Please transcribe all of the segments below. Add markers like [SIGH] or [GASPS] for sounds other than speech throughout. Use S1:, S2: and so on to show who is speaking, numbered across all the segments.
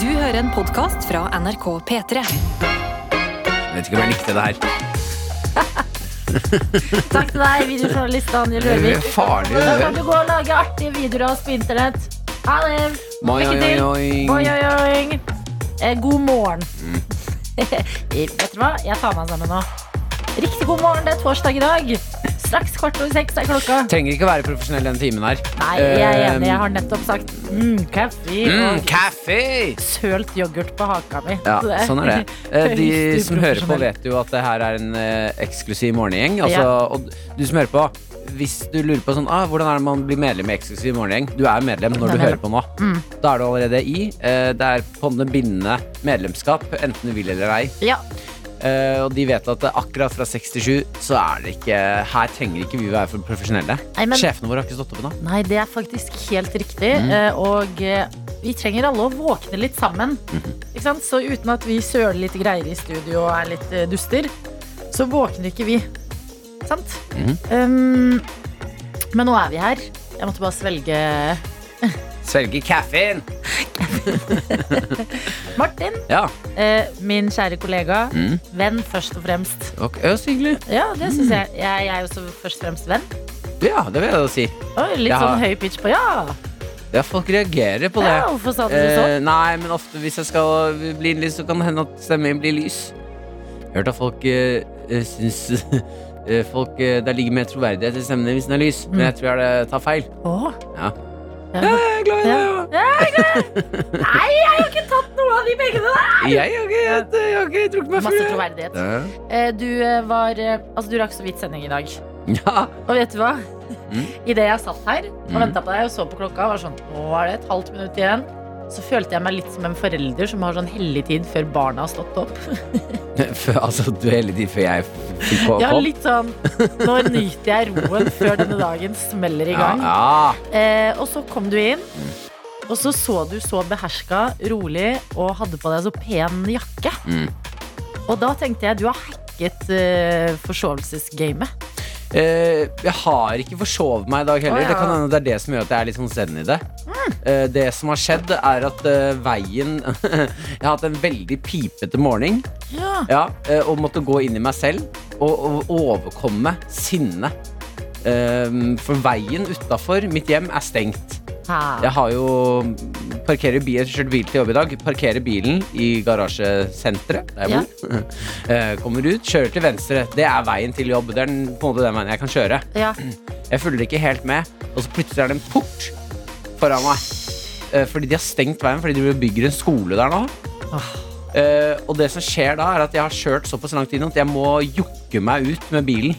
S1: Du hører en podkast fra NRK P3.
S2: Jeg vet ikke om jeg likte det her.
S3: Takk til deg, videojournalist Daniel
S2: Det
S3: Rørvik.
S2: er farlig.
S3: Da
S2: Det
S3: kan du gå og lage artige videoer av oss på internett. Ha det!
S2: Moi,
S3: Lykke
S2: oi,
S3: til.
S2: oi, Mm. oi.
S3: Oi, oi, oi. Eh, God morgen. [LAUGHS] Vet du hva? Jeg tar meg sammen nå. Riktig god morgen, det er torsdag i dag. Straks kvart over seks er klokka.
S2: Trenger ikke være profesjonell denne timen her.
S3: Nei, jeg er
S2: Eh,
S3: enig. Jeg har nettopp sagt mm, kaffe
S2: Mm,
S3: og
S2: kaffe!
S3: sølt yoghurt på haka mi.
S2: Ja,
S3: Så det-
S2: sånn er
S3: [LAUGHS]
S2: det. Eh, De
S3: Høyst
S2: som hører på,
S3: uprofesjonelt.
S2: vet jo at det her er en eh, eksklusiv morgengjeng. Altså,
S3: Ja.
S2: og du som hører på, hvis du lurer på sånn, ah, hvordan er det man blir medlem i eksklusiv morgengjeng, du er medlem når
S3: Jeg
S2: du
S3: er
S2: hører på nå.
S3: Mm.
S2: Da er du allerede i. Eh, Det er på en måte bindende medlemskap, enten du vil eller ei.
S3: Ja,
S2: Eh, Og de vet at eh, akkurat fra 67 så er det ikke Her trenger ikke vi være for profesjonelle.
S3: Nei, men-
S2: Sjefene våre har ikke stått opp ennå.
S3: Nei, det er faktisk helt riktig.
S2: Mhm.
S3: eh, Og eh, vi trenger alle å våkne litt sammen.
S2: Mhm.
S3: Ikke sant? Så uten at vi søler litt greier i studio og er litt eh, duster, så våkner ikke vi. Sant?
S2: Mhm.
S3: um, men nå er vi her. Jeg måtte bare svelge
S2: Svelge kaffen!
S3: Martin,
S2: Ja.
S3: eh, min kjære kollega.
S2: Mm.
S3: Venn, først og fremst.
S2: Ok, ja, så hyggelig.
S3: Ja, det
S2: Mhm.
S3: syns jeg. jeg. Jeg er jo så først og fremst venn.
S2: Ja, det vil jeg da si.
S3: Oi, litt
S2: Ja.
S3: sånn høy pitch på ja.
S2: Ja, folk reagerer på det.
S3: ja. Hvorfor sa du det sånn?
S2: Eh, nei, men ofte hvis jeg skal bli en lys, så kan det hende at stemmen min blir lys. Hørt at folk eh, eh, syns [LAUGHS] eh, folk, eh, Der ligger mer troverdighet i stemmen din hvis den er lys, men jeg tror jeg det tar feil.
S3: Åh.
S2: Ja.
S3: Mm. Ja.
S2: Ja, jeg er glad i det.
S3: Ja. Ja,
S2: ja.
S3: jeg er glad. Nei, jeg har jo ikke tatt noe av de pengene der!
S2: Jeg har ikke, jeg, jeg har ikke drukket meg full.
S3: Masse
S2: jeg.
S3: troverdighet. Eh, Du eh, var eh, Altså, du rakk så vidt sending i dag.
S2: Ja.
S3: Og vet du hva?
S2: Mm.
S3: Idet jeg satt her og
S2: Mm.
S3: venta på deg og så på klokka, var sånn Nå er det et halvt minutt igjen. Så følte jeg meg litt som en forelder som har sånn hellig tid før barna har stått opp.
S2: [LAUGHS] Før, altså, du hele tiden før jeg fikk på
S3: Ja,
S2: kopp.
S3: litt sånn Nå nyter jeg roen før denne dagen smeller i
S2: ja,
S3: gang.
S2: ja.
S3: Eh, og så kom du inn,
S2: Mm.
S3: og så så du så beherska, rolig og hadde på deg så pen jakke.
S2: Mm.
S3: Og da tenkte jeg du har hacket eh, forsovelsesgamet.
S2: Eh, jeg har ikke forsovet meg i dag
S3: Å,
S2: heller.
S3: ja. Mm.
S2: Det kan hende det er det som gjør at jeg er litt sånn zen i det. Eh, det som har skjedd, er at eh, veien [LAUGHS] Jeg har hatt en veldig pipete morgen
S3: Ja.
S2: ja, eh, og måtte gå inn i meg selv og, og overkomme sinne. Eh, for veien utafor mitt hjem er stengt. Jeg har jo parkerer bil, jeg kjørte bil til jobb i dag. Parkerer bilen i garasjesenteret der jeg bor. [LAUGHS] Eh, Kommer ut, kjører til venstre. Det er veien til jobb. Det er den, på en måte den veien jeg kan kjøre.
S3: Ja.
S2: Jeg følger ikke helt med, og så plutselig er det en port foran meg. Eh, Fordi de har stengt veien, fordi de bygger en skole der nå.
S3: Ah.
S2: Eh, og det som skjer da, er at jeg har kjørt såpass langt inn at jeg må jukke meg ut med bilen.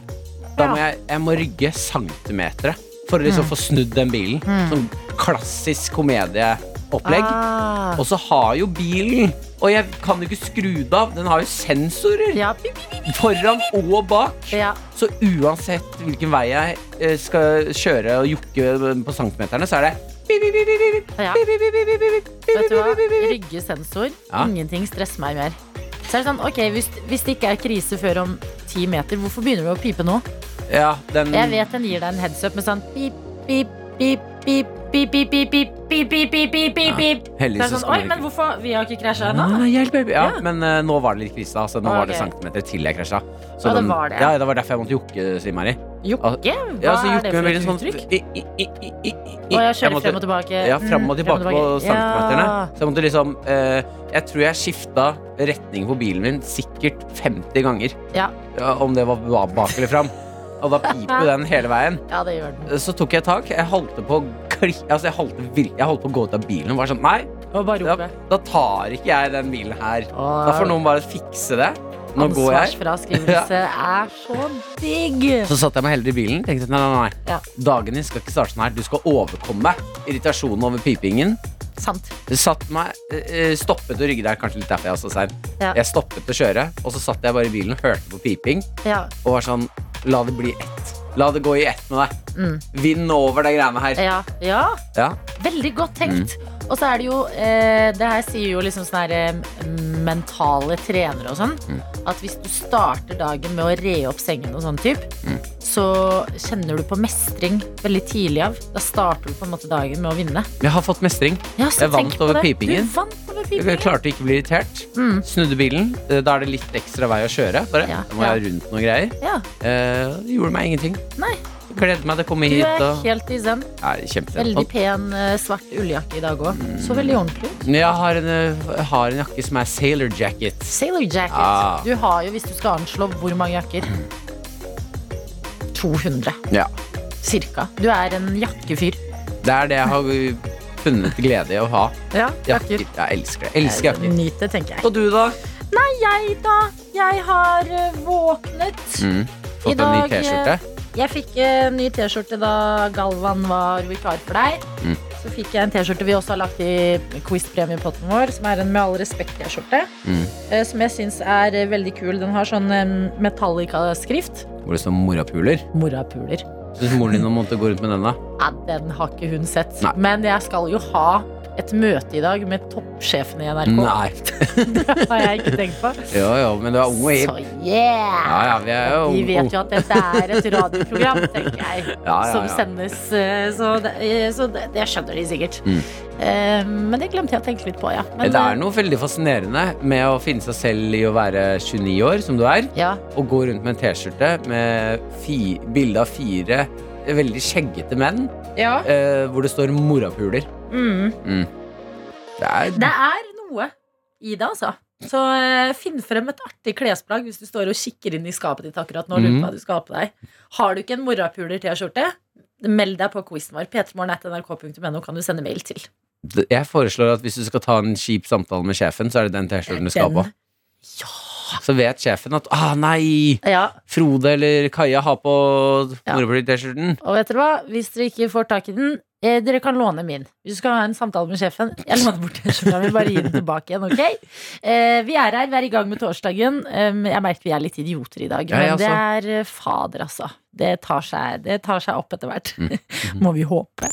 S3: Ja.
S2: Da må
S3: Mm.
S2: jeg, jeg må rygge centimetre for å liksom få snudd den bilen. Sånn klassisk komedieopplegg.
S3: Ah.
S2: Og så har jo bilen Og jeg kan jo ikke skru det av. Den har jo sensorer
S3: Ja. Pip, pip, pip.
S2: foran og bak.
S3: ja.
S2: Så uansett hvilken vei jeg eh, skal kjøre og jukke på centimeterne, så er det bip, bip, bip, bip, bip,
S3: Ja.
S2: bip, bip, bip, bip, bip,
S3: Vet du hva?
S2: bip, bip, bip, bip.
S3: Ryggesensor.
S2: Ja.
S3: Ingenting stresser meg mer. Så er det sånn, ok, hvis, hvis det ikke er krise før om ti meter, hvorfor begynner du å pipe nå?
S2: Ja, den
S3: Jeg vet den gir deg en heads up med sånn pip, pip, pip, pip, pip, pip, pip, pip, pip, pip, pip, pip, pip, pip.
S2: heldigvis
S3: Det er
S2: så
S3: sånn,
S2: skulle
S3: oi,
S2: den
S3: men hvorfor? Vi har ikke krasja
S2: Nei,
S3: ennå.
S2: nei, Ah, hjelp, hjelp. Ja,
S3: Ja.
S2: men eh, nå var det litt krise, da. Så nå
S3: Ah,
S2: var det
S3: ok.
S2: centimeter til jeg krasja. Så
S3: Ja, det
S2: den-
S3: var det.
S2: Ja, det var derfor jeg måtte jukke, sier Mari.
S3: Jokke?
S2: Ja,
S3: Hva
S2: så
S3: er
S2: jukke
S3: det
S2: med
S3: for
S2: bilen
S3: et
S2: sånn
S3: uttrykk?
S2: i, i, i, i, i, i.
S3: Å, jeg
S2: Jeg
S3: kjører
S2: måtte-
S3: frem og tilbake.
S2: Ja, fram og
S3: Mm,
S2: tilbake på
S3: tilbake.
S2: centimeterne.
S3: Ja.
S2: Så jeg måtte liksom eh, Jeg tror jeg skifta retning på bilen min sikkert 50 ganger.
S3: Ja.
S2: om det var ba- bak eller fram. Og da piper den hele veien.
S3: Ja, det gjør den.
S2: Så tok jeg tak. Jeg holdt på å kli- altså jeg holdt, vir- jeg holdt på å gå ut av bilen og var sånn Nei,
S3: Og bare
S2: da,
S3: rope.
S2: da tar ikke jeg den bilen her. Da får noen bare fikse det. Nå går jeg. [LAUGHS]
S3: Ansvarsfraskrivelse er så digg.
S2: Så satte jeg meg heller i bilen. Tenkte nei, nei, nei.
S3: Ja.
S2: Dagen din skal ikke starte sånn her. Du skal overkomme irritasjonen over pipingen.
S3: Sant.
S2: satt meg, eh, eh, stoppet å rygge der, kanskje litt derfor jeg også er så sein.
S3: Ja.
S2: Jeg stoppet å kjøre, og så satt jeg bare i bilen og hørte på piping.
S3: Ja.
S2: Og var sånn, la det bli ett. La det gå i ett med deg.
S3: Mm.
S2: Vinn over de greiene her.
S3: Ja. ja.
S2: Ja.
S3: Veldig godt tenkt.
S2: Mm.
S3: Og så er det jo eh, Det her sier jo liksom sånne her, eh, mentale trenere og sånn.
S2: Mm.
S3: At hvis du starter dagen med å re opp sengen og sånn typ,
S2: Mm.
S3: så kjenner du på mestring veldig tidlig av. Da starter du på en måte dagen med å vinne.
S2: Jeg har fått mestring.
S3: Ja, så
S2: Jeg vant
S3: tenk på
S2: over
S3: det.
S2: pipingen.
S3: Du vant på som er
S2: Jeg
S3: pinlig.
S2: klarte ikke å bli irritert.
S3: Mm.
S2: Snudde bilen. Eh, Da er det litt ekstra vei å kjøre. Bare.
S3: Ja,
S2: Da må jeg rundt noen greier.
S3: Ja.
S2: Eh, det gjorde meg ingenting.
S3: Nei.
S2: Gledet meg til å komme
S3: Du
S2: hit.
S3: er
S2: Og...
S3: helt i zen.
S2: Nei, kjempe.
S3: Veldig pen eh, svart ulljakke i dag òg.
S2: Mm.
S3: Så veldig ordentlig ut.
S2: Jeg har en, eh, har en jakke som er sailor jacket.
S3: Sailor jacket.
S2: Ah.
S3: Du har jo, hvis du skal anslå hvor mange jakker
S2: Mm.
S3: 200,
S2: Ja.
S3: cirka. Du er en jakkefyr.
S2: Det er det jeg har funnet glede i å ha.
S3: Ja,
S2: Jakker. Jeg elsker det. Jeg elsker jakker.
S3: Nyt det, tenker jeg.
S2: Og du, da?
S3: Nei, jeg, da. Jeg har eh, våknet.
S2: Mm.
S3: I
S2: Fått en ny
S3: dag, eh,
S2: T-skjorte?
S3: Jeg fikk eh, ny T-skjorte da Galvan var vikar for deg.
S2: Mm.
S3: Så fikk jeg en T-skjorte vi også har lagt i quiz-premiepotten vår, som er en Med all respekt-T-skjorte.
S2: Mm.
S3: eh, Som jeg syns er eh, veldig kul. Den har sånn eh, Metallica-skrift.
S2: Hvor det står morapuler?
S3: Morapuler.
S2: Syns moren din om måtte gå rundt med den, da?
S3: Ja, den har ikke hun sett.
S2: Nei.
S3: Men jeg skal jo ha et møte i dag med toppsjefen i NRK.
S2: Nei.
S3: [LAUGHS] Det har jeg ikke tenkt på.
S2: [LAUGHS] Jo, jo, men du er ung og hipp.
S3: Så yeah!
S2: Ja, ja, vi er jo
S3: De
S2: ung-
S3: vet jo at dette er et radioprogram, tenker jeg.
S2: oh. [LAUGHS] Ja, ja,
S3: Som
S2: ja.
S3: sendes. eh, Så, det, eh, så det, det skjønner de sikkert.
S2: Mm.
S3: Eh, Men det glemte jeg å tenke litt på, ja. Men,
S2: Oh. Det er noe veldig fascinerende med å finne seg selv i å være 29 år, som du er,
S3: eh, ja.
S2: og gå rundt med en T-skjorte med fi, bilde av fire veldig skjeggete menn,
S3: ja.
S2: eh, hvor det står 'morapuler'.
S3: Mm.
S2: Det er,
S3: Det er noe i det, altså. Så eh, finn frem et artig klesplagg hvis du står og kikker inn i skapet ditt akkurat nå. og lurer på
S2: Mhm.
S3: hva du skal ha på deg. Har du ikke en morapuler-T-skjorte, meld deg på quizen vår. p3morgen.nrk.no kan du sende mail til.
S2: jeg foreslår at hvis du skal ta en kjip samtale med sjefen, så er det den T-skjorten du skal ha på.
S3: Den-
S2: Så vet sjefen at 'ah, nei,
S3: Ja,
S2: Frode eller Kaja har på
S3: Ja.
S2: morapuler-T-skjorten'.
S3: og vet dere hva? Hvis dere ikke får tak i den, eh, dere kan låne min. Hvis du skal ha en samtale med sjefen, jeg låner bort T-skjorta mi. Bare gi den tilbake igjen, ok? Eh, vi er her, vi er i gang med torsdagen. Um, jeg merker vi er litt idioter i dag,
S2: Ja, jeg
S3: men det er eh, fader, altså. Det tar seg, det tar seg opp etter hvert. [LAUGHS]
S2: Mm. Mm-hmm.
S3: Må vi håpe.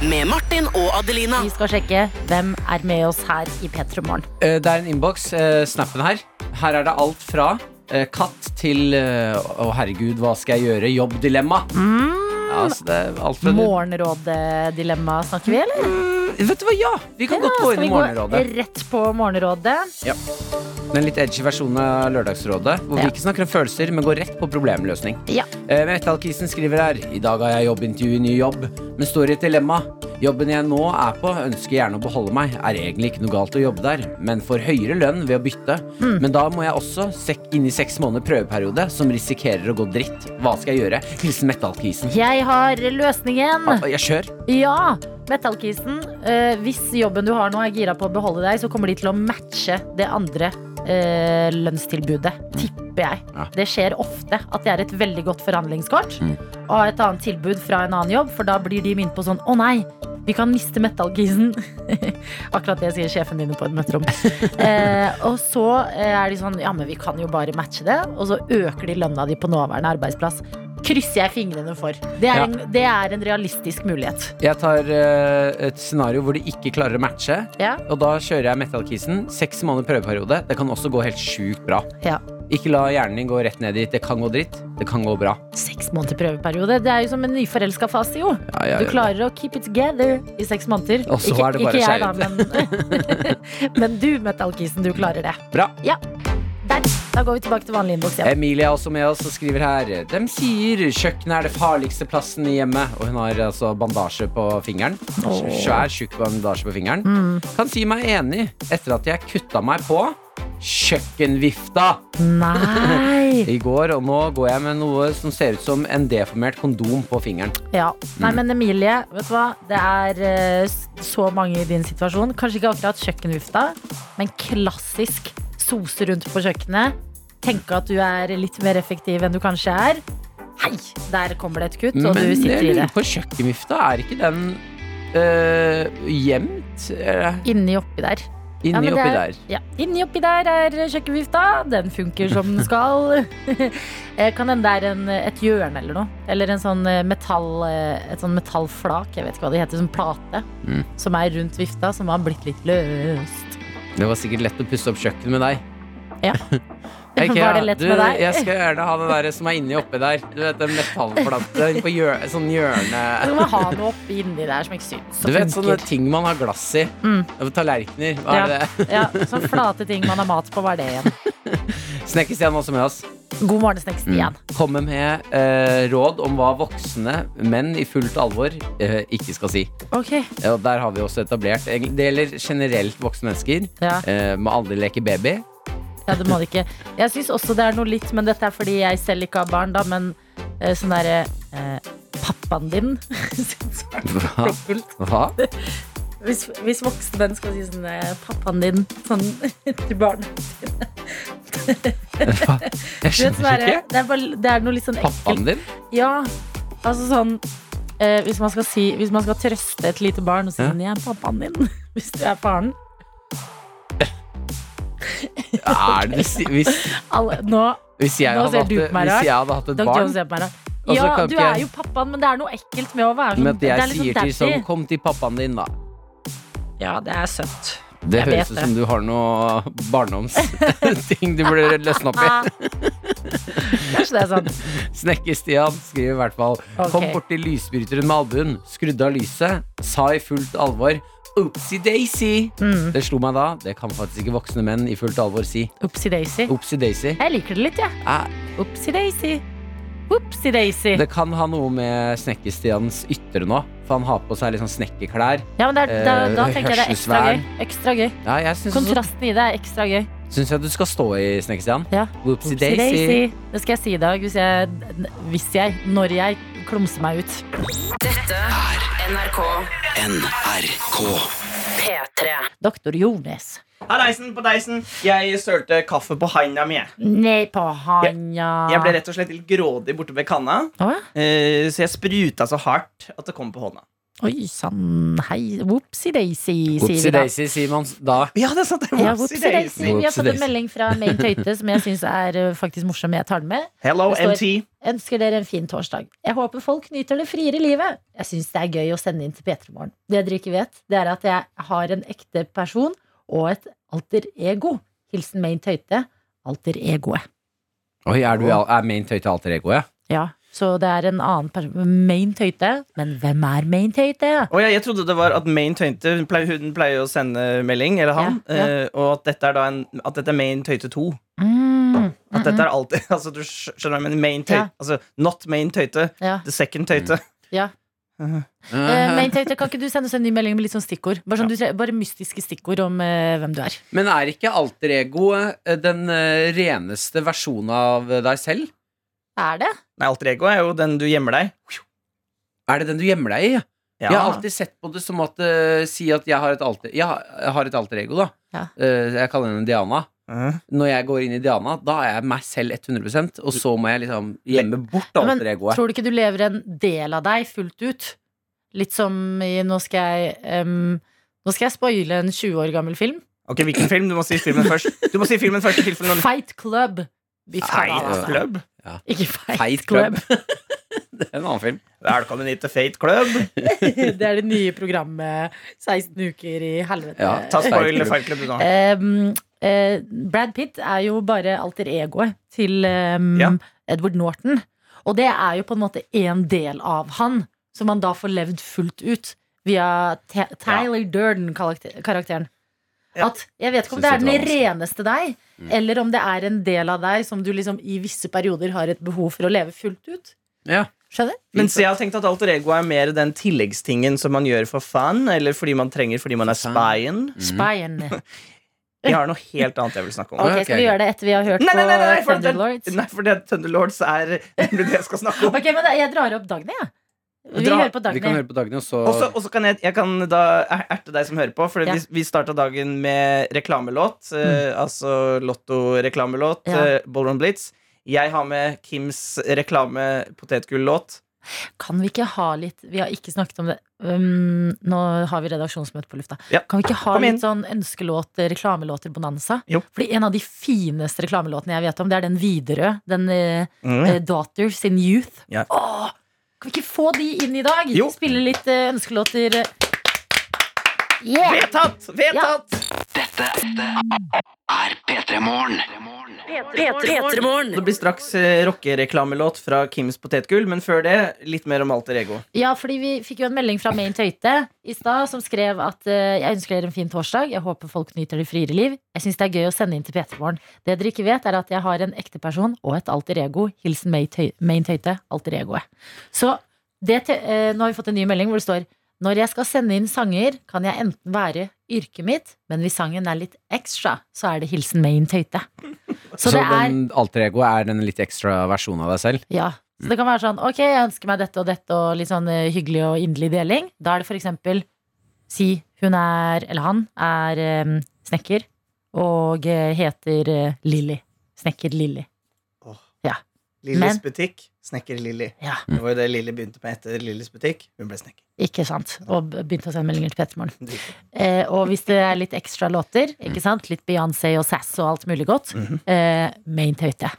S4: Med Martin og Adelina.
S3: Vi skal sjekke hvem er med oss her i P3 Morgen.
S2: Eh, Det er en innboks, eh, snappen her. Her er det alt fra eh, katt til eh, Å, herregud, hva skal jeg gjøre? Jobbdilemma.
S3: Mm.
S2: Ja, så det er alt fra
S3: Morgenrådedilemma snakker vi, eller?
S2: Vet du hva, ja! Vi kan godt gå
S3: skal
S2: inn
S3: vi
S2: i Morgenrådet.
S3: gå rett på Morgenrådet?
S2: Den litt edgy versjonen av Lørdagsrådet, hvor
S3: Ja.
S2: vi ikke snakker om følelser, men går rett på problemløsning.
S3: Ja.
S2: Eh, Metallkisen skriver her I dag har jeg jobbintervju i ny jobb, men står i et dilemma. Jobben jeg nå er på, ønsker gjerne å beholde meg. Er egentlig ikke noe galt å jobbe der, men får høyere lønn ved å bytte. Men da må jeg også sek inn i seks måneder prøveperiode, som risikerer å gå dritt. Hva skal jeg gjøre? Hilsen Metallkisen.
S3: Jeg har løsningen.
S2: Ah, Jeg kjør.
S3: Ja! Metallkisen, eh, hvis jobben du har nå er gira på å beholde deg, så kommer de til å matche det andre eh, lønnstilbudet. Tipper jeg.
S2: Ja.
S3: Det skjer ofte at det er et veldig godt forhandlingskort
S2: Mm.
S3: og et annet tilbud fra en annen jobb, for da blir de minnet på sånn Å nei, vi kan miste metallkisen. [LAUGHS] Akkurat det sier sjefen mine på et
S2: [LAUGHS]
S3: møterom. eh, og så eh, er de sånn Ja, men vi kan jo bare matche det. Og så øker de lønna di på nåværende arbeidsplass. Krysser jeg fingrene for. Det er,
S2: Ja.
S3: en, det er en realistisk mulighet.
S2: Jeg tar eh, et scenario hvor de ikke klarer å matche.
S3: Ja.
S2: Og da kjører jeg Metallkisen. Seks måneder prøveperiode. Det kan også gå helt sjukt bra.
S3: Ja.
S2: Ikke la hjernen din gå rett ned dit. Det kan gå dritt. Det kan gå bra.
S3: Seks måneder prøveperiode. Det er jo som en nyforelska fase, jo.
S2: ja,
S3: Du
S2: ja.
S3: klarer å keep it together i seks måneder.
S2: Og så er det bare
S3: jeg, da, men, [LAUGHS] men du, Metallkisen, du klarer det.
S2: Bra.
S3: Der. Da går vi tilbake til vanlig innboks igjen.
S2: Emilie er også med oss og skriver her. De sier kjøkkenet er det farligste plassen i hjemmet. Og hun har altså bandasje på fingeren. Svær, tjukk bandasje på fingeren.
S3: Mm.
S2: Kan si meg enig etter at jeg kutta meg på kjøkkenvifta [LAUGHS]
S3: Nei.
S2: i går. Og nå går jeg med noe som ser ut som en deformert kondom på fingeren.
S3: Ja. Nei,
S2: Mm.
S3: men Emilie, vet du hva? Det er eh, s- så mange i din situasjon. Kanskje ikke akkurat kjøkkenvifta, men klassisk sose rundt på kjøkkenet. Tenke at du er litt mer effektiv enn du kanskje er. Hei! Der kommer det et kutt, og du
S2: Men jeg
S3: sitter i det.
S2: lurer på kjøkkenvifta. Er ikke den øh, gjemt øh,
S3: Inni oppi der. Ja,
S2: inni
S3: men det
S2: oppi
S3: er-
S2: der?
S3: Ja. Inni oppi der er kjøkkenvifta. Den funker som den skal. [LAUGHS] Eh, kan hende det er en, et hjørne eller noe. Eller en sånn eh, metall, eh, et sånn metallflak, jeg vet ikke hva det heter, som plate.
S2: Mm.
S3: Som er rundt vifta, som har blitt litt løst.
S2: [LAUGHS] Det var sikkert lett å pusse opp kjøkkenet med deg.
S3: Ja.
S2: Ikea,
S5: Var det lett
S2: du,
S5: med deg?
S2: Jeg skal gjerne ha det der som er inni oppi der. Du vet, den metallplata på hjør, sånn
S3: Du
S2: hjørne
S3: må ha noe oppi inni der som ikke syns.
S2: Du
S3: som
S2: vet sånne
S3: funker.
S2: ting man har glass i. Tallerkener. Hva er det?
S3: ja, ja, sånn flate ting man har mat på, hva er det igjen?
S2: Snekker-Stian også med oss.
S3: God morgen,
S2: Mm.
S3: Snekkstian.
S2: Kommer med eh, råd om hva voksne menn i fullt alvor eh, ikke skal si.
S3: Ok.
S2: Ja, og der har vi også etablert Det gjelder generelt voksne mennesker.
S3: Ja.
S2: Eh, må aldri leke baby.
S3: Ja, det må det ikke. Jeg syns også det er noe litt, men dette er fordi jeg selv ikke har barn, da, men eh, sånn derre eh, Pappaen din [LAUGHS] synes jeg er
S2: Hva?
S3: litt kult.
S2: Hva?
S3: Hvis, hvis voksne menn skal si sånn eh, Pappaen din sånn [LAUGHS] til barn.
S2: Jeg
S3: Du vet, sånn
S2: skjønner
S3: derre-
S2: ikke.
S3: det, er bare, det er noe litt sånn ekkelt.
S2: Pappaen din?
S3: Ja, altså sånn eh, hvis, man skal si, hvis man skal trøste et lite barn og si
S2: Ja.
S3: sånn 'Jeg er pappaen din', [LAUGHS] hvis du er faren.
S2: Er det, hvis,
S3: Alle, nå
S2: hvis, jeg
S3: Nå
S2: hadde
S3: ser
S2: hatt,
S3: du
S2: det-
S3: på meg
S2: hvis
S3: rart.
S2: jeg hadde hatt et
S3: Dr.
S2: barn
S3: Jones er på her, da.
S2: Og så
S3: Ja,
S2: kan
S3: du
S2: ikke
S3: er
S2: jeg-
S3: jo pappaen, men det er noe ekkelt med å være sånn.
S2: Men at jeg
S3: det er litt
S2: sier til
S3: sånn
S2: sånn
S3: daffy.
S2: Kom til pappaen din, da.
S3: Ja, det er søtt.
S2: Det
S3: Jeg vet
S2: høres ut
S3: det.
S2: som du har noe [LAUGHS] barndomsting du burde løsne opp i.
S3: Ah. Kanskje det er sånn.
S2: Snekker-Stian skriver i hvert fall
S3: Ok.
S2: Kom bort til lysbryteren med albuen, skrudde av lyset, sa i fullt alvor Oopsie daisy!
S3: Mm.
S2: Det slo meg da. Det kan faktisk ikke voksne menn i fullt alvor si.
S3: Oopsie daisy.
S2: Oopsie daisy.
S3: Jeg liker det litt, jeg.
S2: Eh,
S3: Oopsie daisy. Oopsie daisy.
S2: Det kan ha noe med Snekker-Stians ytre nå, for han har på seg litt sånn snekkerklær.
S3: Ja, men det er, da, da
S2: eh,
S3: tenker jeg det er ekstra
S2: hørselsvern.
S3: gøy. Ekstra gøy.
S2: Ja, jeg syns også-
S3: Kontrasten i det er ekstra gøy.
S2: syns jeg du skal stå i, Snekker-Stian.
S3: Ja.
S2: Oopsie
S3: Oopsie
S2: daisy.
S3: daisy. Det skal jeg si i dag hvis jeg, hvis jeg når jeg klumser meg ut.
S4: NRK
S3: Doktor Jones.
S6: Halleisen på deisen. Jeg sølte kaffe på handa mi. jeg.
S3: Nei, på handa.
S6: Jeg ble rett og slett litt grådig borte ved kanna,
S3: Å, ja.
S6: eh, så jeg spruta så hardt at det kom på hånda.
S3: Oi sann, hei. Whoopsie daisy, sier vi
S2: Oopsie
S3: da.
S2: daisy, sier man da.
S6: Ja, det er sant. det er
S3: Ja,
S6: Whoopsie
S3: whoopsie daisy. Vi har
S2: Whoopsie
S3: fått en
S2: daisy.
S3: melding fra May Tøyte som jeg syns er eh, faktisk morsom. Jeg tar den med.
S6: Hello,
S3: Det står-
S6: MT.
S3: Ønsker dere en fin torsdag. Jeg håper folk nyter det friere livet. Jeg syns det er gøy å sende inn til P3 Morgen. Det dere ikke vet, det er at jeg har en ekte person og et alter ego. Hilsen May Tøyte. Alter egoet.
S2: Oi, er du er main tøyte alter ego, ja?
S3: Ja, så det er en annen person. Main Tøyte. Men hvem er Main Tøyte?
S6: Å ja, jeg trodde det var at Main Tøyte hun pleier, hun pleier å sende melding, eller han,
S3: Ja, ja.
S6: eh, og at dette er da en, at dette er Main Tøyte 2.
S3: Mm.
S6: At dette er alltid [LAUGHS] Altså, du skj- skjønner hva jeg mener? Main Tøyte.
S3: Ja.
S6: Altså, not Main Tøyte.
S3: Ja.
S6: The second Tøyte.
S3: ja. Eh, Men Tete, kan ikke du sende oss en ny melding med litt sånn stikkord? Bare, sånn, du tre- bare mystiske stikkord om eh, hvem du er.
S2: Men er ikke alter ego eh, den eh, reneste versjonen av eh, deg selv?
S3: Er det?
S6: Nei, alter ego er jo den du gjemmer deg.
S2: Er det den du gjemmer deg i?
S6: Ja.
S2: Jeg har alltid sett på det som at eh, Si at jeg har et alter, jeg har, jeg har et alter ego, da.
S3: Ja.
S2: Eh, jeg kaller henne Diana.
S6: Mhm.
S2: Når jeg går inn i Diana, da er jeg meg selv 100 og så må jeg liksom gjemme bort
S3: Men
S2: alter egoet.
S3: Tror du ikke du lever en del av deg fullt ut? Litt som i Nå skal jeg em, Nå skal jeg spoile en 20 år gammel film.
S6: Ok, hvilken film? Du må si filmen først. Du må si filmen først i tilfelle noen
S3: Fight Club. Fy faen,
S6: Fight
S3: altså.
S6: Club?
S3: Ikke Fight,
S2: Fight
S3: Club.
S2: Club. Det er [LAUGHS] en annen film.
S6: Velkommen hit til Fate Club.
S3: [LAUGHS] det er det nye programmet 16 uker i helvete.
S2: Ja,
S6: Ta spoil
S2: Fight Club.
S6: Fight Club, du nå.
S3: Em, eh, Brad Pitt er jo bare alter egoet til em,
S6: Ja.
S3: Edward Norton. Og det er jo på en måte en del av han, som han da får levd fullt ut via T Tyler Durden-karakteren.
S6: Ja.
S3: At Jeg vet ikke om
S2: Synes
S3: det er
S2: det Mm. var
S3: den reneste deg, eller om det er en del av deg som du liksom i visse perioder har et behov for å leve fullt ut.
S2: Ja.
S3: Skjønner?
S6: Mens jeg har tenkt at alter ego er mer den tilleggstingen som man gjør for fun, eller fordi man trenger fordi man er spyen.
S2: Mhm.
S3: Spyen.
S2: [LAUGHS]
S6: Jeg har noe helt annet jeg vil snakke om.
S3: Ok,
S2: ok,
S3: skal vi
S2: ok.
S3: gjøre det etter vi har hørt
S6: Nei, nei, nei,
S3: på
S6: nei, for det,
S3: Thunderlords?
S6: nei, for det Thunderlords er nemlig det jeg skal snakke
S3: [LAUGHS]
S6: om.
S3: Ok, men da- jeg drar opp Dagny, jeg. Vi
S6: Dra-
S3: hører på
S2: Vi kan
S3: Dagny.
S2: høre på Dagny, og så
S6: Og så- og så kan jeg, jeg kan da er- erte deg som hører på, for
S3: Ja. Mm.
S6: vi, vi starta dagen med reklamelåt. eh, altså Lotto-reklamelåt.
S3: Ja.
S6: eh, Ballroom Blitz. Jeg har med Kims reklame-potetgull-låt.
S3: Kan vi ikke ha litt Vi har ikke snakket om det. Um, nå har vi redaksjonsmøte på lufta.
S6: Ja.
S3: Kan vi ikke ha
S6: Kom inn.
S3: litt sånn ønskelåter, reklamelåter, bonanza?
S6: Jo.
S3: Fordi en av de fineste reklamelåtene jeg vet om, det er den Widerøe. Den eh,
S6: Mm.
S3: eh, Daughters in Youth.
S6: Ja.
S3: Åh, kan vi ikke få de inn i dag?
S6: Jo.
S3: Spille litt eh, ønskelåter. Yeah!
S6: Vedtatt! Vedtatt!
S4: er P3 Morgen.
S6: Det blir straks eh, rockereklamelåt fra Kims potetgull, men før det litt mer om alter ego.
S3: Ja, fordi vi fikk jo en melding fra Main Tøyte i stad som skrev at eh, jeg ønsker dere en fin torsdag. Jeg håper folk nyter det friere liv. Jeg syns det er gøy å sende inn til P3morgen. Det dere ikke vet, er at jeg har en ekte person og et alter ego. Hilsen Main Tøy- Main Tøyte, alter egoet. Så det, te- eh, nå har vi fått en ny melding hvor det står når jeg skal sende inn sanger, kan jeg enten være yrket mitt, men hvis sangen er litt extra, så er det hilsen Main Tøyte.
S2: Så,
S3: Så det er
S2: den alter ego er den litt ekstra versjonen av deg selv?
S3: ja. Så det kan være sånn Ok, jeg ønsker meg dette og dette og litt sånn eh, hyggelig og inderlig deling. Da er det for eksempel si hun er, eller han, er eh, snekker og eh, heter eh, Lilly. Snekker Lilly.
S6: Lillys
S3: Men-
S6: butikk, snekker Lilly.
S3: Ja,
S6: Det var jo det Lilly begynte med etter Lillys butikk. Hun ble snekker.
S3: ikke sant? Og b- begynte å sende meldinger til Petermorgen. Eh, og hvis det er litt ekstra låter,
S6: Mm.
S3: ikke sant? Litt Beyoncé og Sass og alt mulig godt,
S6: Mm-hmm.
S3: eh, Main Tøyte.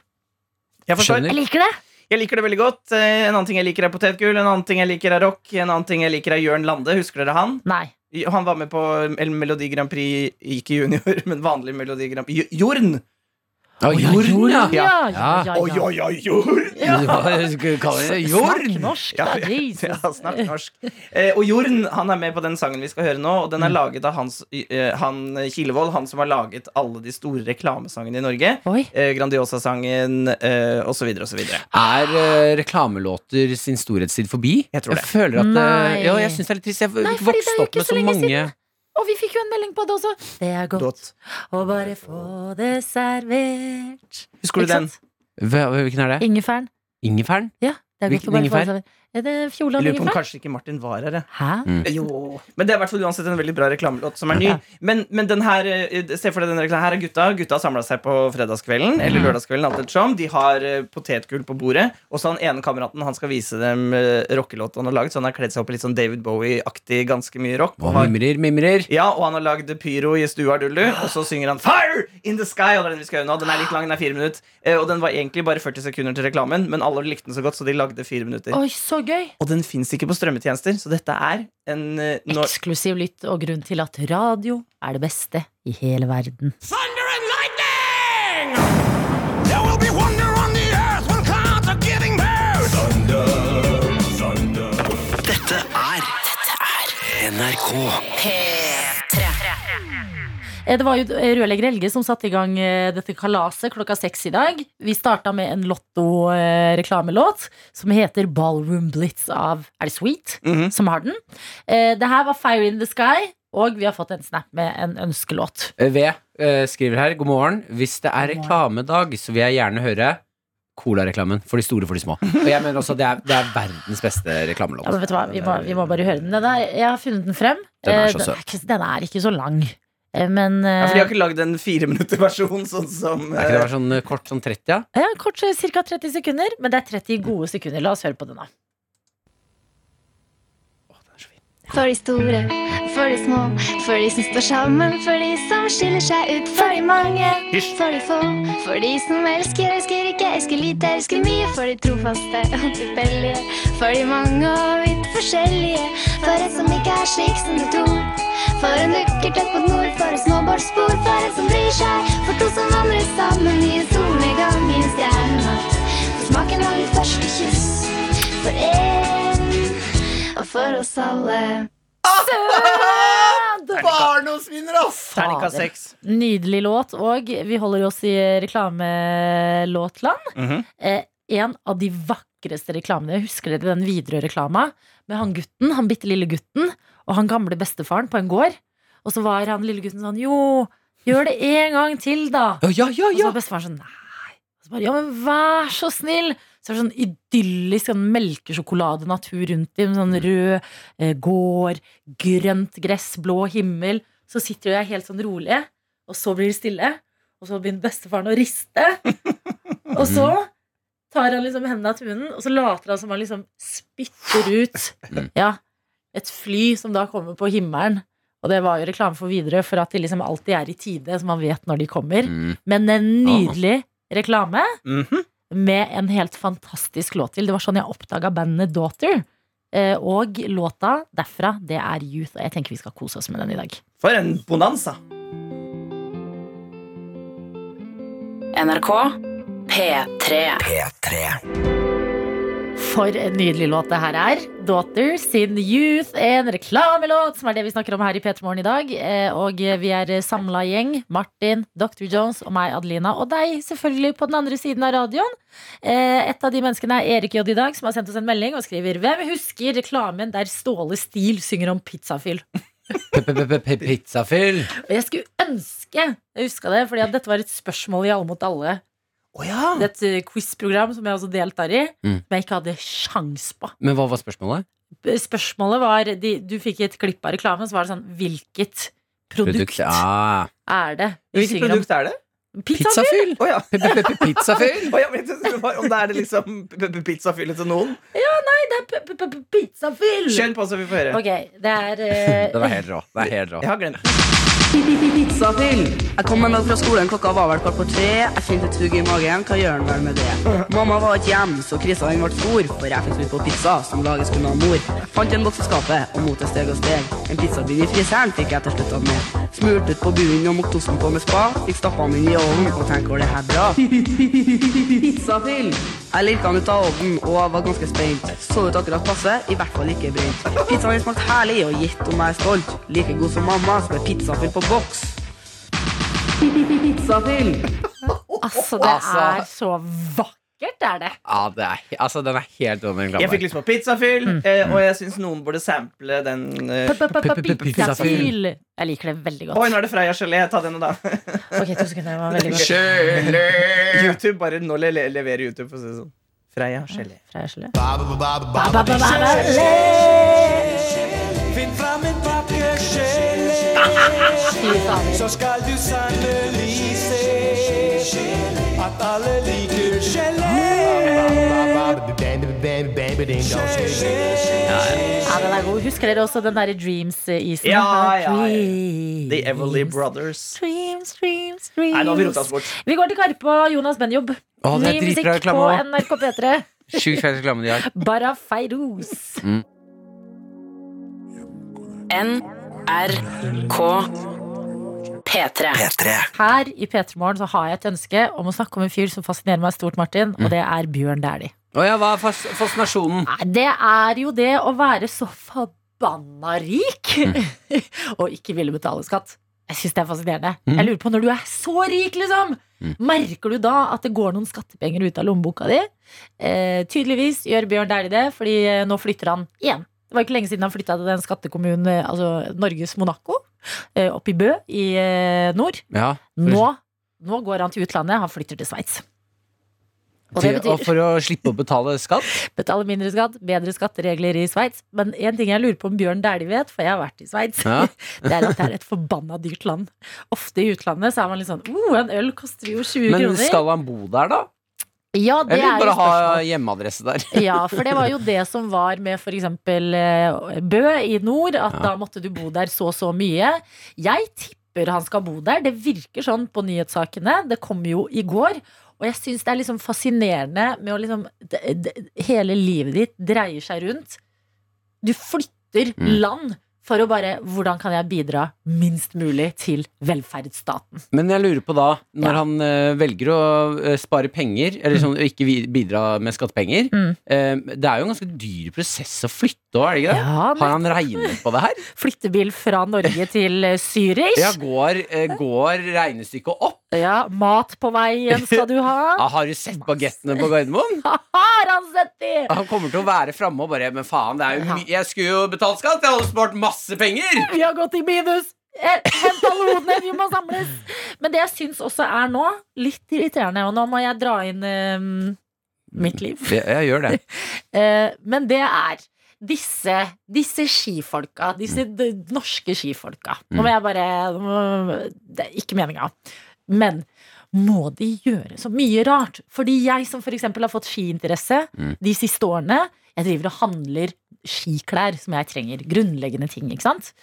S6: Jeg forstår.
S2: Skjønner.
S3: Jeg liker det!
S6: Jeg liker det veldig godt. Eh, En annen ting jeg liker, er potetgull. En annen ting jeg liker, er rock. En annen ting jeg liker, er Jørn Lande. Husker dere han?
S3: Nei.
S6: Han var med på El- Melodi Grand Prix, ikke junior, [LAUGHS] men vanlig Melodi Grand Prix. Jo- Jorn!
S2: Å, jorden, ja.
S3: Ja,
S2: Ja.
S6: Oi, oi, oi, Jorn!
S2: Hva skal vi kalle det?
S3: Snakk
S2: Jorden!
S3: norsk,
S6: [LAUGHS] Ja,
S3: da.
S6: ja,
S3: Jesus.
S6: ja, snakk norsk. Eh, og Jorn han er med på den sangen vi skal høre nå, og den
S3: Mm.
S6: er laget av Hans, eh, han Kilevold, han som har laget alle de store reklamesangene i Norge.
S3: Oi.
S6: Eh, Grandiosa-sangen eh, osv. osv.
S2: Er eh, reklamelåter sin storhetstid forbi?
S6: Jeg tror det.
S2: føler at
S3: Nei.
S2: eh, Ja, jeg syns det er litt trist. Jeg
S3: Nei,
S2: har
S3: fordi det er
S2: vokst
S3: jo
S2: opp
S3: ikke
S2: med
S3: så
S2: så
S3: lenge
S2: mange
S3: siden. Og vi fikk jo en melding på det også. Det er godt. Og bare få det servert.
S6: Husker du
S3: Ikke
S6: den?
S3: sant?
S2: Hva- Hvilken er det?
S3: Ingefæren.
S2: Ingefæren?
S3: Ja, det er godt
S2: Hvilken
S3: å bare få
S2: ingefær?
S3: det servert. Er det Fjordland
S6: Lurer på om
S3: ingefær?
S6: kanskje ikke Martin var her. jeg.
S3: Hæ?
S6: Jo. Men det er i hvert fall uansett en veldig bra reklamelåt som er ny. Men, men den her, eh, se for deg denne reklamen. Her er gutta. Gutta har samla seg på fredagskvelden eller lørdagskvelden. alt ettersom. De har eh, potetgull på bordet. Og så han ene kameraten han skal vise dem eh, rockelåten han har lagd. Så han har kledd seg opp i litt sånn David Bowie-aktig, ganske mye rock.
S2: Og
S6: Og har,
S2: mimrer, mimrer.
S6: ja, og han har lagd pyro i stua dullu. Og så synger han Fire in the sky! Og det er den vi skal gjøre nå. Den er litt lang, den er fire minutter. Eh, Og den var egentlig bare 40 sekunder til reklamen, men alle likte den så godt, så de lagde fire minutter.
S3: Oi, så gøy!
S6: Og den fins ikke på strømmetjenester, så dette er en eh, nor-
S3: Eksklusiv lytt og grunn til at radio er det beste i hele verden.
S5: Thunder and lightning! There will be wonder on the earth when clouds are giving birth. Thunder, thunder.
S4: Dette er NRK.
S3: Eh, Det var jo eh, rørlegger Helge som satte i gang eh, dette kalaset klokka seks i dag. Vi starta med en Lotto-reklamelåt som heter Ballroom Blitz av Er det Sweet
S6: Mhm.
S3: som har den? Eh, Det her var Fire in the Sky, og vi har fått en snap med en ønskelåt.
S2: Eh, V eh, skriver her. God morgen. Hvis det er reklamedag, så vil jeg gjerne høre Cola-reklamen. For de store, for de små. Og jeg mener også at det er, det er verdens beste reklamelåt.
S3: Ja, men vet du hva, vi må, vi må bare høre den. den er, jeg har funnet den frem.
S2: Den er
S3: Eh,
S2: så søt.
S3: ikke- Den er ikke så lang, Eh, men
S6: Ja, for de har
S3: eh,
S6: ikke lagd en fireminutterversjon, sånn som
S2: Er ikke det bare sånn eh, kort sånn 30, ja?
S3: ja, kort ca. 30 sekunder. Men det er 30 gode sekunder. La oss høre på den, da.
S7: For de store, for de små, for de som står sammen, for de som skiller seg ut, for de mange, for de få, for de som elsker, elsker ikke, elsker lite, elsker mye, for de trofaste og tilfeldige, for de mange og vidt forskjellige, for en som ikke er slik som du tror, for en lykker tett mot nord, for et snowboardspor, for en som bryr seg, for to som vandrer sammen i en solnedgang, i en stjernenatt, for smaken av ditt første kyss, for en og for eh? oss alle.
S6: Barndomsvinner, ass! Ternika
S3: Fader.
S6: 6.
S3: Nydelig låt, og vi holder oss i reklamelåtland.
S6: Mhm.
S3: eh, en av de vakreste reklamene. Husker dere den Widerøe-reklama? Med han gutten, han bitte lille gutten, og han gamle bestefaren på en gård. Og så var han lille gutten sånn Jo, gjør det en gang til, da!
S2: Ja, ja, ja,
S3: Og så var bestefaren sånn Nei. Og så bare, ja, men vær så snill! Så var det sånn idyllisk sånn melkesjokoladenatur rundt dem. Sånn
S2: Mm.
S3: rød eh, gård, grønt gress, blå himmel. Så sitter jo jeg helt sånn rolig, og så blir det stille. Og så begynner bestefaren å
S2: [LAUGHS]
S3: riste. Og så tar han liksom hendene av tunen, og så later han som han liksom spytter
S2: Mm.
S3: ut ja, et fly som da kommer på himmelen. Og det var jo reklame for Widerøe for at de liksom alltid er i tide, så man vet når de kommer.
S2: Mm.
S3: Men en nydelig reklame
S6: Mhm.
S3: med en helt fantastisk låt til. Det var sånn jeg oppdaga bandet Daughter. Eh, Og låta derfra, det er Youth. Og jeg tenker vi skal kose oss med den i dag.
S6: For en bonanza!
S8: NRK P3.
S3: For en nydelig låt det her er. Daughters in Youth, en reklamelåt, som er det vi snakker om her i P3 Morgen i dag. Eh, Og vi er samla gjeng. Martin, Dr. Jones og meg, Adelina. Og deg, selvfølgelig, på den andre siden av radioen. Eh, Et av de menneskene er Erik J. i dag, som har sendt oss en melding og skriver Hvem husker reklamen der Ståle Stil synger om pizzafyll?
S2: Pizzafyll.
S3: Og jeg skulle ønske jeg huska det, fordi at dette var et spørsmål i Alle mot alle. Det er et eh, quiz-program som jeg også deltar i,
S2: Mm.
S3: som jeg ikke hadde sjans på.
S2: Men hva var spørsmålet?
S3: spørsmålet var de, Du fikk et klipp av reklamen, så var det sånn Hvilket produkt,
S2: Ah.
S3: er det? vi
S6: Hvilket
S3: synger om?
S6: produkt er det?
S3: Pizza?
S2: Pizzafyll!
S6: Å ja.
S2: Pizzafyll!
S6: Å, ja, men jeg synes det var- Om det er det liksom p- p- pizzafyllet til noen?
S3: Det er p- p- p- pizzafyll!
S6: Kjør på, så vi får høre.
S3: Ok, [LAUGHS] det er eh,
S2: Den er helt rå. Den er helt rå.
S6: Jeg har glemt det.
S9: Pizzafyll. Jeg kommer meg fra skolen, klokka var vel kvart på tre. Jeg kjente et sug i magen, hva gjør han vel med det? Mamma var ikke hjemme, så krisa den ble stor, for jeg fikk ut på pizza som lages kun av mor. Fant en boks i skapet, og motet steg og steg. En pizzabit i fryseren fikk jeg til slutt tatt med. Smurt ut på bunnen og mokt osten på med spa. Fikk stappa den inn i ovnen, og tenk var det her bra. Pizzafyll. Jeg lirka den ut av ovnen og var ganske spent. Så ut akkurat passe, i hvert fall ikke brent. Pizzaen din smakte herlig, og gitt om jeg er stolt. Like god som mamma, som er pizzafyll på boks. Pizzafyll.
S3: Altså, det
S2: Altså.
S3: er så vakkert, er det.
S2: Ja, det er, altså, den er helt rå, den
S6: Jeg fikk
S2: reklamen.
S6: lyst på pizzafyll,
S3: Mm.
S6: eh, og jeg syns noen burde sample den. eh.
S3: P- p- p-
S2: Pizzafyll.
S3: Pizzafyll. Jeg liker det veldig
S6: Oi,
S3: godt.
S6: nå er det Freia gelé. Ta den, da. [LAUGHS]
S3: Ok, to sekunder, det var veldig godt.
S6: YouTube, bare nå le le leverer YouTube, for å si det sånn. Freia gelé.
S3: Fra Gjeløya. Ba, ba, ba, ba, le.
S5: Finn fram et papirgelé, så skal du sannelig se at alle liker gelé.
S3: Ja, den er god. Husker dere også den derre Dreams-isen?
S6: Ja, ja, ja.
S3: Dreams.
S6: The Everly Brothers.
S3: Dreams, dreams, dreams.
S6: Nei, nå har vi rota oss bort.
S3: Vi går til Karpe og Jonas Benjob.
S2: Å, det er
S3: Ny musikk
S2: dritbra
S3: på
S2: reklame òg.
S3: NRK P3.
S2: Sjukt fæl reklame de har.
S3: Bara Feiros.
S2: Mm.
S8: NRK P3.
S3: Her i P3 Morgen så har jeg et ønske om å snakke om en fyr som fascinerer meg stort, Martin,
S2: Mm.
S3: og det er Bjørn Dæhlie.
S2: Å ja, hva er fas fascinasjonen?
S3: Nei, Det er jo det å være så forbanna rik [LAUGHS] og ikke ville betale skatt. Jeg syns det er fascinerende. Jeg lurer på Når du er så rik, liksom, merker du da at det går noen skattepenger ut av lommeboka di? Eh, tydeligvis gjør Bjørn Dæhlie det, fordi eh, nå flytter han igjen. Det var ikke lenge siden han flytta til den skattekommunen, eh, altså Norges Monaco, eh, oppe i Bø i eh, nord.
S2: Ja,
S3: Nå, nå går han til utlandet, han flytter til Sveits. Og det
S2: til,
S3: betyr
S2: og for å slippe å betale skatt?
S3: Betale mindre skatt, bedre skatteregler i Sveits. Men en ting jeg lurer på om Bjørn Dæhlie vet, for jeg har vært i Sveits,
S2: Ja.
S3: det er at det er et forbanna dyrt land. Ofte i utlandet så er man litt sånn oh, en øl koster jo 20
S2: Men
S3: kroner.
S2: skal han bo der, da?
S3: Ja, det
S2: Eller
S3: er
S2: bare
S3: jo
S2: ha
S3: spørsmålet.
S2: hjemmeadresse der?
S3: Ja, for det var jo det som var med f.eks. Bø i nord, at
S2: Ja.
S3: da måtte du bo der så og så mye. Jeg tipper han skal bo der. Det virker sånn på nyhetssakene. Det kom jo i går. Og jeg syns det er liksom fascinerende med å liksom d- d- Hele livet ditt dreier seg rundt. Du flytter
S2: Mm.
S3: land for å bare Hvordan kan jeg bidra minst mulig til velferdsstaten?
S2: [LAUGHS] Men jeg lurer på da, når
S3: Ja.
S2: han eh, velger å eh, spare penger, eller sånn, ikke vi- bidra med skattepenger
S3: Mm.
S2: eh, Det er jo en ganske dyr prosess å flytte òg, er det ikke det?
S3: Ja,
S2: Har
S3: men
S2: han regnet på det her?
S3: Flyttebil fra Norge til eh, Zürich.
S2: Ja, går, eh, går regnestykket opp?
S3: Ja, mat på veien skal du ha.
S2: Ah, har du sett bagettene på Gardermoen?
S3: Har han sett de?
S2: Han kommer til å være framme og bare Men faen, det er jo my jeg skulle jo betalt skatt! Jeg hadde spart masse penger!
S3: Vi har gått i minus! Eh, Hent alle hodene, vi må samles! Men det jeg syns også er nå, litt irriterende, og nå må jeg dra inn eh, mitt liv.
S2: Jeg, jeg gjør det.
S3: Eh, men det er disse, disse skifolka, disse d norske skifolka. Nå må jeg bare nå må- Det er ikke meninga. Men må de gjøre så mye rart? Fordi jeg som f.eks. har fått skiinteresse de siste årene, jeg driver og handler skiklær som jeg trenger. Grunnleggende ting, ikke sant?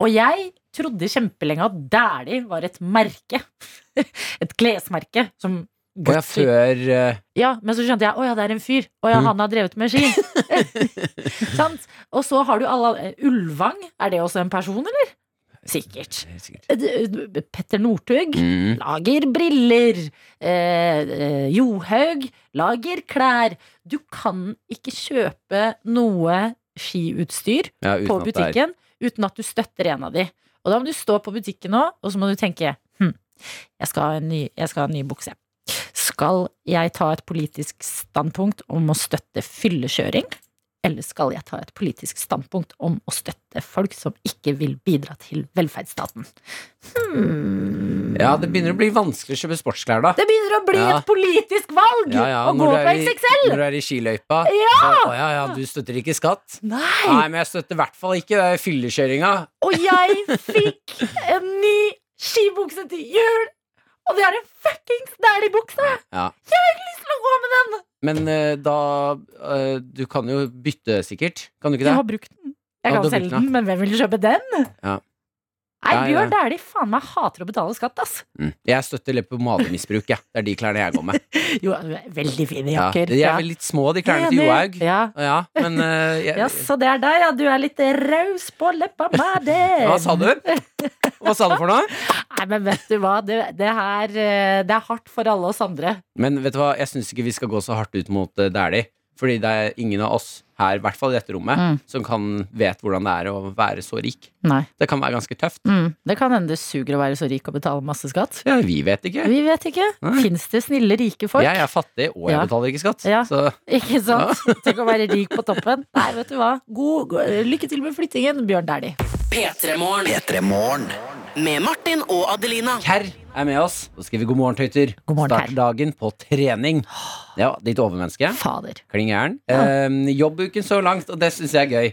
S3: Og jeg trodde kjempelenge at Dæhlie var et merke. [LAUGHS] Et klesmerke som
S2: Og jeg før eh,
S3: ja, men så skjønte jeg, åja, det er en fyr Åja, han har drevet med ski Sant? Og så har du alle eh, Ulvang, er det også en person, eller? Sikkert.
S2: Helt sikkert.
S3: Eh, Petter Northug
S2: Mm.
S3: lager briller. Eh, eh, Johaug lager klær. Du kan ikke kjøpe noe skiutstyr
S2: Ja, uten
S3: på
S2: at det er-
S3: butikken uten at du støtter en av de. Og da må du stå på butikken nå, og så må du tenke hm, jeg, skal ha en ny, jeg skal ha en ny bukse. Skal jeg ta et politisk standpunkt om å støtte fyllekjøring? Eller skal jeg ta et politisk standpunkt om å støtte folk som ikke vil bidra til velferdsstaten? Hmm.
S2: Ja, det begynner å bli vanskelig å kjøpe sportsklær, da.
S3: Det begynner å bli
S2: Ja.
S3: et politisk valg
S2: Ja, ja,
S3: å gå
S2: du
S3: på
S2: er i-
S3: XXL!
S2: Når du er i skiløypa. Så, å, ja, ja, du støtter ikke skatt?
S3: Nei!
S2: Nei, men jeg støtter i hvert fall ikke det er fyllekjøringa.
S3: Og jeg fikk en ny skibukse til jul! Og det er en fuckings deilig bukse!
S2: Ja.
S3: Jeg har ikke lyst til å gå med den!
S2: Men eh, da eh, Du kan jo bytte, sikkert. Kan du ikke
S3: Jeg
S2: det?
S3: har brukt den.
S2: Ja,
S3: Jeg
S2: du
S3: kan
S2: har
S3: selge
S2: brukt den,
S3: den, men hvem vil kjøpe den?
S2: Ja.
S3: Nei,
S2: Ja, ja.
S3: Bjørn Dæhlie faen meg hater å betale skatt, ass.
S2: Mm. Jeg støtter leppepomade-misbruk, jeg. Det er de klærne jeg går med.
S3: Jo, veldig fine
S2: Ja.
S3: jakker.
S2: De er vel litt små, de klærne til Johaug.
S3: Ja.
S2: Ja, men eh, jeg,
S3: ja, så det er deg, ja. Du er litt raus på leppa
S2: [LAUGHS]
S3: med det.
S2: Hva sa du? Hva sa du for noe?
S3: Nei, men vet du hva, det, det her eh, Det er hardt for alle oss andre.
S2: Men vet du hva, jeg syns ikke vi skal gå så hardt ut mot eh, Dæhlie. Fordi det er ingen av oss her, i hvert fall i dette rommet,
S3: Mm.
S2: som kan vet hvordan det er å være så rik.
S3: Nei.
S2: Det kan være ganske tøft.
S3: Mm. Det kan hende det suger å være så rik og betale masse skatt.
S2: Ja, vi vet ikke.
S3: Vi vet ikke.
S2: Nei.
S3: Fins det snille, rike folk?
S2: Jeg er fattig, og jeg
S3: Ja.
S2: betaler ikke skatt.
S3: Ja.
S2: Så
S3: Ikke sant? [LAUGHS] Tenk å være rik på toppen. Nei, vet du hva. God, god, lykke til med flyttingen, Bjørn Dæhlie.
S8: P3morgen.
S4: P3morgen.
S8: Med Martin og Adelina.
S2: Kerr er med oss. Så skriver vi god morgen, tøyter.
S3: God morgen,
S2: Starter
S3: Kerr.
S2: dagen på trening. Ja, ditt overmenneske.
S3: Fader.
S2: Kling gæren. Eh, jobbuken så langt, og det syns jeg er gøy.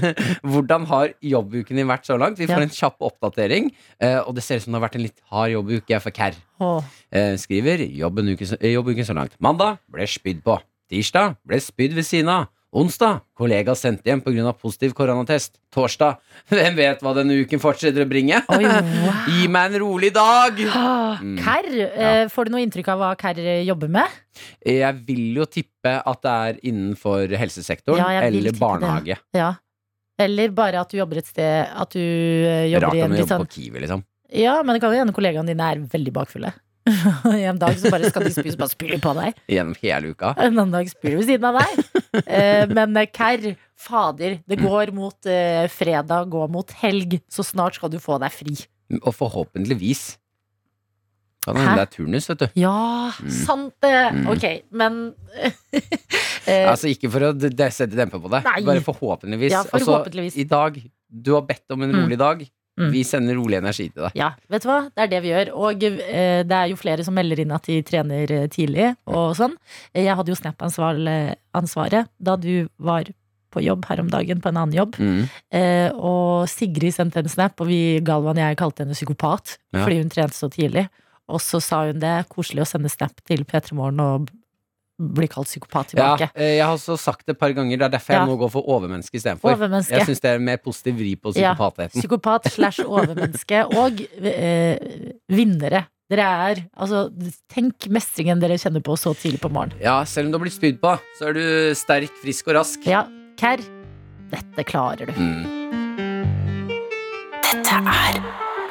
S3: [LAUGHS]
S2: [LAUGHS] Hvordan har jobbuken din vært så langt? Vi får
S3: Ja.
S2: en kjapp oppdatering, eh, og det ser ut som det har vært en litt hard jobbuke for Kerr.
S3: Åh.
S2: Eh, skriver jobben uke, eh, jobbuken så langt. Mandag ble spydd på. Tirsdag ble spydd ved siden av. Onsdag kollega sendt hjem pga. positiv koronatest. Torsdag [LAUGHS] hvem vet hva denne uken fortsetter å bringe?
S3: [LAUGHS] Oi, wow.
S2: [LAUGHS] Gi meg en rolig dag!
S3: [GASPS]
S2: Mm.
S3: Kerr, eh, får du noe inntrykk av hva Kerr eh, jobber med?
S2: Jeg vil jo tippe at det er innenfor helsesektoren
S3: Ja, jeg vil
S2: eller
S3: tippe det.
S2: barnehage.
S3: Ja. Eller bare at du jobber et sted At du eh, jobber
S2: Rart
S3: i
S2: om
S3: en
S2: du
S3: litt
S2: jobber
S3: sånn
S2: på Kiwi, liksom.
S3: Ja, men det kan jo hende kollegaene dine er veldig bakfulle. [LAUGHS] I en dag så bare skal de spy, så bare spyr de på deg.
S2: Gjennom hele uka.
S3: En annen dag spyr de ved siden av deg. Eh, Men eh, Kerr, fader, det går mot eh, fredag, går mot helg, så snart skal du få deg fri.
S2: Og forhåpentligvis. Kan
S3: Hæ?
S2: hende det er turnus, vet du.
S3: Ja,
S2: Mm.
S3: sant det!
S2: Mm.
S3: Ok, men [LAUGHS] eh,
S2: Altså Ikke for å d- d- sette dempe på det,
S3: Nei.
S2: bare forhåpentligvis.
S3: Ja,
S2: Altså,
S3: forhåpentligvis.
S2: I dag Du har bedt om en
S3: Mm.
S2: rolig dag.
S3: Mm.
S2: Vi sender rolig energi til deg.
S3: Ja, vet du hva? Det er det vi gjør. Og eh, det er jo flere som melder inn at de trener eh, tidlig og sånn. Eh, Jeg hadde jo Snap-ansvaret da du var på jobb her om dagen, på en annen jobb.
S2: Mm.
S3: Eh, og Sigrid sendte en snap, og vi, Galvan og jeg kalte henne psykopat
S2: Ja.
S3: fordi hun trente så tidlig. Og så sa hun det. Koselig å sende snap til P3 Morgen og b- bli kalt psykopat
S2: Ja,
S3: tilbake.
S2: eh, jeg har også sagt det et par ganger, det er derfor jeg
S3: Ja.
S2: nå går for overmenneske istedenfor.
S3: Overmenneske.
S2: Jeg syns det er en mer positiv vri på
S3: Ja.
S2: psykopatheten.
S3: Psykopat slash overmenneske og eh, vinnere. Dere er Altså, tenk mestringen dere kjenner på så tidlig på morgenen.
S2: Ja, selv om du har blitt spydd på, så er du sterk, frisk og rask.
S3: Ja, Kerr, dette klarer du.
S2: Mm.
S8: Dette er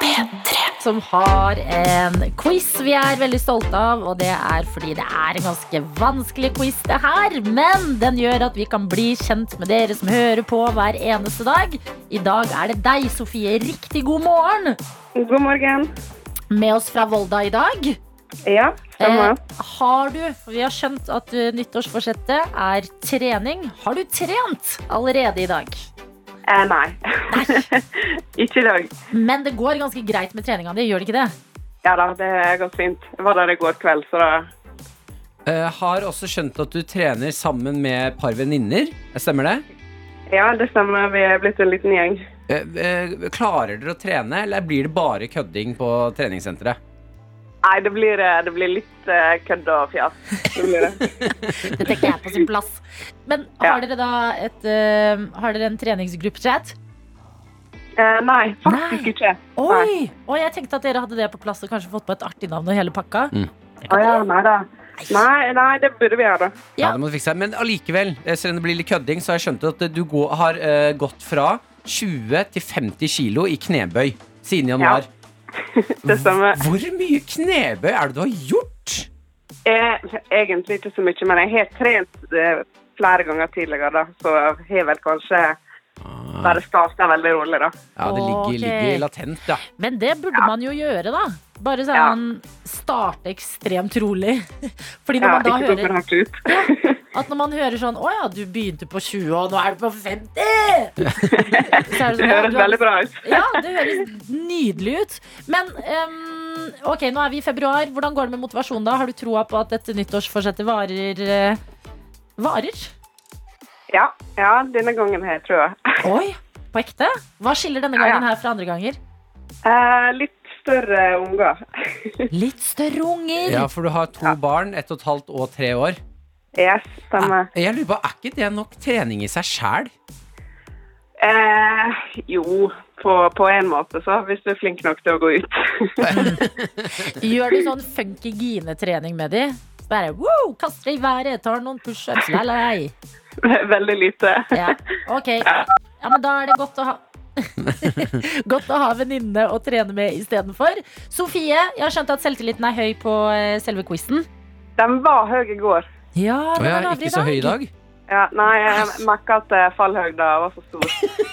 S8: P3.
S3: Som har en quiz vi er veldig stolte av, og det er fordi det er en ganske vanskelig quiz, det her. Men den gjør at vi kan bli kjent med dere som hører på hver eneste dag. I dag er det deg, Sofie. Riktig god morgen!
S10: God morgen.
S3: Med oss fra Volda i dag.
S10: Ja, stemmer.
S3: Eh, har du, for vi har skjønt at eh, nyttårsforsettet er trening. Har du trent allerede i dag?
S10: Eh, nei. [LAUGHS] ikke i dag.
S3: Men det går ganske greit med treninga di, gjør det ikke det?
S10: Ja da, det har gått fint. Jeg var der i går kveld, så da
S2: Eh, har også skjønt at du trener sammen med et par venninner. Stemmer det?
S10: Ja, det stemmer. Vi er blitt en liten gjeng.
S2: Eh, eh, klarer dere å trene, eller blir det bare kødding på treningssenteret?
S10: Nei, det blir, eh, det blir litt eh, kødd og fjas. Det
S3: [LAUGHS]
S10: blir det.
S3: Det tenker jeg er på sin plass. Men har
S10: Ja.
S3: dere da et, eh, har dere en treningsgruppechat?
S10: Eh, nei, faktisk
S3: Nei.
S10: ikke.
S3: Oi! Og jeg tenkte at dere hadde det på plass og kanskje fått på et artig navn og hele pakka.
S2: Mm.
S10: Å ja, nei da. Nei, nei, det burde vi gjøre.
S2: Ja.
S3: Ja.
S2: det må du fikse. Men allikevel, eh, selv om det blir litt kødding, så har jeg skjønt at du gå- har eh, gått fra 20 til 50 kilo i knebøy. siden januar.
S10: Det stemmer.
S2: Hvor mye knebøy er det du har gjort?
S10: Eh, egentlig ikke så mye, men jeg har trent eh, flere ganger tidligere, da. Så jeg har vel kanskje bare starta veldig rolig, da.
S2: Ja, det ligger,
S3: Ok.
S2: ligger latent, ja.
S3: Men det burde man jo gjøre, da. Bare sånn starte ekstremt rolig. [LAUGHS] Fordi når
S10: Ja,
S3: man da
S10: ikke
S3: hører
S10: dukker hardt ut.
S3: At når man hører sånn Å ja, du begynte på 20, og nå er du på 50!
S10: [LAUGHS]
S3: Så er
S10: [LAUGHS]
S3: sånn,
S10: Det
S3: «Ja,
S10: høres
S3: du har-
S10: veldig bra ut.
S3: Ja, det høres nydelig ut. Men ehm, OK, nå er vi i februar. Hvordan går det med motivasjonen da? Har du troa på at dette nyttårsforsettet varer? eh, varer?
S10: Ja, ja denne gangen her, tror jeg.
S3: Oi, på ekte? Hva skiller denne
S10: Ja, ja.
S3: gangen her fra andre ganger?
S10: Eh, litt større unger. [LAUGHS]
S3: Litt større unger!
S2: Ja, for du har to barn, ett og et halvt og tre år.
S10: Yes, stemmer.
S2: Jeg lurer på, Er ikke det nok trening i seg sjæl?
S10: Eh, jo, på, på en måte, så. Hvis du er flink nok til å gå ut. [LAUGHS]
S3: Gjør du sånn funky gine-trening med de? Bare wow, kaster det i været, tar noen pushups, la la la.
S10: veldig lite.
S3: Ja, ok. Ja, men da er det godt å ha [LAUGHS] Godt å ha venninne å trene med istedenfor. Sofie, jeg har skjønt at selvtilliten er høy på eh, selve quizen.
S10: Den var høy i går.
S3: Ja,
S2: Å
S3: den
S2: ja,
S3: var lavere
S2: ikke så høy i dag?
S10: Ja, nei, jeg merka at eh, fallhøyda var for stor.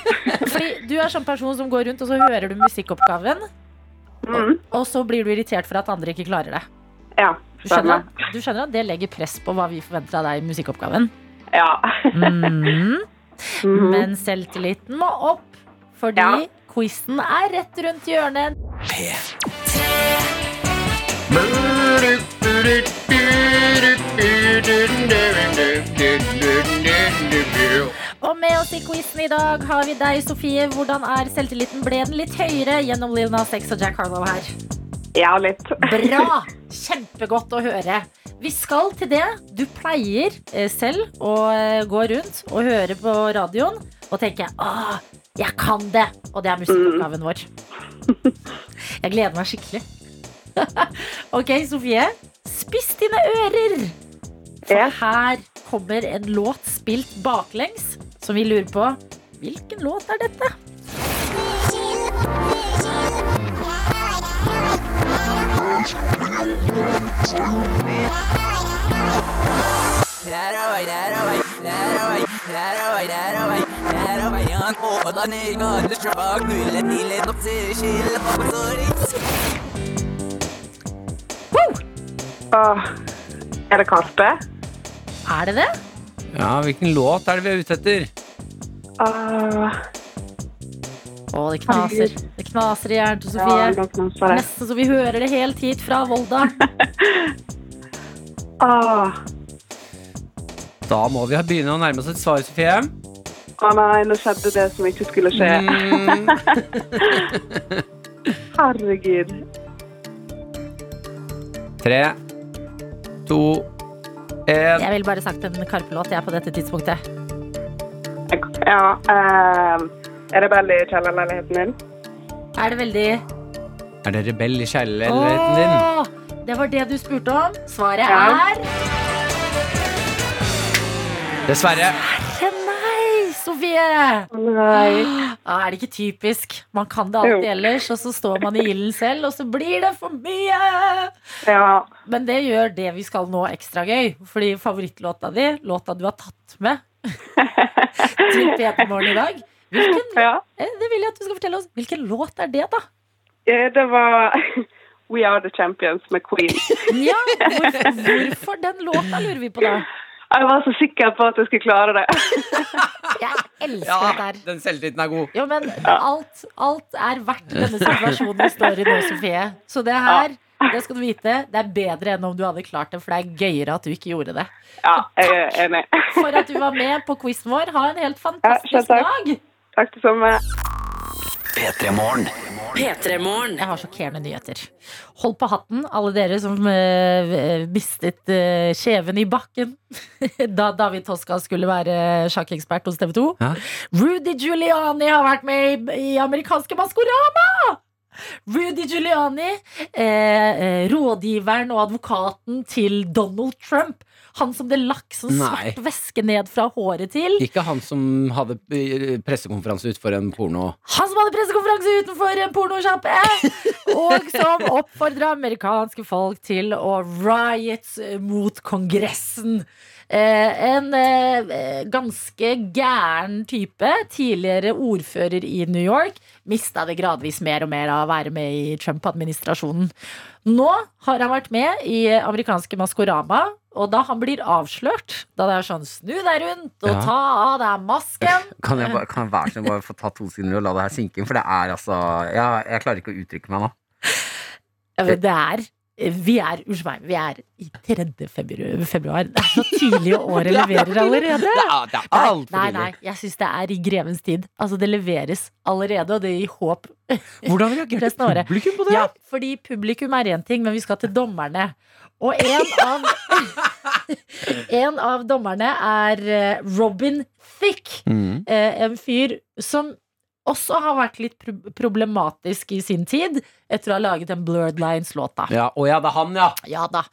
S3: Fordi du er sånn person som går rundt, og så hører du musikkoppgaven. Og, og så blir du irritert for at andre ikke klarer det.
S10: Mm, Ja,
S3: Du skjønner,
S10: stemmer.
S3: du skjønner at det legger press på hva vi forventer av deg i musikkoppgaven.
S10: Ja.
S3: Mhm.
S10: Mhm.
S3: [LAUGHS] Men selvtilliten må opp, fordi
S10: Ja.
S3: quizen er rett rundt hjørnet. Og med oss i quizen i dag har vi deg, Sofie. Hvordan er selvtilliten? Ble den litt høyere gjennom Lil Nas X og Jack Harlow her?
S10: [LAUGHS] Ja, litt.
S3: Bra! Kjempegodt å høre. Vi skal til det. Du pleier eh, selv å eh, gå rundt og høre på radioen og tenke «Åh, jeg kan det! Og det er musikkoppgaven
S10: [LAUGHS]
S3: vår. Jeg gleder meg skikkelig. [LAUGHS] ok, Sofie. Spiss dine ører! For her kommer en låt spilt baklengs som vi lurer på Hvilken låt er dette?
S10: Åh, er det Karpe?
S3: Er det det?
S2: Ja, Hvilken låt er det vi er ute etter?
S10: Åh,
S3: Å, det knaser. Det knaser i hjernen til
S10: ja,
S3: Sofie.
S10: nå knaser det.
S3: Nesten så vi hører det helt hit fra Volda.
S10: Åh,
S2: Da må vi ha- begynne å nærme oss et svar, Sofie.
S10: å nei, nå skjedde det som ikke skulle skje.
S2: Mm,
S10: [LAUGHS] Herregud.
S2: tre, to, én
S3: Jeg ville bare sagt en Karpe-låt jeg på dette tidspunktet.
S10: Jeg- Ja, eh, er det Bell i kjellerleiligheten din?
S3: Er det veldig
S2: Er det rebell i kjellerleiligheten din?
S3: Åh, Det var det du spurte om. Svaret
S10: Ja.
S3: er
S2: Dessverre.
S3: Ja, Nei, Sofie!
S10: Å Nei.
S3: Ah, er det ikke typisk? Man kan det alltid
S10: Jo.
S3: ellers, og så står man i ilden selv, og så blir det for mye!
S10: Ja,
S3: Men det gjør det vi skal nå ekstra gøy, fordi favorittlåta di, låta du har tatt med til P3morgen i dag Hvilken
S10: ja.
S3: Eh, Det vil jeg at du skal fortelle oss. Hvilken låt er det, da?
S10: Eh, Det var [LAUGHS] We Are The Champions med Queen.
S3: Ja, hvorfor, hvorfor den låta, lurer vi på da.
S10: Jeg var så sikker på at jeg skulle klare det. [LAUGHS]
S3: Jeg elsker
S2: Ja,
S3: det der.
S2: den selvtilliten er god.
S3: Jo, men alt, alt er verdt denne situasjonen vi står i nå, Sofie. Så det her, det skal du vite, det er bedre enn om du hadde klart det, for det er gøyere at du ikke gjorde det.
S10: Ja, jeg er enig. [LAUGHS]
S3: For at du var med på quizen vår. Ha en helt
S10: Ja, selv
S3: fantastisk
S10: takk.
S3: dag!
S10: Takk det samme.
S8: P3-morgen.
S3: Jeg har sjokkerende nyheter. Hold på hatten, alle dere som eh, mistet eh, kjeven i bakken [LAUGHS] da David Toska skulle være sjakkekspert hos TV 2.
S2: Ja.
S3: Rudy Giuliani har vært med i, i amerikanske Maskorama! Rudy Giuliani, eh, eh, rådgiveren og advokaten til Donald Trump. Han som det lakk sånn
S2: Nei.
S3: svart væske ned fra håret til.
S2: Ikke han som hadde eh, pressekonferanse utenfor en porno.
S3: Han som hadde pressekonferanse utenfor en pornosjappe! Og som oppfordra amerikanske folk til å riots mot Kongressen. Eh, en eh, eh, ganske gæren type. Tidligere ordfører i New York. Mista det gradvis mer og mer av å være med i Trump-administrasjonen. Nå har han vært med i amerikanske Maskorama. Og da han blir avslørt, da det er sånn snu deg rundt og
S11: Ja.
S3: ta av deg masken
S11: Kan jeg, bare, kan jeg være så snill bare få ta to sekunder og la det her synke inn? For det er altså Jeg, jeg klarer ikke å uttrykke meg nå.
S3: Ja, men det er vi er, unnskyld meg, vi er i 3. februar. februar. Det er så [LAUGHS] tidlig året leverer allerede.
S2: Det er- det er alt for
S3: Nei,
S2: tidlig.
S3: nei, jeg syns det er i grevens tid. Altså, det leveres allerede, og det gir håp.
S2: Hvordan reagerte
S3: resten av året.
S2: publikum på det?
S3: Ja, fordi publikum er én ting, men vi skal til dommerne. Og en av [LAUGHS] En av dommerne er eh, Robin Thicke.
S5: Mm.
S3: Eh, En fyr som også har vært litt pro- problematisk i sin tid, etter å ha laget den Blurred Lines-låta.
S2: Ja, å ja, det er han, ja.
S3: Ja da.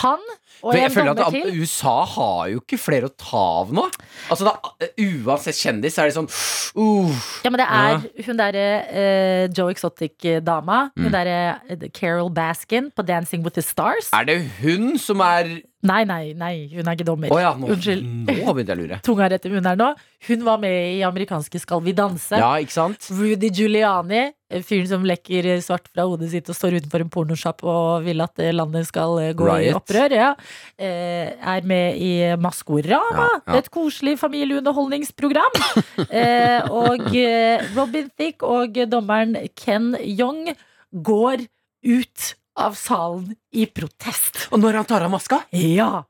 S3: Han og
S2: For jeg
S3: en
S2: føler
S3: dommer
S2: at
S3: til
S2: am- USA har jo ikke flere å ta av nå. Altså, da, Uansett kjendis er det sånn uff.
S3: Ja, men det er hun derre eh, Joe Exotic-dama. Hun
S2: Mm.
S3: derre eh, Carol Baskin på Dancing with the Stars.
S2: Er det hun som er
S3: Nei, nei, nei, hun er ikke dommer.
S2: Å ja, nå,
S3: Unnskyld.
S2: nå begynte jeg å lure.
S3: [LAUGHS] Tunga rett i munnen her nå. Hun var med i amerikanske Skal vi danse.
S2: Ja, ikke sant?
S3: Rudy Giuliani, eh, fyren som lekker eh, svart fra hodet sitt og står utenfor en pornosjapp og vil at eh, landet skal eh, gå i
S2: Riot.
S3: opprør, ja. eh, er med i Maskorama.
S2: Ja, ja.
S3: Et koselig
S2: [LAUGHS]
S3: familieunderholdningsprogram. eh, og eh, Robin Thicke og dommeren Ken Young går ut av salen i protest.
S2: Og når han tar av maska?
S3: Ja.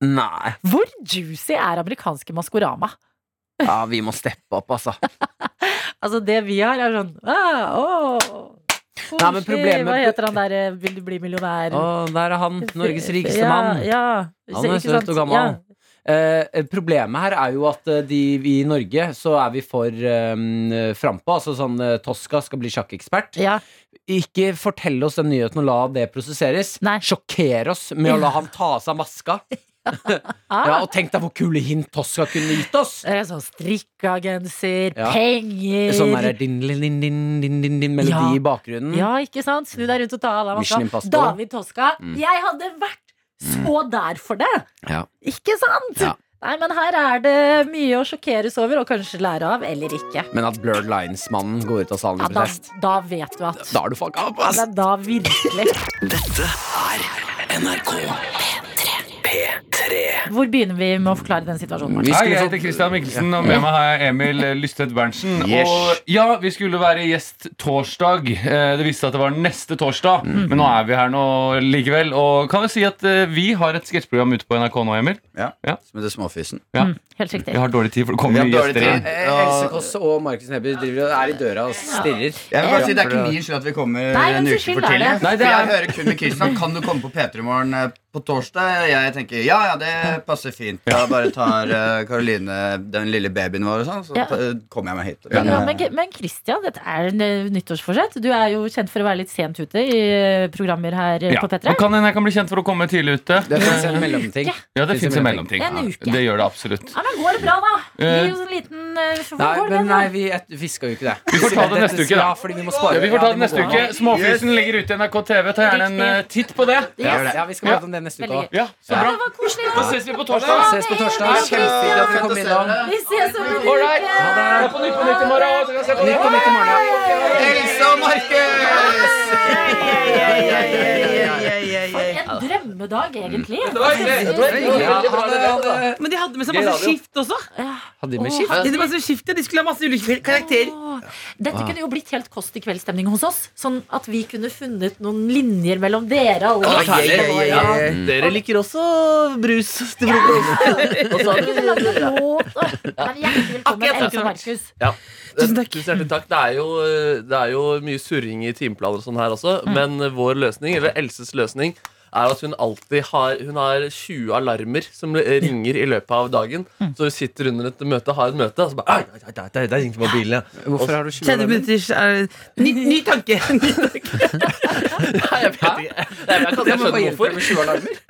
S2: Nei.
S3: Hvor juicy er amerikanske Maskorama?
S2: Ja, vi må steppe opp, altså.
S3: Altså Det vi har, er sånn ah, åh,
S2: Nei, men
S3: koselig.
S2: problemet-
S3: Hva heter han der eh, 'Vil du bli millionær'?
S2: Å, der er han. Norges rikeste
S3: ja,
S2: mann.
S3: Ja,
S2: Han er
S3: Ikke sant?
S2: søt og gammel.
S3: Ja.
S2: Eh, problemet her er jo at eh, de, vi i Norge så er vi for eh, frampå. Altså sånn eh, Tosca skal bli sjakkekspert. Ikke fortell oss den nyheten og la det prosesseres. Sjokker oss med å la han ta av seg maska. [LAUGHS] ja, og tenk deg hvor kule hint Tosca kunne gitt oss!
S3: Det er sånn strikka genser,
S2: Ja.
S3: penger
S2: Sånn der din, din, din, din, din, din melodi
S3: Ja.
S2: i bakgrunnen.
S3: Ja, ikke sant? Snu deg rundt og ta av deg
S2: Mm. Mission
S3: maska.
S2: Impossible.
S3: David Toska.
S2: Mm.
S3: Jeg hadde vært så der for det!
S2: Ja.
S3: Ikke sant?
S2: Ja.
S3: Nei, men her er det mye å sjokkeres over og kanskje lære av, eller ikke.
S2: Men at Blurred Lines-mannen går ut av salen
S3: Ja,
S2: i
S3: da,
S2: protest,
S3: da vet du at
S2: da er du fucka opp, ass!
S3: Ja, da virkelig.
S4: Dette er NRK P3.
S3: Hvor begynner vi med å forklare den situasjonen? Martin?
S12: Hei, jeg heter Christian Mikkelsen, og med meg har jeg Emil Lystvedt Berntsen.
S4: Yes.
S12: Og ja, vi skulle være gjest torsdag. Eh, Det viste seg at det var neste torsdag,
S13: Mm.
S12: men nå er vi her nå likevel. Og kan vi si at eh, vi har et sketsjprogram ute på NRK nå, Emil? Ja, Som heter Småfysen. Ja.
S3: Helt riktig.
S12: Vi har dårlig tid, for det kommer nye gjester inn.
S2: Eh,
S13: Eh,
S2: Else Kåss og Markus Neby driver og er i døra og stirrer.
S3: Eh,
S13: Jeg vil bare si Det er ikke min skyld at vi kommer
S2: Nei, hvem
S13: en
S2: sin
S13: uke
S2: skyld
S13: for
S2: er
S13: tidlig.
S2: det? Nei, det
S13: For jeg
S2: er-
S13: hører kun med Kristian. Kan du komme på P3 Morgen eh, på torsdag? Jeg tenker ja, ja, det passer fint. Da bare tar eh, Karoline den lille babyen vår og sånn, så
S3: Ja.
S13: ta- eh, kommer jeg meg hit.
S3: Ja,
S13: eh,
S3: men, men Christian, dette er en eh, nyttårsforsett. Du er jo kjent for å være litt sent ute i eh, programmer her eh,
S12: Ja.
S3: på P3.
S12: Men kan hende jeg kan bli kjent for å komme tidlig ute.
S2: Det finnes en mellomting.
S12: Ja, det finnes en mellomting.
S3: En uke.
S12: Det gjør det absolutt.
S3: Ja, men går det bra, da?
S12: Eh,
S3: Gi oss en liten eh, så
S2: Nei,
S3: går det
S2: men
S3: bra,
S2: nei,
S3: da?
S2: vi, et- vi skal jo ikke det.
S12: Vi får ta det neste uke, da.
S2: Ja, fordi vi må spare.
S12: Ja, vi får ta
S2: Ja,
S12: det
S2: må
S12: neste
S2: gå
S12: uke.
S2: nå.
S12: Småfrysen ligger ute i NRK TV. Ta gjerne en eh, titt på det.
S2: Ja, ja, vi skal prate om det neste uke
S12: Veldig
S2: også.
S12: gøy. Ja, så bra.
S3: Det var koselig.
S12: Da ses vi på torsdag.
S2: Ses på torsdag. Kjempefint at dere kom innom.
S3: Vi ses om en uke.
S12: Alright. Det er på Nytt på Nytt i morgen. og så kan vi se på det.
S2: Nytt på Nytt i morgen,
S13: Else og
S3: For en drømmedag, egentlig.
S5: Det var hyggelig. Det var hyggelig.
S2: Ja, ha det, ha det.
S14: Men de hadde med seg
S2: Gøy
S14: masse
S2: radio.
S14: skift også.
S2: Hadde vi med
S14: De hadde
S2: skift?
S14: masse skifte, De skulle ha masse ulike karakterer.
S15: Ah.
S3: Dette kunne jo blitt helt Kåss til kveldsstemning hos oss. Sånn at vi kunne funnet noen linjer mellom dere. alle.
S14: Å, herlig.
S3: Ja.
S14: Dere liker også brus til
S3: [LAUGHS]
S14: frokost. Og så har
S3: Kunne lage en låt, og- Men Hjertelig velkommen,
S14: Akkurat
S3: Else og
S14: sånn.
S3: Markus.
S15: Ja. Tusen takk. takk. Det, er jo,
S14: Mm.
S15: eh, det er jo mye surring i timeplaner og sånn her også, men vår løsning, eller Elses løsning, er at hun alltid har Hun har 20 alarmer som eh, ringer i løpet av dagen.
S14: Mm.
S15: Så hun sitter under et møte, har et møte, og så bare ai, ai, ai, ai, Der ringte mobilen, ja.
S14: Hvorfor
S15: har du
S14: 30 minutter er ny, ny tanke! Ny tanke.
S15: Nei, men jeg kan
S14: Jeg
S15: ikke
S14: må
S15: skjønne
S14: få hjelp
S15: hvorfor. Med 20 alarmer.
S2: [LAUGHS]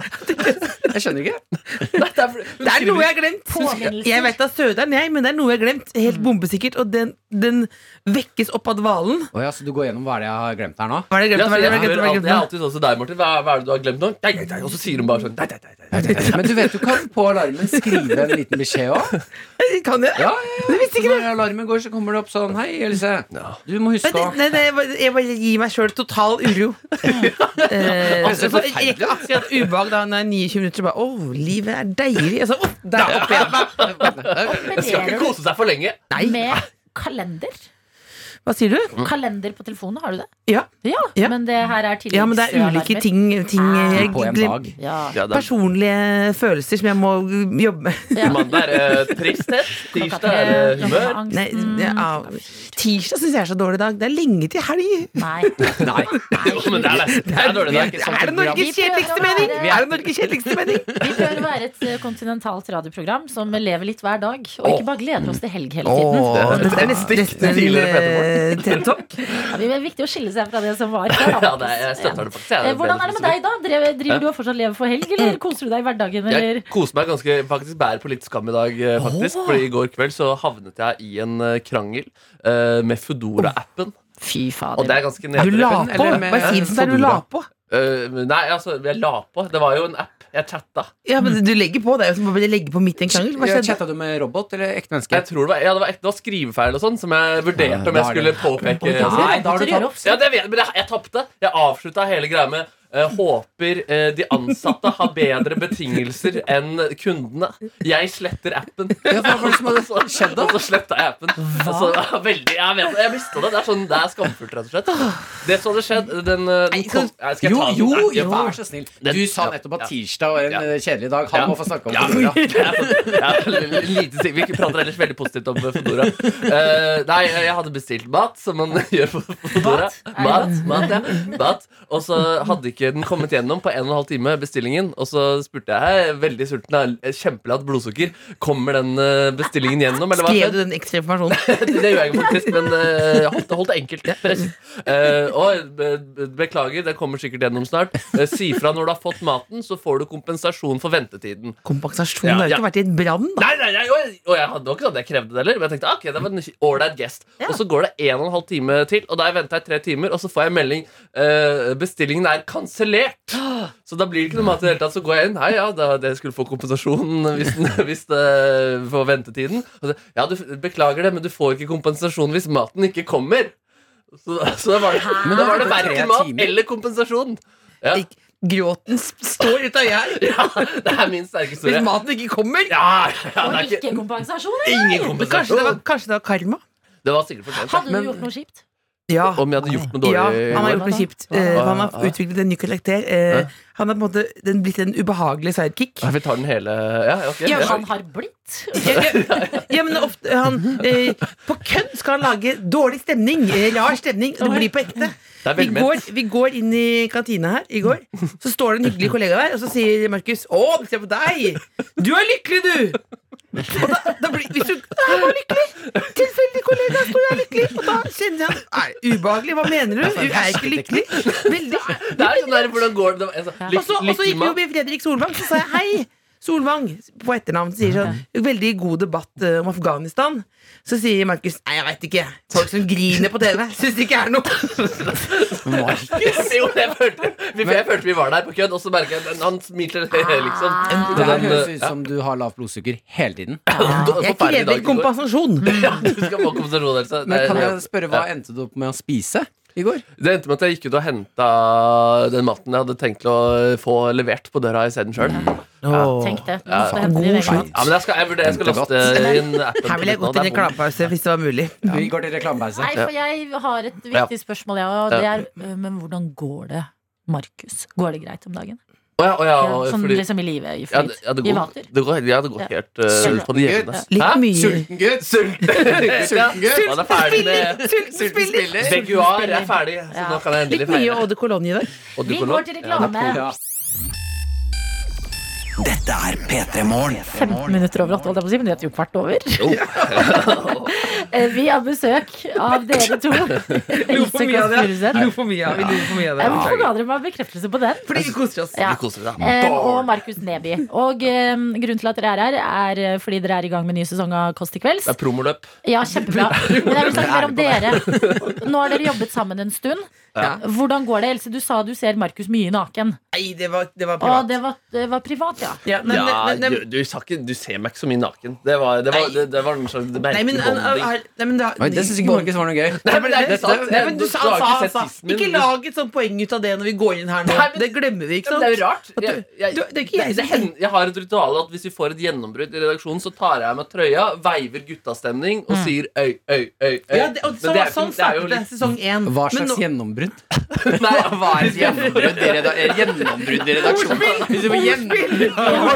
S2: Jeg skjønner ikke.
S14: Det er noe jeg har glemt.
S3: Påminnelser.
S14: Jeg vet det er Søderen, jeg, men det er noe jeg har glemt. Helt bombesikkert. Og den, den vekkes opp av dvalen.
S2: Å ja, så du går gjennom hva er det jeg har glemt her nå?
S14: Hva er det jeg
S15: Ja,
S14: glemte?
S15: så
S14: Hva er det
S15: jeg spør alltid- jeg har
S14: jeg glemte? Hva er det jeg glemte?
S15: alltid sånn så, Deg, Martin, hva, hva er det du har glemt nå? Nei, nei, nei, Og så sier hun bare sånn nei, nei, nei, nei.
S2: Men du vet du kan på alarmen skrive en liten beskjed òg.
S15: [LAUGHS]
S14: Kan jeg?
S2: Ja, ja, ja. Når alarmen går, så kommer det opp sånn Hei, Else. Du må huske å
S14: Nei, nei, nei, jeg bare- jeg bare gir meg sjøl total [LAUGHS] uro. Eh, så-
S2: Altså,
S14: så-
S2: forferdelig.
S14: jeg rekker akkurat ubehag da når jeg er 29 minutter. Bare, Åh, livet er deilig. Altså, opp, der oppe igjen.
S15: Jeg skal ikke kose seg for lenge.
S3: Med kalender?
S14: Hva sier du?
S3: Kalender på telefonen, har du det?
S14: Ja.
S3: Men det her er
S14: Ja, men det er ulike ting, ting
S15: Ah.
S14: jeg
S2: [LAUGHS]
S14: glemmer.
S15: Ja, det er-
S14: Personlige følelser som jeg må jobbe med.
S15: Mandag er det tristhet, tirsdag er det humør.
S14: Nei, ja, tirsdag syns jeg er så dårlig dag. Det er lenge til helg.
S3: Nei.
S2: [LAUGHS]
S15: Nei. Jo, men det er, det er dårlig. Det er ikke sånn
S14: Er det
S15: program.
S14: Norges kjedeligste mening?
S3: Vi er-
S14: Er det Norges kjedeligste mening?
S3: Vi prøver å være et eh, kontinentalt radioprogram som lever litt hver dag. Og ikke bare gleder oss til helg hele tiden.
S14: Åh, det er nesten nesten en eh, TED-talk.
S3: Ja, det er viktig å skille seg fra det som var før. da.
S15: [LAUGHS] Ja, det er, jeg støtter det faktisk. Jeg
S3: Eh, Hvordan er det med deg, da? Drev- Driver du og fortsatt lever for helg, eller koser du deg i hverdagen? Eller?
S15: Jeg koser meg ganske, faktisk bærer på litt skam i dag. eh, faktisk
S3: Åh.
S15: Fordi I går kveld så havnet jeg i en eh, krangel eh, med Foodora-appen.
S3: Fy fader
S15: Og det er ganske
S14: Du la
S15: nederdreppende.
S14: på! Hva sier det der du la på?
S15: Eh, nei, altså, jeg la på. Det var jo en app. Jeg chatta.
S14: Ja, men Du legger på. Det er jo som å bare legge på midt i en krangel. Hva
S15: Ja,
S14: skjedde?
S2: Chatta du med robot eller ekte menneske?
S15: Jeg tror det var, ja, det var, et- det var skrivefeil og sånn som jeg vurderte om jeg
S2: da er
S15: skulle
S2: det-
S15: påpeke.
S2: Nei, da har du tapt.
S15: Ja, det vet, jeg, men jeg, jeg tapte. Jeg avslutta hele greia med eh, håper eh, de ansatte har bedre betingelser enn kundene. Jeg sletter appen.
S2: hva var det som hadde skjedd
S15: [LAUGHS]
S2: da?
S15: Og så sletta jeg appen. Og så, ja, veldig, jeg vet, det, jeg mista det. Det er, sånn, det er skamfullt, rett og slett. Det som hadde skjedd den, eh, den kom, Nei, Skal jeg
S2: Jo,
S15: ta den?
S2: jo,
S15: Nei,
S2: jo,
S15: jeg-
S2: vær så snill.
S15: Den-
S2: Du sa
S15: ja,
S2: nettopp at
S15: ja.
S2: tirsdag var en eh, kjedelig dag. Han
S15: Ja.
S2: må få snakke om
S15: Ja.
S2: [LAUGHS] Fodora.
S15: Ja, lite si- Vi prater ellers veldig positivt om Fodora. Eh, nei, jeg hadde bestilt mat, som man [LAUGHS] gjør på Fodora. Mat, mat, ja. mat. Og så hadde ikke den kommet gjennom på en og en halv time, bestillingen. Og så spurte jeg «Hei, veldig sulten, jeg har kjempelavt blodsukker. Kommer den eh, bestillingen gjennom? Eller hva
S14: Skrev du den ekstra informasjonen?
S15: det det gjør jeg ikke faktisk, men eh, jeg holdt, det- holdt det enkelt. presist. Eh, og eh, be- beklager, det kommer sikkert gjennom snart. Eh, si fra når du har fått maten, så får du kompensasjon for ventetiden.
S14: Kompensasjon? Det har jo ikke vært i en brann, da.
S15: Nei, nei, nei, og jeg, og jeg hadde nok sånn at jeg krevde det heller. Men jeg tenkte, ah, ok, det var en ålreit gest Og så går det en og en halv time til, og da har jeg venta i tre timer, og så får jeg melding eh, bestillingen er kansellert. Så da blir det ikke noe mat i det hele tatt. Så går jeg inn. Hei, ja, da, dere skulle få kompensasjon [LAUGHS] hvis, den- hvis det får ventetiden. Og så, ja, du beklager det, men du får ikke kompensasjon hvis maten ikke kommer. Så, så da var det,
S14: Men
S15: da
S14: da
S15: var det
S14: var det tre
S15: verken mat
S14: timer.
S15: eller kompensasøn. Ja.
S14: Gråten s- står ut av øyet her.
S15: [LAUGHS] ja, det er min sterke historie.
S14: Hvis maten ikke kommer
S15: Ja, ja, det er
S3: Og ikke kompensasjon,
S15: Ingen
S3: eller?
S15: kompensasjon.
S14: Kanskje det var, kanskje det var karma?
S15: Det var sikkert fortjent.
S3: Hadde
S15: men-
S3: du gjort noe kjipt?
S14: Ja.
S15: Om jeg hadde gjort noe dårlig
S14: Ja, han
S15: i går?
S14: har gjort noe kjipt. Eh,
S15: Ah,
S14: han
S15: ah.
S14: har utviklet en ny karakter. Eh, han har på en måte den blitt en ubehagelig sidekick.
S15: Ja, vi tar den hele Ja,
S14: [LAUGHS]
S15: ok.
S14: Ja,
S3: Han har blitt
S14: Ja, men ofte han, eh, På kødd skal han lage dårlig stemning. eh, Rar stemning. Det blir på ekte.
S15: Det er
S14: Vi
S15: velment.
S14: går, vi går inn i kantina her i går. Så står det en hyggelig kollega der, og så sier Markus Å, se på deg! Du er lykkelig, du! Og da, da blir, hvis du er bare lykkelig Tilfeldig kollega står jeg lykkelig. Og da kjenner jeg er det ubehagelig. Hva mener du? Du er ikke lykkelig. Veldig.
S15: Altså, Det er sånn der, hvordan går det altså,
S14: Og så, og så gikk vi jo forbi Fredrik Solvang, så sa jeg hei. Solvang på etternavn sier sånn Veldig god debatt eh, om Afghanistan. Så sier Markus Nei, jeg veit ikke. Folk som griner på TV, syns det ikke er [LAUGHS] noe.
S15: jo, jeg følte, vi, jeg følte vi var der på kødd, og så merket jeg at han smilte liksom.
S3: Ah,
S2: Det her høres ut
S15: ja,
S2: som du har lavt blodsukker hele tiden.
S14: Jeg krever [LAUGHS] kompensasjon.
S15: du skal få kompensasjon, Else.
S2: Men kan
S15: Det-
S2: jeg spørre, hva
S15: Ja.
S2: endte du opp med å spise i går?
S15: Det endte med at jeg gikk ut og henta den maten jeg hadde tenkt å få levert på døra isteden sjøl.
S14: Mm. Åh.
S3: Tenk det.
S15: Ja.
S3: Nå skal jeg hente din egen mat.
S15: Ja, men jeg skal, jeg, vurderer- jeg skal laste inn appen.
S14: Her ville jeg gått inn i reklamepause hvis det var mulig.
S2: Vi går til reklamepause.
S3: Nei, for jeg har et
S15: Ja.
S3: viktig spørsmål, ja, og det er øh, Men hvordan går det, Markus? Går det greit om dagen?
S15: Å ja, å ja, å,
S3: sånn
S15: fordi-
S3: liksom i livet, i
S15: Ja,
S3: flyt,
S15: det, ja, det
S3: i
S15: går,
S3: vater.
S15: det går, ja, det går
S3: Ja.
S15: helt uh, på det jevne.
S14: Litt
S15: Hæ?
S14: mye.
S15: Sulten gutt! Sulten,
S14: Sulten gutt.
S15: Man er ferdig med
S14: Sulten spiller!
S15: Beguar er ferdig, så
S3: Ja.
S15: nå kan jeg endelig
S14: Litt mye
S15: feire.
S14: Eau de Cologne i dag.
S15: Og du
S3: Vi
S15: kan
S3: går
S15: lov.
S3: til
S15: Ja, det er
S3: reklame.
S15: på-
S4: Dette er P3 Morgen.
S3: 15 minutter over åtte, holdt jeg på å si, men det er jo kvart over. [LAUGHS] Eh, Vi har besøk av dere
S15: [LAUGHS]
S3: to.
S14: Lo for mye av det. Lo for mye av- vi lo for mye av det.
S3: Ja, Hvorfor ga dere meg bekreftelse på den?
S14: Fordi vi koser oss.
S3: Ja.
S14: Vi koser oss, ja.
S3: Eh, Og Markus Neby. Og eh, grunnen til at dere er her, er eh, fordi dere er i gang med ny sesong av Kåss til kvelds.
S15: Det er promoløp.
S3: Ja, kjempebra.
S15: [LAUGHS]
S3: Men jeg vil snakke mer om dere. Nå har dere jobbet sammen en stund.
S14: Ja.
S3: Hvordan går det? Else, du sa du ser Markus mye naken.
S14: Nei, det var, det
S3: Å,
S14: var privat.
S3: det var, det var privat, ja.
S14: Ja, nei,
S15: Ja,
S14: men- men-
S15: du, du, sa ikke, du ser meg ikke så mye naken. Det var, det var, det, det var en slags
S14: Nei, men,
S15: merkelig
S14: han- han-
S15: bonding.
S14: han- nei, men da-
S2: Oi, det syns ikke Markus var noe gøy.
S14: Nei, men det er
S2: Dette-
S14: sant. Nei, men du sa, han sa,
S2: Du har ikke
S14: han
S2: sett
S14: sa
S2: tissen min.
S14: Ikke
S2: Du-
S14: lag et sånt poeng ut av det når vi går inn her nå. det glemmer vi, ikke sant?
S15: det er jo rart.
S14: At
S15: Jeg,
S14: du-
S15: jeg,
S14: du- det er ikke jeg som
S15: hen- jeg har et ritual at hvis vi får et gjennombrudd i redaksjonen, så tar jeg av meg trøya, veiver guttastemning
S2: Mm.
S15: og sier øy, øy, øy. øy.
S14: Ja, det, og,
S15: Men
S14: så,
S15: det er
S14: sånn
S15: ikke- det er jo
S14: startet det
S15: litt-
S14: sesong én.
S2: Hva
S14: Men
S2: slags
S14: nå-
S2: gjennombrudd?
S15: Nei, hva er
S2: Gjennombrudd i reda- gjennombrudd i redaksjonen. Hvis du får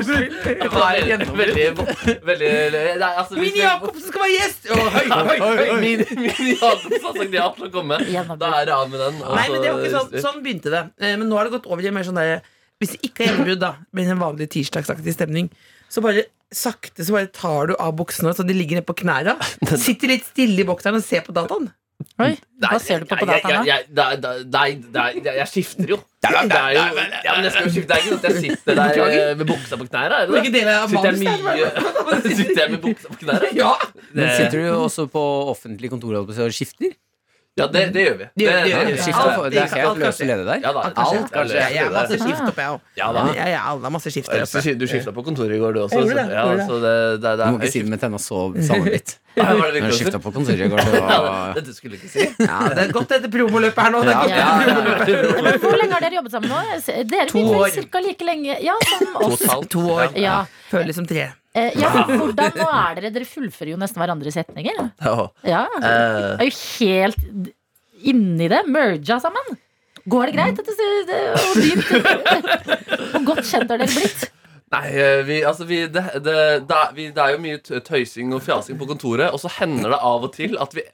S15: Veldig, veldig, veldig nei, altså, hvis
S14: Mini
S15: vi-
S14: Jacobsen skal være gjest! Å, høy, høy, høy, høy.
S15: Min, min Jacobsen har sagt ja til å komme. Da er det av med den. og
S14: Nei, men det var
S15: så-
S14: ikke sånn, sånn begynte det. Eh, Men nå har det gått over i en mer sånn der Hvis det ikke er gjennombrudd, da, men en vanlig tirsdagsaktig stemning, så bare sakte så bare tar du av buksene så de ligger nede på
S15: [LAUGHS]
S14: knæra. Sitter litt stille i bokseren og ser på dataen.
S15: Nei,
S14: Hva ser du på på
S15: jeg-
S14: dataen, da?
S15: jeg- jeg- da- da- Nei, da- jeg- jeg skifter jo. Det er jo ja, men jeg skal jo skifte. Det er ikke sånn at jeg sitter der eh, med buksa på knærne. er det
S14: Hvilken
S15: det?
S14: del av
S15: Sitter jeg
S14: manus er
S15: mye- [LAUGHS] Sitter jeg med buksa på knærne?
S14: Ja.
S2: Men sitter du jo også på offentlig kontor holdt på å si, og skifter?
S15: Ja, det, det gjør vi.
S2: Det gjør- det gjør vi.
S15: skifter.
S2: Alt- det er
S15: Alt-
S2: helt
S15: alt
S2: løse
S15: kanskje.
S2: leddet der.
S15: Ja, da,
S2: Alt kanskje.
S15: løse
S14: Jeg har masse
S15: leddet der.
S14: skift opp, jeg òg.
S15: Ja da.
S14: Jeg, jeg, alle har masse skift
S15: Else,
S14: der oppe.
S15: Du skifta på kontoret i går, du også.
S14: Jeg gjorde
S15: så-
S14: det,
S15: ja,
S14: jeg gjorde
S15: så det, det, det
S2: Du
S15: er
S2: må ikke si det med tenna så sammenbitt.
S15: Ja, var det virkelig
S2: Jeg skifta på kontoret i går. det
S15: Ja,
S2: var-
S15: [LAUGHS] det- Dette skulle jeg ikke si.
S14: Ja, det er godt dette promoløpet her nå. Det er godt
S2: Ja,
S14: dette
S2: ja, ja.
S14: promoløpet.
S3: Men hvor lenge har dere jobbet sammen nå? Jeg ser- Dere
S14: To
S3: virker
S14: år.
S3: vel cirka like lenge Ja, som
S14: To,
S3: oss.
S14: to år.
S3: Ja.
S14: Føles som liksom tre.
S3: Eh, ja, for hvordan nå er dere? Dere fullfører jo nesten hverandres setninger. Ja.
S15: Eh.
S3: Er jo helt inni det. Merga sammen. Går det greit? Dette, ser- det, og dypt, hvor godt kjent har dere blitt?
S15: Nei, eh, vi, altså, vi, det, det, det, er- vi, det er jo mye tø- tøysing og fjasing på kontoret, og så hender det av og til at vi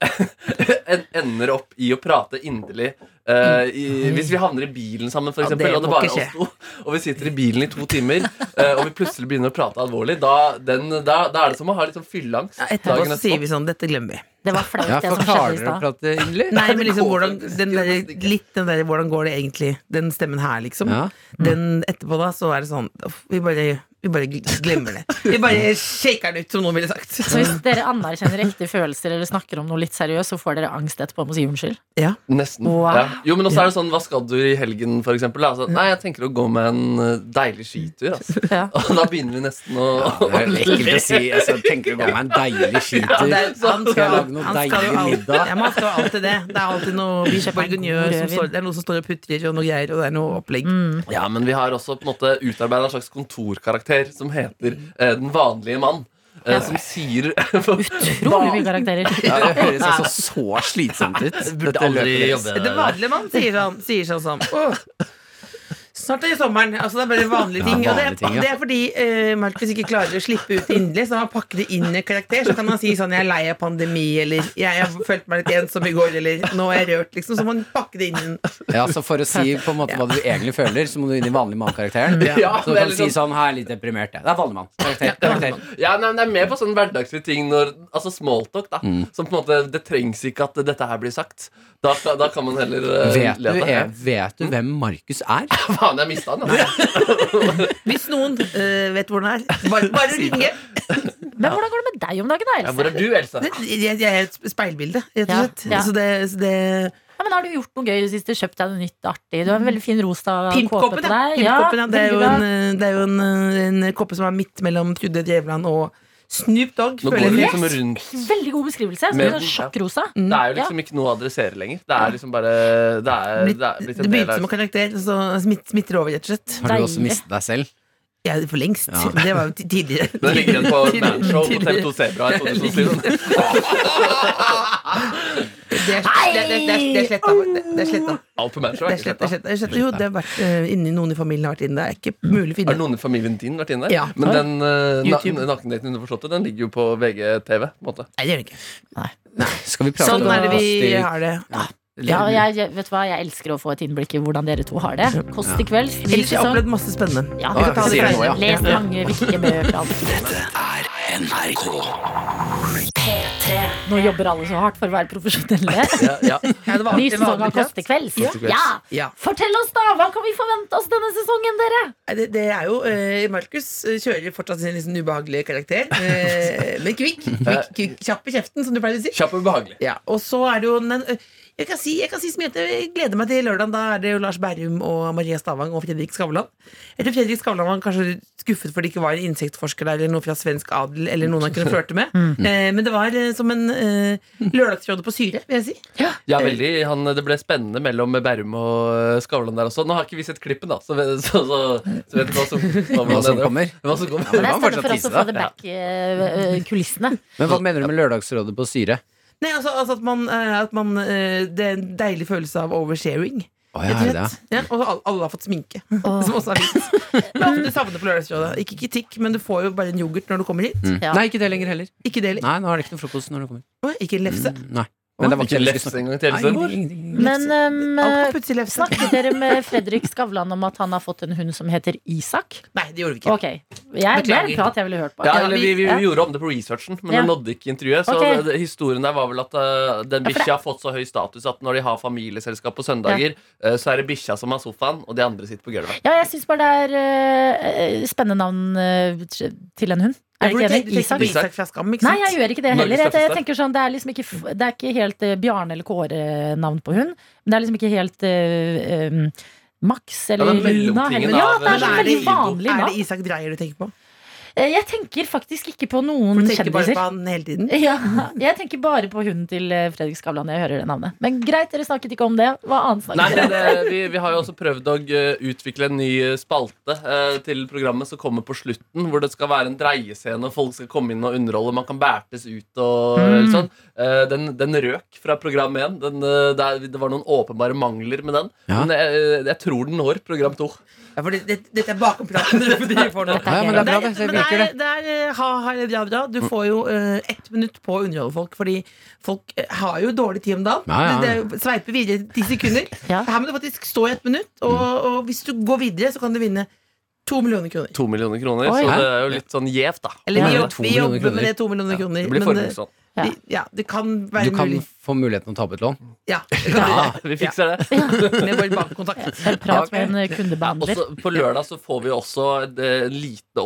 S15: en- ender opp i å prate inderlig. eh, i, hvis vi havner i bilen sammen, for
S14: Mm. Ja,
S15: eksempel,
S14: det
S15: og det
S14: må
S15: bare
S14: ikke
S15: er oss to, og vi sitter i bilen i to timer, eh, og vi plutselig begynner å prate alvorlig, da, den, da, da er det som å ha litt sånn fylleangst.
S14: Etterpå
S15: dagen
S14: så sier vi sånn Dette
S15: [LAUGHS]
S14: glemmer vi.
S3: Det var flaut,
S2: Ja,
S3: det som skjedde
S2: forklarer
S3: i
S2: dere å
S3: stad.
S2: prate inderlig?
S14: Nei, men liksom hvordan, den der, litt den der Hvordan går det egentlig? Den stemmen her, liksom.
S2: Ja.
S14: Den etterpå, da, så er det sånn uff, Vi bare, vi bare glemmer det. Vi
S15: [LAUGHS]
S14: bare shaker den ut, som noen ville sagt.
S3: Så hvis dere anerkjenner ekte følelser eller snakker om noe litt seriøst, så får dere angst etterpå om å si unnskyld?
S14: Ja.
S15: Nesten.
S3: Wow.
S15: Ja. Jo, men også er det sånn Hva skal du i helgen, for eksempel? da? Så, nei, jeg tenker å gå med en eh, deilig skitur. Altså. Og da begynner vi nesten å
S2: Det er ekkelt å si. Altså, jeg tenker å gå med en deilig
S14: Ja,
S2: skitur.
S14: det er-
S2: Skal
S14: han
S2: jeg
S14: skal-
S2: lage noe
S14: han skal jo
S2: deilig
S14: alt-
S2: middag?
S14: Ja, men han skal jo alltid det. Det er alltid noe biff bourguignon som står Det er noe som står og putrer og noe greier, og det er noe opplegg.
S2: Mm.
S15: Ja, men vi har også på en måte utarbeida en slags kontorkarakter som heter eh, Den vanlige mann.
S2: [LAUGHS]
S15: eh,
S3: Ja.
S15: Som sier
S3: Utrolig mye karakterer.
S2: Ja, det høres altså så slitsomt ut.
S15: Burde
S2: Dette
S15: aldri
S2: løpet.
S15: jobbe
S14: Det vanlige man sier sånn, sier sånn som Åh, Snart er det sommeren. Altså, det er bare vanlige ting.
S2: Ja, vanlige
S14: og det,
S2: ting, ja.
S14: det er fordi eh, Markus ikke klarer å slippe ut inderlig, så han pakker det inn i karakter. Så kan han si sånn 'Jeg er lei av pandemi', eller 'Jeg har følt meg litt ensom i går', eller 'Nå er jeg rørt', liksom. Så må han pakke det inn. i en-
S2: Ja, så For å
S15: [LAUGHS]
S2: si på en måte hva du egentlig føler, så må du inn i vanlig mann-karakteren.
S15: Ja,
S2: så du
S15: det er
S2: kan
S15: litt
S2: si
S15: sånn-
S2: sånn Her er litt deprimert, jeg. Det er vanlig mann. Karakter. karakter.
S15: Ja, nei, men Det er mer på sånn hverdagslige ting når, Altså smalltalk, da.
S2: Mm.
S15: Som på en måte Det trengs ikke at dette her blir sagt. Da, kan- da kan man heller eh,
S2: Vet
S15: le av
S2: du,
S15: det.
S2: er, vet du hvem Markus er?
S15: Faen, jeg mista den. Altså.
S14: Hvis noen eh, vet hvor den er, bare, bare ringe.
S3: Men hvordan går det med deg om dagen, da,
S15: Ja, hvor
S3: Else?
S15: er du, [LAUGHS] Else?
S14: Det- Jeg, jeg er et speilbilde, rett og
S3: Ja,
S14: slett.
S3: ja.
S14: Så det, så det
S3: Ja, men har du gjort noe gøy i det siste? Kjøpt deg noe nytt artig? Du har en veldig fin rosa kåpe på
S14: Pimpkoppen,
S3: deg.
S14: Mm. ja. Pimpkoppen, ja. Det er jo,
S3: veldig
S14: en,
S3: bra.
S14: eh, det er jo en, eh, en koppe som er midt mellom Trude Drevland og Snoop Dogg.
S15: Nå går
S14: føler jeg.
S15: det liksom rundt
S3: Veldig god beskrivelse. Som
S15: Men-
S3: en sånn sjokkrosa.
S14: Mm.
S15: Det er jo
S3: Ja.
S15: liksom ikke noe å adressere lenger. Det er liksom bare Det er, det er blitt
S14: Det
S15: en del
S14: begynte som
S15: av
S14: en karakter, og så smitt, smitter over, rett og slett.
S2: Har du også mistet deg selv?
S14: Ja, for lengst.
S2: Ja.
S14: [LAUGHS] Det var jo ti- tidligere.
S15: [LAUGHS] Den ligger igjen på
S14: Tidligere-
S15: Manshow på TV2 Sebra i 2007.
S14: Det er det- det- det- det er sletta. Det er sletta.
S15: Alt på
S14: Det
S15: Manshow
S14: er
S15: er ikke
S14: sletta,
S15: sletta.
S14: sletta, sletta. Jo, det har vært eh, inni noen i familien har vært inne. Det er ikke mulig å
S15: Har
S14: finne.
S15: noen i familien din vært inne der?
S14: Ja.
S15: Men den eh, na
S14: YouTube.
S15: nakendaten underforståtte, den ligger jo på VGTV. på en måte
S14: Nei, det gjør det ikke.
S2: Skal vi prate
S14: Sånn
S2: om
S14: er det vi
S2: Astrid-
S14: har det.
S3: Ja, og jeg, jeg- vet du hva? jeg elsker å få et innblikk i hvordan dere to har det. Kåss til kvelds. ny
S14: Ellers har jeg
S3: sesong.
S14: opplevd masse spennende.
S3: liksom. Ja,
S14: Vi kan ta det
S3: sier det
S14: senere.
S3: nå, ja. Les mange viktige bøker. alt.
S4: NRK.
S3: Nå jobber alle så hardt for å være profesjonelle.
S15: Ja,
S14: Ja, det
S3: [LAUGHS]
S14: var
S3: Ny
S14: alltid en
S3: sesong
S14: vanlig
S3: av Kåss
S14: prat.
S3: til kvelds.
S14: Ja.
S3: Ja.
S14: Ja.
S3: Fortell oss, da! Hva kan vi forvente oss denne sesongen, dere?
S14: Nei, Det, det er jo eh, Markus eh, kjører fortsatt sin liksom ubehagelige karakter. Eh, men kvikk, kvikk, kvikk. Kjapp i kjeften, som du pleier å si.
S15: Kjapp og ubehagelig.
S14: Ja, og så er det jo den, eh, jeg kan, si, jeg kan si som heter Jeg gleder meg til lørdagen. Da er det jo Lars Berrum og Maria Stavang og Fredrik Skavlan. Etter Fredrik Skavlan var han kanskje skuffet fordi det ikke var en insektforsker der eller noe fra svensk adel eller noen han kunne flørte med.
S15: Mm.
S14: Eh, men det var eh, som en eh, lørdagsråde på syre, vil jeg si.
S15: Ja, veldig. Han, det ble spennende mellom Bærum og eh, Skavlan der også. Nå har ikke vi sett klippen, da, så, vi- så, så, så vet vi hva som,
S2: [LAUGHS] Hva som
S15: ender opp.
S2: kommer.
S15: Hva som kommer.
S2: Ja,
S3: Det
S2: men det
S3: er
S2: var
S3: stedet
S2: fortsatt
S3: for oss
S2: tise,
S3: å få
S2: da.
S3: det back eh, eh, kulissene.
S2: Men hva mener du med Lørdagsrådet på syre?
S14: Nei, altså, altså at man, eh, at man eh, Det er en deilig følelse av oversharing.
S2: ja,
S14: Rett og
S2: er det
S14: slett. Ja, og alle, alle har fått sminke. [LAUGHS] Som også er litt Men ofte savner på lørdagsrådet. Ikke kritikk, men du får jo bare en yoghurt når du kommer hit.
S2: Mm. Nei, ikke det lenger heller.
S14: Ikke det heller.
S2: Nei, nå er det ikke noe frokost når du kommer.
S14: Å, Ikke en lefse.
S2: Mm, Nei. Men det var
S15: Mm, Ikke
S2: ikke
S15: lefse engang til Else.
S2: Nei, ingenting.
S3: Men ehm, snakket dere med Fredrik Skavlan om at han har fått en hund som heter Isak?
S14: Nei, det gjorde vi
S3: Ok, jeg, Det er
S15: Beklager.
S3: en prat jeg ville hørt på.
S15: Ja, eller vi, vi,
S3: Ja.
S15: gjorde om det på researchen, men
S3: Ja.
S15: det nådde ikke intervjuet. Så
S3: Ok.
S15: det- historien der var vel at eh, den bikkja har fått så høy status at når de har familieselskap på søndager, eh, så er det bikkja som har sofaen, og de andre sitter på gulvet.
S3: Ja, jeg syns bare det er eh, eh, spennende navn eh, t- til en hund. Er
S14: du
S3: dere ikke
S14: tenker- du
S3: enig?
S14: tenker
S3: Isak?
S14: på Isak fra Skam, ikke
S3: Nei,
S14: sant?
S3: jeg gjør ikke det
S14: Norges
S3: heller. Jeg,
S14: tøffeste.
S3: jeg tenker sånn, Det er liksom ikke, f- det er ikke helt eh, Bjarne eller Kåre-navn på hund. Men det er liksom ikke helt eh, em, Max eller
S14: det er
S3: Luna.
S14: mellomtingen
S3: Eller, ja,
S14: av-
S3: det
S15: eh,
S3: er sånn
S14: Men er
S3: veldig
S14: det-
S3: vanlig
S14: er det
S3: navn.
S14: Isak Dreyer du tenker på?
S3: Eh, Jeg tenker faktisk ikke på
S14: For
S3: noen
S14: du tenker bare
S3: kjendiser. [LAUGHS]
S14: på han hele tiden?
S3: Ja, jeg tenker bare på hunden til eh, Fredrik Skavlan når jeg hører det navnet. Men greit, dere snakket ikke om det. Hva annet
S15: Nei,
S3: snakket
S15: men
S3: dere om?
S15: det, vi, vi har jo også prøvd å eh, utvikle en ny eh, spalte eh, til programmet som kommer på slutten, hvor det skal være en dreiescene, og folk skal komme inn og underholde. Man kan bærtes ut og eh,
S16: Mm.
S15: sånn. Eh, den, den røk fra program 1. Den, eh, der, det var noen åpenbare mangler med den. Men jeg, jeg tror den når program 2.
S14: Ja, for det, det, dette er bakompraten dere dere får nå.
S15: [LAUGHS] Ja, men det er bra, det. Det
S14: men det
S15: virker,
S14: er, det er eh, ha, ha, eller bra, bra. Du får jo eh, ett minutt på å underholde folk, fordi folk eh, har jo dårlig tid om dagen.
S2: Ja, ja.
S14: Det, det sveiper videre i ti sekunder. Her må du faktisk stå i ett minutt, og, og hvis du går videre, så kan du vinne to millioner kroner.
S15: To millioner kroner,
S14: Oi.
S15: så
S14: Hæ?
S15: det er jo litt sånn gjevt, da.
S14: Eller vi, jobb, vi jobber med det to millioner kroner.
S15: det blir sånn.
S14: men eh,
S15: formuesskatt.
S14: vi- ja, det kan være
S2: Du kan
S14: mulig.
S2: få muligheten å ta opp et lån.
S14: Ja.
S15: [LAUGHS] Ja, vi fikser
S14: [LAUGHS]
S15: det.
S14: Med vår bankkontakt.
S3: Prat med en eh, kundebehandler.
S15: Også, på lørdag så får vi også et eh, lite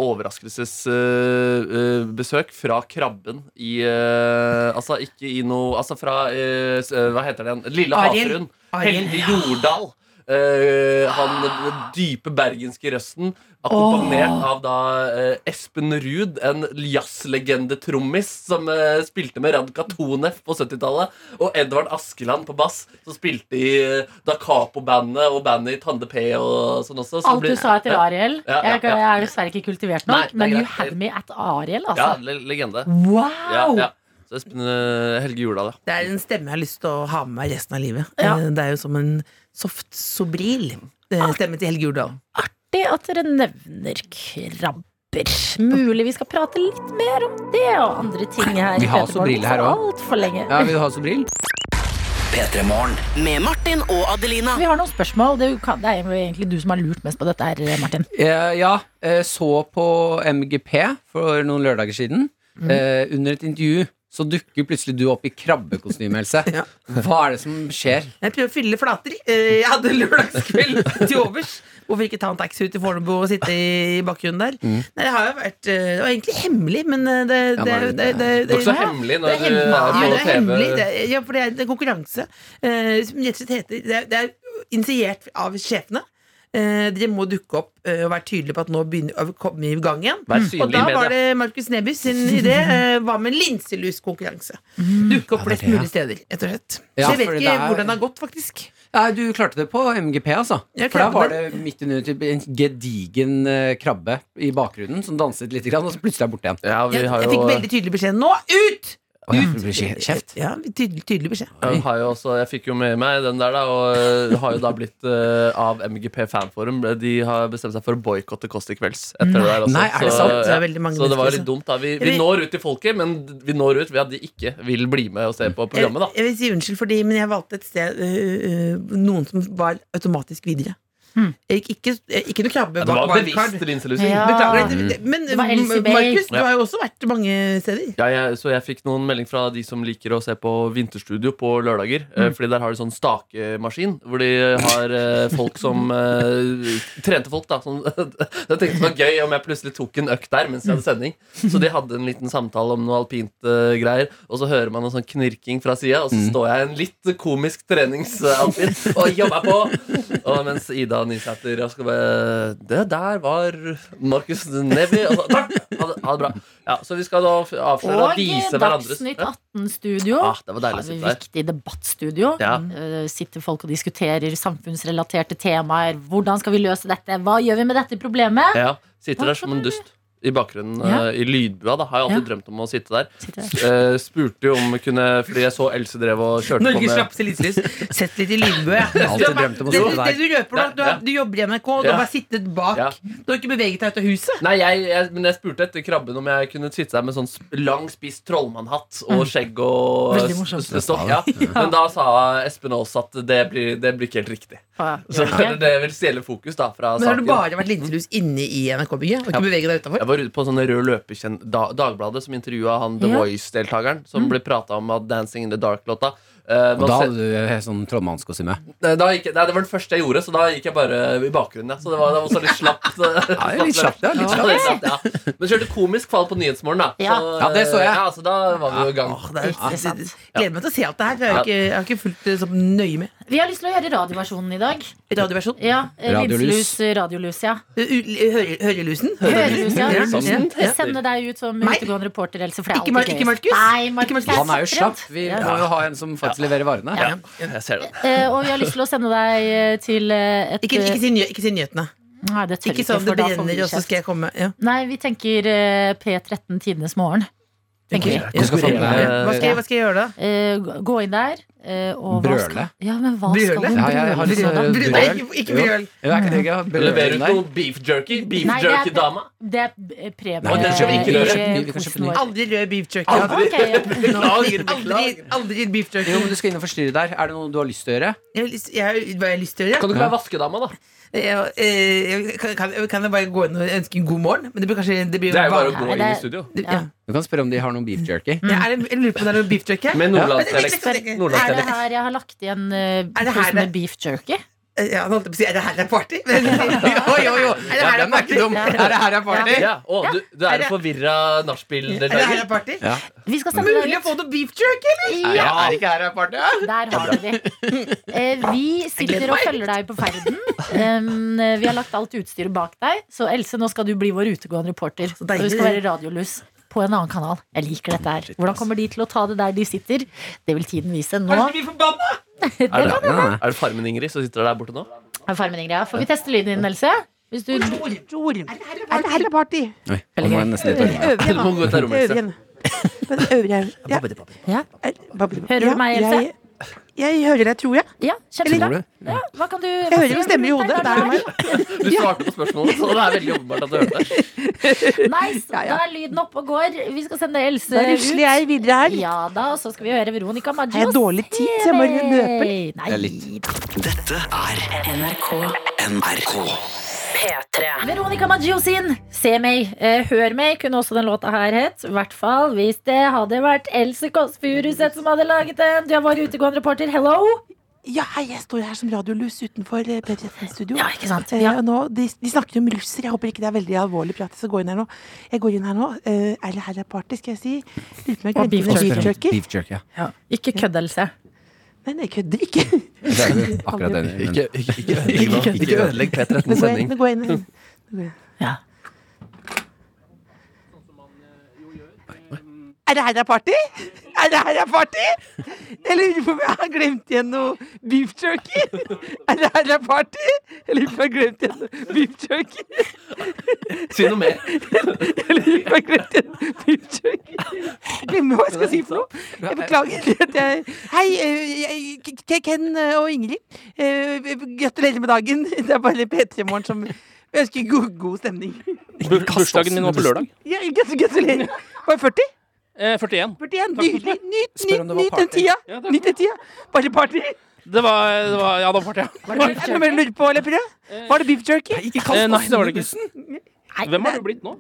S15: eh, overraskelsesbesøk fra Krabben i eh, Altså ikke i noe Altså fra eh, s- eh, Hva heter den? Lille
S16: Ariel.
S15: Havfruen.
S16: Ariel.
S15: Helge Jordal. Eh, han den dype bergenske røsten, akkompagnert
S16: Åh.
S15: av da eh, Espen Ruud, en jazzlegende-trommis som eh, spilte med Radka Toneff på 70-tallet, og Edvard Askeland på bass, som spilte i eh, Da Capo-bandet og bandet i Tande P og sånn også. så det
S3: Alt du
S15: blir-
S3: sa etter
S15: Ja.
S3: Ariel.
S15: Ja, ja,
S3: Jeg, jeg
S15: ja.
S3: er dessverre ikke kultivert
S15: Nei,
S3: nok,
S15: det er
S3: men you
S15: greit.
S3: had me at Ariel,
S15: Ja,
S3: altså.
S15: le legende.
S3: Wow!
S15: Ja, ja. Så Espen eh, Helge Jordal, ja.
S14: Det er en stemme jeg har lyst til å ha med meg resten av livet. Eh, Det er jo som en soft sobril. eh, Stemme til Helge Jordal.
S3: Det at dere nevner krabber. Mulig vi skal prate litt mer om det og andre ting her. i
S2: Vi har
S3: Petermorgen,
S2: Sobril her
S3: for
S2: òg.
S3: Altfor lenge.
S2: Ja, vil du ha Sobril?
S8: Med Martin og Adelina.
S3: Vi har noen spørsmål. Det er, jo, det er jo egentlig du som har lurt mest på dette her, Martin.
S2: Eh, ja, eh, så på MGP for noen lørdager siden.
S3: Mhm.
S2: Eh, under et intervju så dukker plutselig du opp i krabbekostyme, Else. Hva er det som skjer?
S14: Jeg prøver å fylle flater. Eh, Jeg hadde lørdagskveld til overs. Hvorfor ikke ta en taxi ut til Fornebu og sitte i bakgrunnen der?
S2: Mm.
S14: Nei, det har jo vært eh, Det var egentlig hemmelig, men eh, det
S2: Ja,
S14: Det
S2: men-
S14: det- det-
S15: Det er ikke så
S14: ja,
S15: hemmelig når
S14: det
S15: du er
S14: hemmelig.
S15: på
S14: Ja, det er
S15: TV.
S14: hemmelig. Det er- Ja, for det er, det er konkurranse. eh, som rett og slett heter Det er, det er initiert av sjefene. Eh, dere må dukke opp eh, og være tydelige på at nå begynner å komme i gang igjen.
S15: Vær synlig
S14: Og da
S15: i media.
S14: var det Markus Neby sin idé. eh, Hva med linseluskonkurranse? Dukke opp flest
S2: det, ja.
S14: mulig steder, rett og slett.
S2: Ja,
S14: Så jeg vet
S2: fordi
S14: ikke
S2: det er-
S14: hvordan det har gått, faktisk.
S2: Nei, du klarte det på MGP, altså.
S14: Jeg
S2: For da
S14: klarte
S2: var
S14: det.
S2: det midt under typ en gedigen eh, krabbe i bakgrunnen som danset litt, grann, og så plutselig er borte igjen.
S15: Ja,
S14: Jeg, jeg fikk veldig tydelig beskjed nå ut!
S2: ja, for det Mm. blir ikke kjeft.
S14: Ja, tydelig, tydelig beskjed.
S15: Jeg, har jo også, jeg fikk jo med meg den der, da, og har jo da blitt eh, av MGP Fanforum. Eh, De har bestemt seg for å boikotte Kåss til kvelds. Etter det der også.
S14: Nei, er det sant? Det er veldig mange
S15: så det var jo litt
S14: mennesker som-
S15: dumt. da vi, vi når ut til folket, men vi når ut ved at de ikke vil bli med og se på programmet. da
S14: Jeg, jeg vil si unnskyld, fordi, men jeg valgte et sted øh, øh, Noen som var automatisk videre. Jeg gikk ikke, eh, ikke noe krabbe
S15: Ja, det var
S14: bak
S15: bevisst
S14: wildcard.
S15: linselusing. Ja.
S14: Beklager. det- det-
S15: Mm.
S14: Men
S3: Det var Elsie Bay.
S14: Markus, du
S15: Ja.
S14: har jo også vært mange steder.
S15: Ja, jeg, så jeg fikk noen melding fra de som liker å se på Vinterstudio på lørdager.
S14: Mm.
S15: eh, Fordi der har de sånn stakemaskin, hvor de har eh, folk som eh, Trente folk, da. Som, [LAUGHS] jeg tenkte det var gøy om jeg plutselig tok en økt der mens jeg hadde sending. Så de hadde en liten samtale om noe alpint eh, greier, og så hører man noe sånn knirking fra sida, og så
S2: Mm.
S15: står jeg i en litt komisk treningsoutfit og jobber på. Og mens Ida Nysæter og skal bare Det der var Markus Neby. Og så, Altså, takk! Ha det, ha det bra. Ja, så vi skal da f- avsløre og
S3: Og
S15: vise hverandres
S3: Dagsnytt
S15: Ja.
S3: 18-studio.
S15: Ah, det var deilig å sitte der.
S3: Viktig debattstudio.
S15: Ja.
S3: Eh, sitter folk og diskuterer samfunnsrelaterte temaer. Hvordan skal vi løse dette? Hva gjør vi med dette problemet?
S15: Ja, sitter der som en dust i bakgrunnen
S3: Ja.
S15: eh, i lydbua. da Har jeg alltid
S3: Ja.
S15: drømt om å sitte der. Eh, spurte jo om vi kunne Fordi jeg så Else drev og kjørte på
S14: Norges
S15: med
S14: slappeste lyslys. Sett litt i lydbø. ja.
S15: [LAUGHS] Jeg har alltid drømt om å
S14: Det-
S15: sitte
S14: det-
S15: der.
S14: det Du røper nå,
S15: Ja,
S14: du, har-
S15: ja.
S14: du jobber i NRK, og du
S15: Ja.
S14: har bare sittet bak. Du har ikke beveget deg ut av huset.
S15: Nei, jeg, jeg, men jeg spurte etter krabben om jeg kunne sitte der med sånn sp- lang, spiss trollmannhatt
S3: Mm.
S15: og skjegg og
S14: Veldig morsomt.
S15: s- s- stokk. Ja. Men da sa Espen Aas at det blir, det blir ikke helt riktig. Så det, [LAUGHS] det vil stjele fokus da fra
S14: Men har du
S15: saken.
S14: bare vært linselus inne i NRK-bygget? Og ikke beveget deg utenfor?
S15: Jeg var ute på sånn rød løpekjenn da, Dagbladet som intervjua han The
S14: Ja.
S15: Voice-deltakeren, som ble prata om av Dancing in the Dark-låta. Eh,
S2: Og
S15: man
S2: da
S15: ser-
S2: hadde du eh, sånn trollmannskostyme.
S15: Nei, da gikk, jeg- nei, det var den første jeg gjorde, så da gikk jeg bare i bakgrunnen. Ja. Så det var, det var også litt
S14: [LAUGHS]
S15: slapt.
S2: det er litt
S15: [LAUGHS]
S2: slapt, ja, litt slapt.
S15: ja. Men kjørte komisk fall på Nyhetsmorgen, da.
S14: Ja. Ja, det så jeg.
S15: Ja, altså, så da var vi jo i gang.
S14: Det er- det- det- Gleder meg til å se alt det her. for Jeg har jo ikke, jeg har ikke fulgt det så nøye med.
S3: Vi har lyst til å gjøre radioversjonen i dag.
S14: Radioversjon?
S3: Ja, eh,
S14: Radiolus.
S3: Linselus, radiolus,
S14: [LAUGHS]
S3: ja.
S14: U- u- hører- Hørelusen?
S3: Hørelusen, ja.
S14: Ja.
S3: Jeg
S14: sånn. Ja.
S3: sender deg ut som utegående reporter, Else. For det er
S14: Ikke Mar-
S3: alltid
S14: ikke
S3: gøyest.
S14: Markus?
S3: Nei, Markus. jeg
S2: Han er jo
S3: så
S2: slapp.
S3: trent.
S2: Vi
S3: Ja.
S2: må jo ha en som faktisk leverer varene.
S3: Ja.
S15: Jeg ser det.
S3: Eh, og vi har lyst til å sende deg eh, til eh, et eh,
S14: Ikke, ikke, si nyhe- ikke si nyhetene.
S3: Nei, det tør
S14: Ikke
S3: vi
S14: sånn
S3: for
S14: det
S3: da får vi
S14: brenner, og så
S3: kjeft.
S14: skal jeg komme. Ja.
S3: Nei, vi tenker eh, P13 Tidenes morgen. Tenker vi.
S14: Ja, Hvordan skal jeg få med
S2: eh,
S14: meg- Hva skal jeg- hva
S3: gjøre da? gå inn der. eh, og hva
S2: Brøle?
S3: Skal, ja, men hva skal
S2: Ja, jeg har lyst til å
S3: brøle?
S2: høre
S14: Brøl.
S2: brøl.
S14: Nei, ikke- ikke brøl.
S2: Jo. Jo, er ikke det gøy å ha brøl
S15: Leverer ut
S2: der?
S15: noe beef jerky? Beef
S3: Nei, det er-
S15: jerky-dama?
S3: Det er eh, premie.
S15: Nei, den skal vi ikke røre. Vi- vi kan kjøpe
S3: Aldri
S14: Aldri rød beef jerky.
S3: Aldri. Ok, ja.
S14: Aldri, aldri, aldri beef jerky.
S2: Jo, men du skal inn og forstyrre der. Er det noe du har lyst til å gjøre?
S14: Jeg, har lyst- jeg, har- hva jeg har lyst til å gjøre?
S15: Kan du ikke være vaskedama, da?
S14: Jeg, eh, jeg, kan, kan- kan jeg bare gå inn og ønske en god morgen? Men det blir kanskje det blir
S2: Det er jo bare å
S14: vanlig.
S2: gå inn i studio.
S14: Det- Ja.
S2: Du kan spørre om de har noe beef
S15: Mm.
S2: jerky.
S14: Ja, er det, jeg lurer på om det er noe beef jerky? her?
S2: Med
S14: Ja.
S15: altså.
S2: nordlandsdialekt.
S14: Men- men- men-
S3: Er det her jeg har lagt igjen uh,
S14: det her
S3: pose med
S14: det-
S3: beef jerky?
S14: Eh, Ja, han holdt på å si Er det her er party? Men- [LAUGHS] jo, jo, jo. Er det her er party? Er det her er party?
S15: Ja. Å, du, du
S14: Er
S15: er
S14: det-
S15: en forvirra
S14: her er
S15: nachspiel-deltaker.
S14: party?
S2: Ja.
S3: Vi skal sende deg
S14: Mulig å
S3: ut.
S14: få noe beef jerky, eller?
S3: Ja. Er det
S14: ikke her er party?
S3: Der har du de. Eh, vi sitter
S14: gleder
S3: og
S14: meg.
S3: følger deg på ferden. Um, eh, vi har lagt alt utstyret bak deg. Så Else, nå skal du bli vår utegående reporter. Og du
S14: deilig.
S3: skal være radiolus på en annen kanal. Jeg liker dette her. Hvordan kommer de til å ta det der de sitter? Det vil tiden vise. Nå
S14: Kanskje vi forbanna?
S15: Er det, er det Farmen Ingrid som sitter der borte nå?
S3: er Farmen Ingrid. her. Får vi teste lyden din, Else? Hvis du
S16: Er det her er party?
S2: Oi, nå må jeg nesten ut av rommet.
S16: Øvrig,
S15: Du må gå ut av rommet, Else.
S16: Men øvrig er ja.
S3: Ja.
S16: Hører
S3: du meg, Else?
S16: Jeg, jeg hører deg, tror jeg.
S3: Ja, kjempebra. Ja, hva kan du
S16: Jeg hører jo stemmer i hodet. Det er meg.
S15: Du svarte på spørsmålet, så det er veldig åpenbart at du hørte det.
S3: Nice, da er lyden oppe og går. Vi skal sende Else
S16: Da rusler jeg videre her.
S3: Eh, Ja da, og så skal vi høre Veronica Maggio.
S16: Har jeg dårlig tid, så jeg må løpe
S3: litt? Nei.
S4: Dette er
S8: NRK
S4: NRK.
S8: P3.
S3: Veronica Maggio sin Se meg, eh, hør meg kunne også den låta her het. I hvert fall hvis det hadde vært Else Kåss Furuseth som hadde laget den. Du er vår utegående reporter. Hello!
S16: Ja, hei, jeg står her som radiolus utenfor eh, P13-studio.
S3: Ja, ikke sant?
S16: Eh,
S3: Ja.
S16: og Nå, de, de snakker om russer. Jeg håper ikke det er veldig alvorlig prat. Jeg skal gå inn her nå. Jeg går inn her nå. Eh, Er det her er party, skal jeg si. Lurer på om jeg
S3: Og beef
S16: glemte med
S3: jerky.
S16: beef jerky.
S2: Beef jerky, ja.
S3: Ikke kødd, Else.
S16: Nei, nei, jeg kødder ikke.
S2: Det er jo akkurat det. men-
S15: Ikke, ikke, ikke, [LAUGHS] ikke, ikke ødelegg
S16: Nå
S15: P13s
S16: går jeg,
S15: sending.
S16: nå går jeg inn. her. Nå går jeg.
S3: Ja.
S16: Er det her det er party? Er det her det er party? Jeg lurer på om jeg har glemt igjen noe beef jerky. Er det her det er party? Jeg lurer på om jeg har glemt igjen noe beef jerky.
S15: Si noe mer.
S16: Jeg lurer på om jeg har glemt igjen noe beef jerky. Jeg glemmer hva jeg skal si for noe. Jeg beklager at jeg Hei, eh, jeg- til Ken og Ingrid. Eh, Gratulerer med dagen. Det er bare P3 Morgen som Jeg ønsker god, god stemning.
S17: Bursdagen min var på lørdag.
S16: Ja, gratu- Gratulerer. Var det 40?
S17: Eh, 41.
S16: 41.
S17: Takk for
S16: Nydelig. Nyt,
S17: Spør
S16: nyt,
S17: om det var
S16: nyt den
S17: party.
S16: tida. Nyt den tida. Bare party.
S17: Det var, det var Ja, det var party, ja.
S16: Var det beef jerky? Lurer på, Lepperød? Var det beef jerky?
S17: Eh, nei, det var det ikke. Hvem har du blitt nå?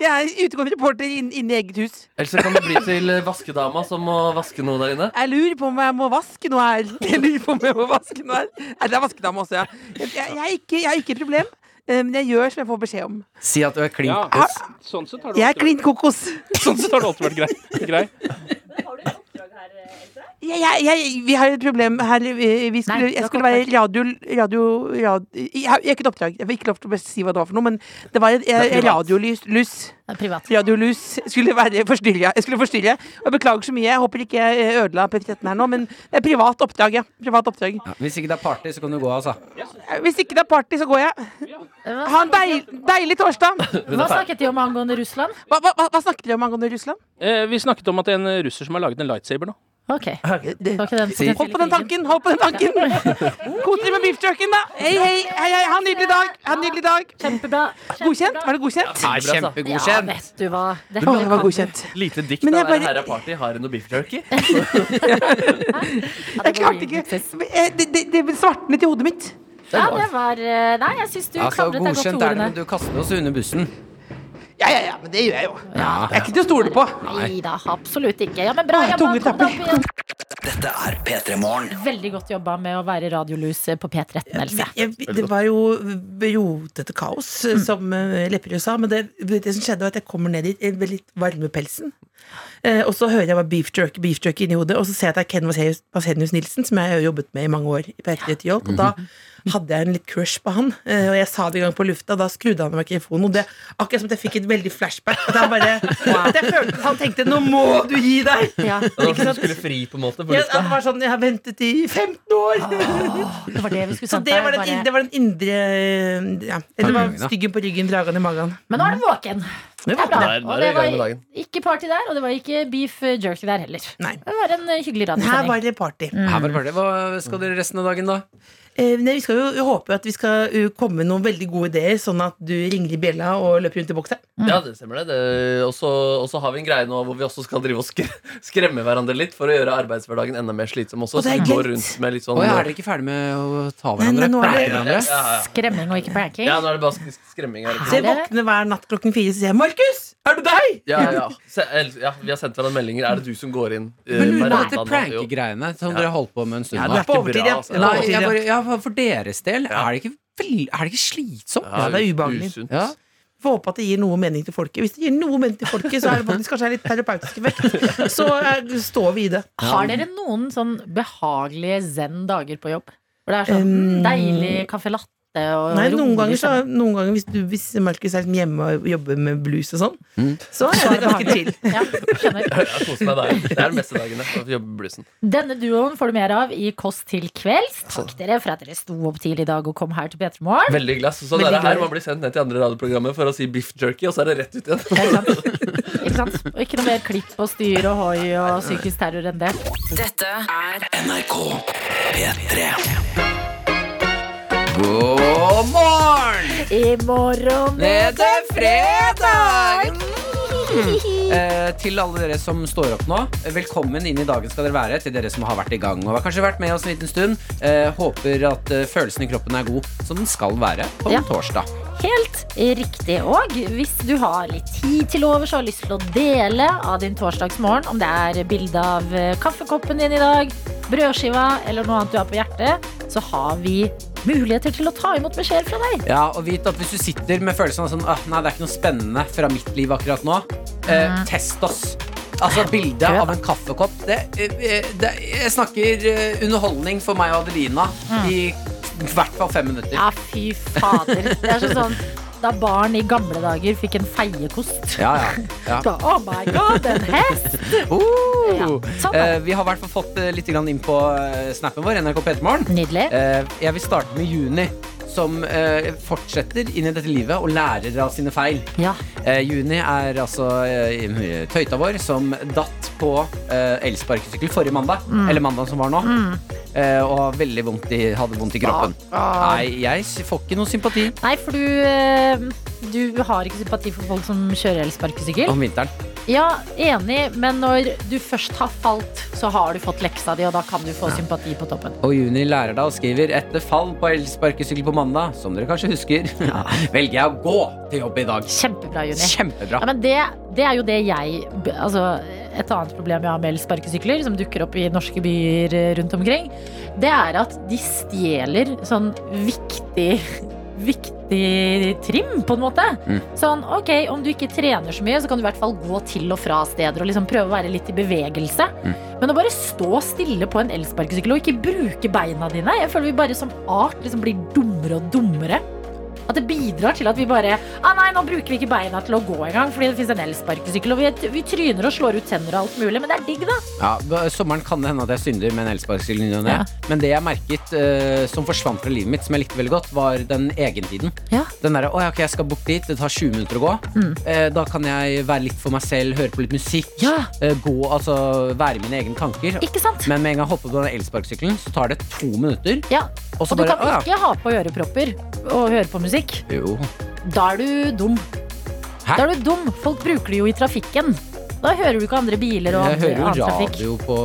S16: Jeg er utegående reporter inn- inne i eget hus.
S15: Eller så kan det bli til vaskedama som må vaske noe der inne.
S16: Jeg lurer på om jeg må vaske noe her. Jeg lurer på om jeg må vaske noe her. Nei, det er vaskedame også, ja. Jeg, jeg, jeg, er ikke, jeg er ikke et problem, eh, men jeg gjør som jeg får beskjed om.
S2: Si at du er klin
S17: Ja,
S2: kokos.
S17: Sånn sett har du
S16: Jeg er
S17: alltid vært-
S16: klin kokos.
S17: [LAUGHS] Sånn sett har du alltid vært grei. grei.
S16: Jeg, jeg, jeg, vi har et problem her. Vi vi skulle,
S3: Nei, det
S16: jeg
S3: var
S16: skulle være radio, radio, radio Jeg har ikke et oppdrag. Jeg får ikke lov til å si hva det var for noe, men det var et,
S3: er
S16: eh,
S3: privat.
S16: radiolys. lus. Radiolus skulle være forstyrra. Jeg skulle forstyrre. Og jeg beklager så mye. Jeg håper ikke jeg eh, ødela P13 her nå, men det er privat oppdrag, ja. Privat oppdrag.
S2: Hvis ikke det er party, så kan du gå, altså.
S16: Hvis ikke det er party, så går jeg. Ha en deil, deilig torsdag.
S17: Hun er
S3: Hva snakket de om angående Russland?
S16: Hva, hva, hva snakket dere om angående Russland?
S17: Eh, vi snakket om at det er en russer som har laget en lightsaber nå.
S3: Ok. Si.
S16: Hold på den tanken! Hold på den tanken! Kos dere med beef jerkyen, da. Hei, hei, hei, hei. Ha en nydelig dag. Ha en nydelig dag.
S3: Kjempebra.
S16: Godkjent? Var det godkjent?
S15: Nei,
S2: altså.
S16: Ja,
S15: kjempegodkjent.
S16: vet
S3: du hva.
S16: Dette Åh, det var kan- godkjent.
S15: Lite dikt
S16: Men
S15: av
S16: jeg
S15: bare...
S16: bare-
S15: herre party. Har du noe beef jerky?
S16: Jeg klarte ikke Eh, Det, det, det svartnet i hodet mitt.
S3: Ja, det var eh, Nei, jeg syns du
S2: Altså,
S3: klamret deg godt til
S2: godkjent er det,
S3: ordene.
S2: men du kaster oss under bussen.
S16: Ja, ja, ja, men det gjør jeg jo. Jeg er ikke til å stole på.
S3: Nei da, absolutt ikke. Ja, men bra
S16: Åh,
S3: jobba.
S16: tunge
S3: Kom deg opp igjen.
S4: Dette er P3 Morgen.
S3: Veldig godt jobba med å være radiolus eh, på P13, Else.
S14: Jeg, det var jo rotete kaos, som eh, Lepperød sa. Men det, det som skjedde, var at jeg kommer ned dit eh, med litt varme pelsen. Eh, og så hører jeg bare beef jerky, beef jerky inni hodet, og så ser jeg at det er Ken Vasenius- Vasenius Nilsen, som jeg har jobbet med i mange år på Etter Jolp. Og da hadde jeg en litt crush på han, eh, og jeg sa det en gang på lufta, og da skrudde han av mikrofonen. Og det akkurat som at jeg fikk et veldig flashback. At, han bare, at jeg følte at han tenkte 'nå må du gi deg'.
S15: Det var som du skulle fri, på en måte. På
S14: Ja,
S15: lufta.
S14: det var sånn, jeg har ventet i 15 år
S3: Det var det vi skulle
S14: Så
S3: sendt
S14: det
S3: deg,
S14: var, den,
S3: bare-
S14: in- det var den indre ja. Det var
S3: Tankegangen, da.
S14: styggen på ryggen, dragen i magen
S3: Men nå er du våken. Det er bra.
S14: Da er- da
S3: Og
S14: er det
S3: det
S14: i gang med
S3: var
S14: dagen.
S3: ikke party der, og det var ikke beef eh, jerky der heller. Det var en eh, hyggelig
S14: Her var
S3: radiosending.
S14: det party
S2: Her var det party. Hva skal dere resten av dagen, da?
S14: Eh, nei, vi skal jo håpe at vi skal uh, komme med noen veldig gode ideer Sånn at du ringer i bjella og løper rundt i bokseren
S15: Ja, det stemmer det. det og så- og så har vi en greie nå hvor vi
S17: [LAUGHS]
S15: også skal drive og skre- skremme hverandre litt for å gjøre arbeidshverdagen enda mer slitsom også.
S14: Og det
S15: så
S14: er
S15: vi går
S14: glemt.
S15: rundt med litt sånn
S2: Å, ja, er dere ikke ferdig med å ta
S14: Nei,
S2: hverandre?
S14: men nå er
S2: Pleie
S14: det-
S2: hverandre?
S15: Ja, ja, ja.
S3: Skremming og ikke pranking.
S15: Ja, nå er det bare sk- skremming her.
S14: Så jeg våkner hver natt klokken fire Så sier jeg, Markus, er du deg?
S15: Ja, ja, ja. Se, El- ja, vi har sendt hverandre meldinger. Er det du som går inn? eh,
S2: Men lurer på
S15: verandaen
S2: dette
S15: nå? Jo.
S2: prankegreiene som dere holdt på med en stund
S15: Ja,
S2: nå.
S15: det er på overtid, ja. Det er på
S2: Nei,
S15: overtid,
S2: jeg
S15: ja.
S2: bare, ja, for- for deres del, er det ikke, vel- er det ikke slitsomt?
S14: Ja, det er ubehagelig.
S2: Usunt. Ja.
S14: Får håpe at det gir noe mening til folket Hvis det gir noe mening til folket Så er det faktisk kanskje en litt terapeutisk effekt Så eh, står vi i det
S3: Har dere noen sånn behagelige zen-dager på jobb? Hvor det er sånn
S14: Um,
S3: deilig caffè latte og
S14: Nei,
S3: rolig
S14: noen ganger, så,
S3: stemning?
S14: noen ganger hvis, du, hvis Markus er liksom hjemme og jobber med blues og sånn, så er det ganske chill.
S15: Jeg har kost meg der. Det er den beste dagen. Jeg jobber med blussen.
S3: Denne duoen får du mer av i Kåss til kvelds. Takk dere for at dere sto opp tidlig i dag og kom her til P3morgen.
S15: Veldig hyggelig. ass. Så
S3: Veldig
S15: det er her
S3: hyggelig.
S15: man blir sendt ned til andre radioprogrammer for å si beef jerky, og så er det rett ut igjen.
S3: Ikke sant? Og ikke noe mer klipp og styr og hoi og psykisk terror enn det.
S8: Dette er
S4: [LAUGHS] NRK P3.
S2: God morgen!
S3: I morgen
S2: er det fredag! [LAUGHS] Eh, til alle dere som står opp nå, eh, velkommen inn i dagen skal dere være. Til dere som har vært i gang og har kanskje vært med oss en liten stund. Eh, håper at eh, følelsen i kroppen er god, som den skal være på en
S3: Ja.
S2: torsdag.
S3: Helt riktig. Og hvis du har litt tid til overs og har lyst til å dele av din torsdagsmorgen, om det er bilde av eh, kaffekoppen din i dag, brødskiva eller noe annet du har på hjertet, så har vi muligheter til å ta imot beskjeder fra deg.
S2: Ja, og vit at hvis du sitter med følelsen av sånn «Ah, Nei, det er ikke noe spennende fra mitt liv akkurat nå eh,
S3: Mhm.
S2: Test oss Altså bildet av en kaffekopp det, eh, det, Jeg snakker eh, underholdning for meg og Adelina I hvert fall fem minutter
S3: Ja, fy fader. Det er sånn sånn da barn i gamle dager fikk en feiekost.
S2: Ja, ja.
S3: [LAUGHS]
S2: ja.
S3: Så, oh my god, en hest!
S2: Oh!
S3: Ja, sånn da.
S2: Eh, vi har i hvert fall fått eh, litt grann inn på eh, snappen vår, NRK Petermorgen.
S3: Nydelig.
S2: jeg vil starte med Juni, som eh, fortsetter inn i dette livet og lærer av sine feil.
S3: Ja.
S2: Eh, Juni er altså eh, tøyta vår som datt på eh, elsparkesykkel forrige mandag.
S5: Mm.
S2: Eller mandag som var nå.
S5: Mm.
S2: Eh, og har veldig vondt i, hadde vondt i kroppen.
S3: Ah.
S2: Nei, jeg s- får ikke noe sympati
S3: Nei, for du, eh, du har ikke sympati for folk som kjører elsparkesykkel.
S2: om vinteren.
S3: Ja, enig, men når du først har falt, så har du fått leksa di, og da kan du få sympati på toppen.
S2: Og Juni lærer da og skriver etter fall på elsparkesykkel på mandag, som dere kanskje husker, [LAUGHS] velger jeg å gå til jobb i dag.
S3: Kjempebra, Juni.
S2: Kjempebra.
S3: Ja, men det, det er jo det jeg altså, Et annet problem jeg har med elsparkesykler, som dukker opp i norske byer eh, rundt omkring, det er at de stjeler sånn viktig [LAUGHS] Viktig trim, på en måte.
S5: Mm.
S3: Sånn, ok, Om du ikke trener så mye, så kan du i hvert fall gå til og fra steder og liksom prøve å være litt i bevegelse. Men å bare stå stille på en elsparkesykkel og ikke bruke beina dine Jeg føler vi bare som art liksom blir dummere og dummere. At det bidrar til at vi bare ah, Nei, nå bruker vi ikke beina til å gå engang, fordi det fins en elsparkesykkel. Og vi, vi tryner og slår ut tenner og alt mulig, men det er digg, da.
S2: Ja, b- Sommeren kan det hende at jeg synder med en elsparkesykkel. i ny og ne. Men det jeg merket eh, som forsvant fra livet mitt, som jeg likte veldig godt, var den egentiden. Den derre å ja, ok, jeg skal bort dit, det tar 20 minutter å gå.
S3: Mm.
S2: Eh, da kan jeg være litt for meg selv, høre på litt musikk. eh, gå, altså være i mine egne tanker.
S3: Ikke sant?
S2: Men med en gang jeg hopper på den elsparkesykkelen, så tar det to minutter.
S3: Ja.
S2: Og
S3: Og
S2: så
S3: du
S2: bare
S3: kan
S2: å ja.
S3: ikke ha på ørepropper og høre på musikk.
S2: Jo.
S3: Da er du dum.
S2: Hæ?
S3: Da er du dum. Folk bruker det jo i trafikken. Da hører du ikke andre biler og
S2: Jeg
S3: andre,
S2: hører jo
S3: annen trafikk.
S2: radio på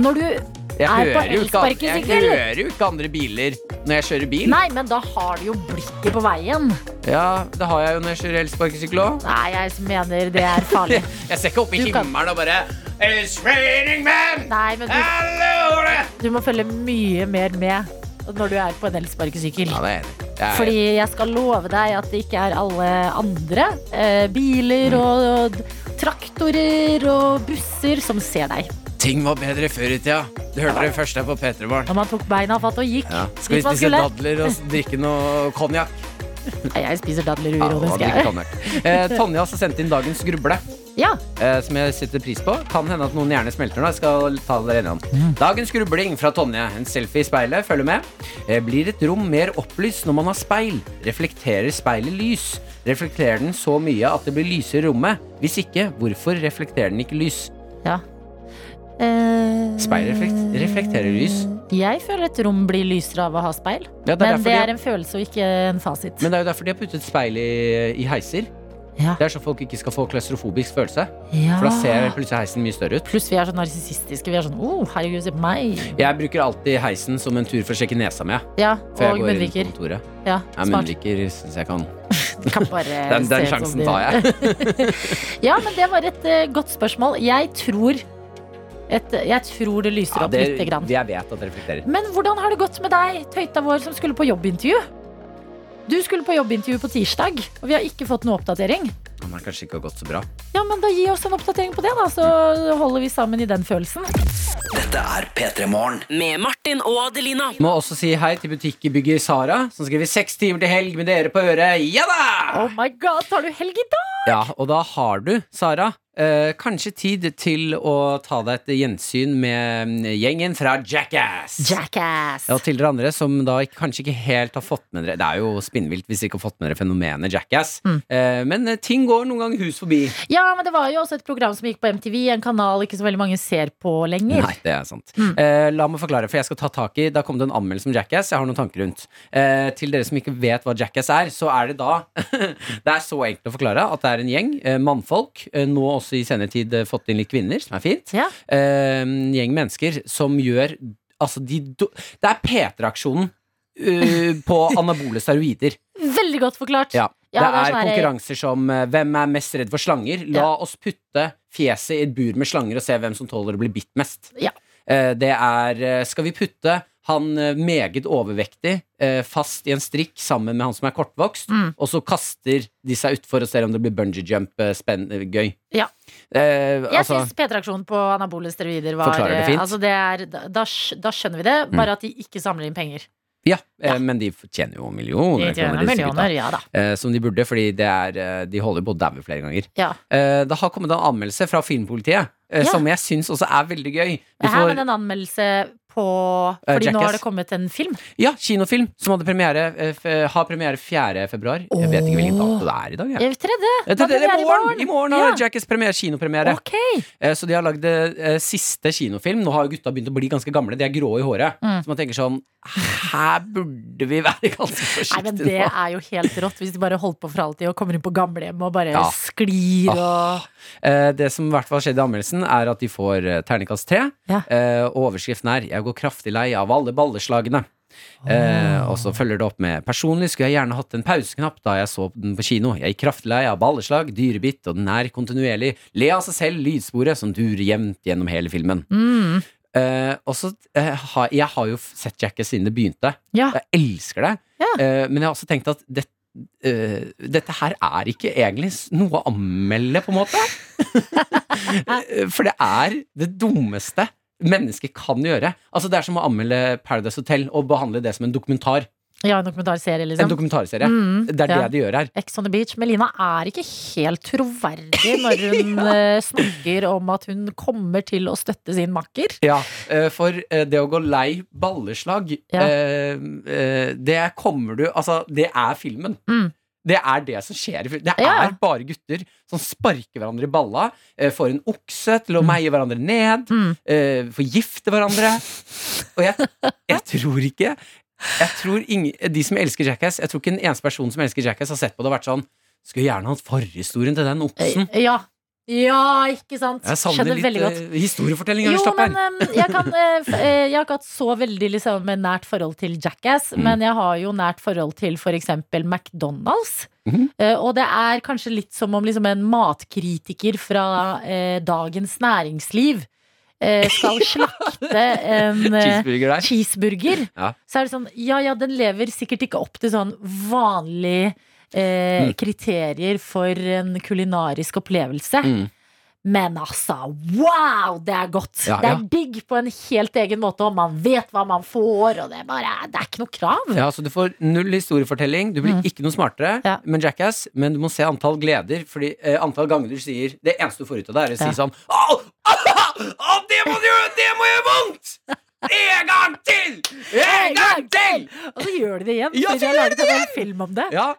S3: Når du
S2: jeg
S3: er på
S2: hører, jo ikke, an- jeg
S3: elsparkesykkel
S2: hører jo ikke andre biler når jeg kjører bil.
S3: Nei, men da har du jo blikket på veien.
S2: Ja, det har jeg jo når jeg kjører elsparkesykkel òg.
S3: Nei, jeg mener det er farlig.
S2: [LAUGHS] Jeg ser ikke opp i
S3: Du kan-
S2: himmelen og bare It's raining men!
S3: Nei, men du, du må følge mye mer med når du er på en elsparkesykkel.
S2: Ja, det er det. Jeg er-
S3: Fordi jeg skal love deg at det ikke er alle andre eh,
S2: Mm.
S3: biler og, og traktorer og busser som ser deg.
S2: Ting var bedre før i tida. Du hørte det først her på P3 Barn.
S3: Når man tok beina fatt og gikk.
S2: Ja. Skal vi
S3: dit man
S2: spise
S3: skulle.
S2: dadler og s- drikke noe konjakk?
S3: Nei, jeg spiser dadler
S2: Ja, og
S3: uironisk.
S2: drikke
S3: jeg.
S2: konjakk. Eh, Tonje har også sendt inn dagens gruble.
S3: Ja.
S2: Eh, som jeg setter pris på. Kan hende at noen gjerne smelter nå. Jeg skal ta dere gjennom. Dagens grubling fra Tonje. En selfie i speilet. Følger med. Eh, Blir et rom mer opplyst når man har speil? Reflekterer speilet lys? Reflekterer den så mye at det blir lysere i rommet? Hvis ikke, hvorfor reflekterer den ikke lys?
S3: Ja. Eh,
S2: Speil reflekt reflekterer lys.
S3: Jeg føler et rom blir lysere av å ha speil.
S2: Ja, det er derfor
S3: Men det
S2: de-
S3: er en følelse og ikke en fasit.
S2: Men det er jo derfor de har puttet speil i, i heiser. Det er så folk ikke skal få klaustrofobisk følelse.
S3: Ja.
S2: For da ser plutselig heisen mye større ut.
S3: Pluss vi er så narsissistiske. Vi er sånn 'Å, oh, herregud, se på meg'.
S2: Jeg bruker alltid heisen som en tur for å sjekke nesa mi. jeg.
S3: Ja,
S2: Før jeg
S3: og
S2: går inn på
S3: munnviker.
S2: kontoret.
S3: Ja,
S2: Ja,
S3: smart.
S2: munnviker syns jeg kan.
S3: Kan bare
S2: [LAUGHS] Den, den
S3: se ut som
S2: sjansen
S3: de-
S2: tar
S3: [LAUGHS]
S2: jeg.
S3: Ja, men det var et eh, godt spørsmål. Jeg tror, et, jeg tror det lyser
S2: Ja,
S3: opp
S2: det,
S3: lite grann.
S2: jeg vet at det reflekterer.
S3: Men hvordan har det gått med deg, tøyta vår, som skulle på jobbintervju? Du skulle på jobbintervju på tirsdag, og vi har ikke fått noe oppdatering.
S2: Men det kanskje ikke har gått så bra.
S3: Ja, men da gi oss en oppdatering på det, da, så holder vi sammen i den følelsen.
S4: Dette er P3 Morgen.
S8: Med Martin og Adelina.
S2: Må også si hei til butikkbygger Sara, som skriver seks timer til helg med dere på øret. Ja da!
S3: Oh my god, tar du helg i dag?
S2: Ja, og da har du, Sara, eh, kanskje tid til å ta deg et gjensyn med mm, gjengen fra Jackass.
S3: Jackass.
S2: Ja, og til dere andre som da ikke, kanskje ikke helt har fått med dere Det er jo spinnvilt hvis dere ikke har fått med dere fenomenet Jackass.
S3: Mm.
S2: Eh, men eh, ting går noen ganger hus forbi.
S3: Ja, men det var jo også et program som gikk på MTV, en kanal ikke så veldig mange ser på lenger.
S2: Nei, det er sant. Eh, la meg forklare, for jeg skal ta tak i Da kom det en anmeldelse om Jackass. Jeg har noen tanker rundt. Eh, til dere som ikke vet hva Jackass er, så er det da [LAUGHS] Det er så enkelt å forklare at det er en gjeng eh, mannfolk, eh, nå også i senere tid eh, fått inn litt kvinner, som er fint. Eh, en gjeng mennesker som gjør Altså, de do, Det er P3-aksjonen eh, på anabole steroider.
S3: Veldig godt forklart.
S2: Ja. Det
S3: Ja,
S2: er
S3: sånn her-
S2: konkurranser som eh, Hvem er mest redd for slanger? La
S3: Ja.
S2: oss putte fjeset i et bur med slanger og se hvem som tåler å bli bitt mest.
S3: Ja.
S2: Eh, Det er eh, Skal vi putte han eh, meget overvektig eh, fast i en strikk sammen med han som er kortvokst,
S3: Mm.
S2: og så kaster de seg utfor og ser om det blir bungee jump eh, spenn- eh, gøy.
S3: Ja.
S2: Eh,
S3: Jeg
S2: altså,
S3: syns P3-aksjonen på anabole steroider var
S2: Forklarer det fint.
S3: Altså det er, da, da skj- da skjønner vi det,
S2: Mm.
S3: bare at de ikke samler inn penger.
S2: Ja, eh, men de tjener jo millioner.
S3: De tjener
S2: kroner, disse
S3: millioner,
S2: gutta.
S3: ja da.
S2: Eh, Som de burde, fordi det er, eh, de holder på å daue flere ganger.
S3: Ja.
S2: Eh, Det har kommet en anmeldelse fra Filmpolitiet, eh,
S3: Ja.
S2: som jeg syns også er veldig gøy. Vi
S3: Det her
S2: får-
S3: med en anmeldelse på
S2: Eh,
S3: Fordi nå
S2: Jackass.
S3: har det kommet en film.
S2: Ja, kinofilm som hadde premiere, eh, f- har premiere 4. februar. Jeg vet ikke hvilken dato det er i dag. jeg.
S3: Jeg vet ikke det.
S2: Eh, Det,
S3: Da
S2: det, det,
S3: premiere
S2: er i morgen! I morgen har
S3: Ja.
S2: Jackass premiere, kinopremiere.
S3: Ok.
S2: Eh, Så de har lagd eh, siste kinofilm. Nå har jo gutta begynt å bli ganske gamle. De er grå i håret.
S3: Mm.
S2: Så man tenker sånn Her burde vi være [LAUGHS] ganske
S3: Nei,
S2: forsiktige
S3: men
S2: nå.
S3: Det er jo helt rått hvis de bare holder på for alltid og kommer inn på gamlehjem og bare
S2: Ja. Ah.
S3: sklir og
S2: Åh. Eh, Det som i hvert fall skjedde i anmeldelsen, er at de får eh, terningkast tre. Eh, Og overskriften er 'Jeg går kraftig lei av alle balleslagene'. Eh, og så følger det opp med 'Personlig skulle jeg gjerne hatt en pauseknapp da jeg så den på kino'. 'Jeg gikk kraftig lei av balleslag, dyrebitt, og den er kontinuerlig le av seg selv, lydsporet som durer jevnt gjennom hele filmen'.
S5: Mm.
S2: Eh, og så eh, har- Jeg har jo f- sett Jackass siden det begynte.
S5: Ja.
S2: Jeg elsker det. Eh, men jeg har også tenkt at det, eh, dette her er ikke egentlig s- noe å anmelde, på
S3: [LAUGHS]
S2: en måte. Eh, For det er det dummeste mennesket kan gjøre. Altså Det er som å anmelde Paradise Hotel og behandle det som en dokumentar.
S3: Ja, en dokumentarserie, liksom.
S2: En dokumentarserie.
S3: Mm,
S2: det er
S3: ja.
S2: det de gjør her.
S3: Ex on the beach. Melina er ikke helt troverdig når hun eh, snakker om at hun kommer til å støtte sin makker.
S2: Ja, eh, for eh, det å gå lei balleslag,
S3: Ja.
S2: eh, eh, det kommer du Altså, det er filmen.
S3: Mm.
S2: Det er det som skjer. i fil- Det er
S5: Ja.
S2: bare gutter som sparker hverandre i balla, eh, får en okse til å
S3: Mm.
S2: meie hverandre ned, eh, forgifter hverandre. Og jeg, jeg tror ikke Jeg tror ingen, De som elsker Jackass Jeg tror ikke en eneste person som elsker Jackass, har sett på det og vært sånn Skulle gjerne hatt forhistorien til den oksen.
S3: Ja. Ja, ikke sant?
S2: Jeg savner
S3: Eh, Skjønner veldig
S2: litt
S3: godt.
S2: eh, historiefortelling.
S3: Jo,
S2: Ørnstopper.
S3: men eh, jeg, kan, eh, f- eh, jeg har ikke hatt så veldig liksom, nært forhold til Jackass,
S2: Mm.
S3: men jeg har jo nært forhold til f.eks. McDonald's.
S5: Mhm.
S3: Eh, og det er kanskje litt som om liksom, en matkritiker fra eh, Dagens Næringsliv eh, skal slakte en eh,
S2: [LAUGHS] Cheeseburger der.
S3: cheeseburger.
S2: [LAUGHS] Ja.
S3: Så er det sånn, ja ja, den lever sikkert ikke opp til sånn vanlig eh,
S2: Mm.
S3: kriterier for en kulinarisk opplevelse.
S2: Mm.
S3: Men altså, wow, det er godt!
S2: Ja,
S3: det er
S2: ja.
S3: digg på en helt egen måte, og man vet hva man får, og det er, bare, det er ikke noe krav.
S2: [LAUGHS] Ja, så Du får null historiefortelling, du
S3: Mm.
S2: blir ikke noe smartere med Jackass, men du må se antall gleder. Fordi eh, antall ganger du sier Det eneste du får ut av det, er å si sånn Au! Au! Det må du gjøre! Det må gjøre vondt! En gang til! En gang til!
S3: Og så gjør de det igjen.
S5: Ja, så
S3: fordi de har
S5: gjør
S3: laget
S5: de det
S3: en film om det. Ja.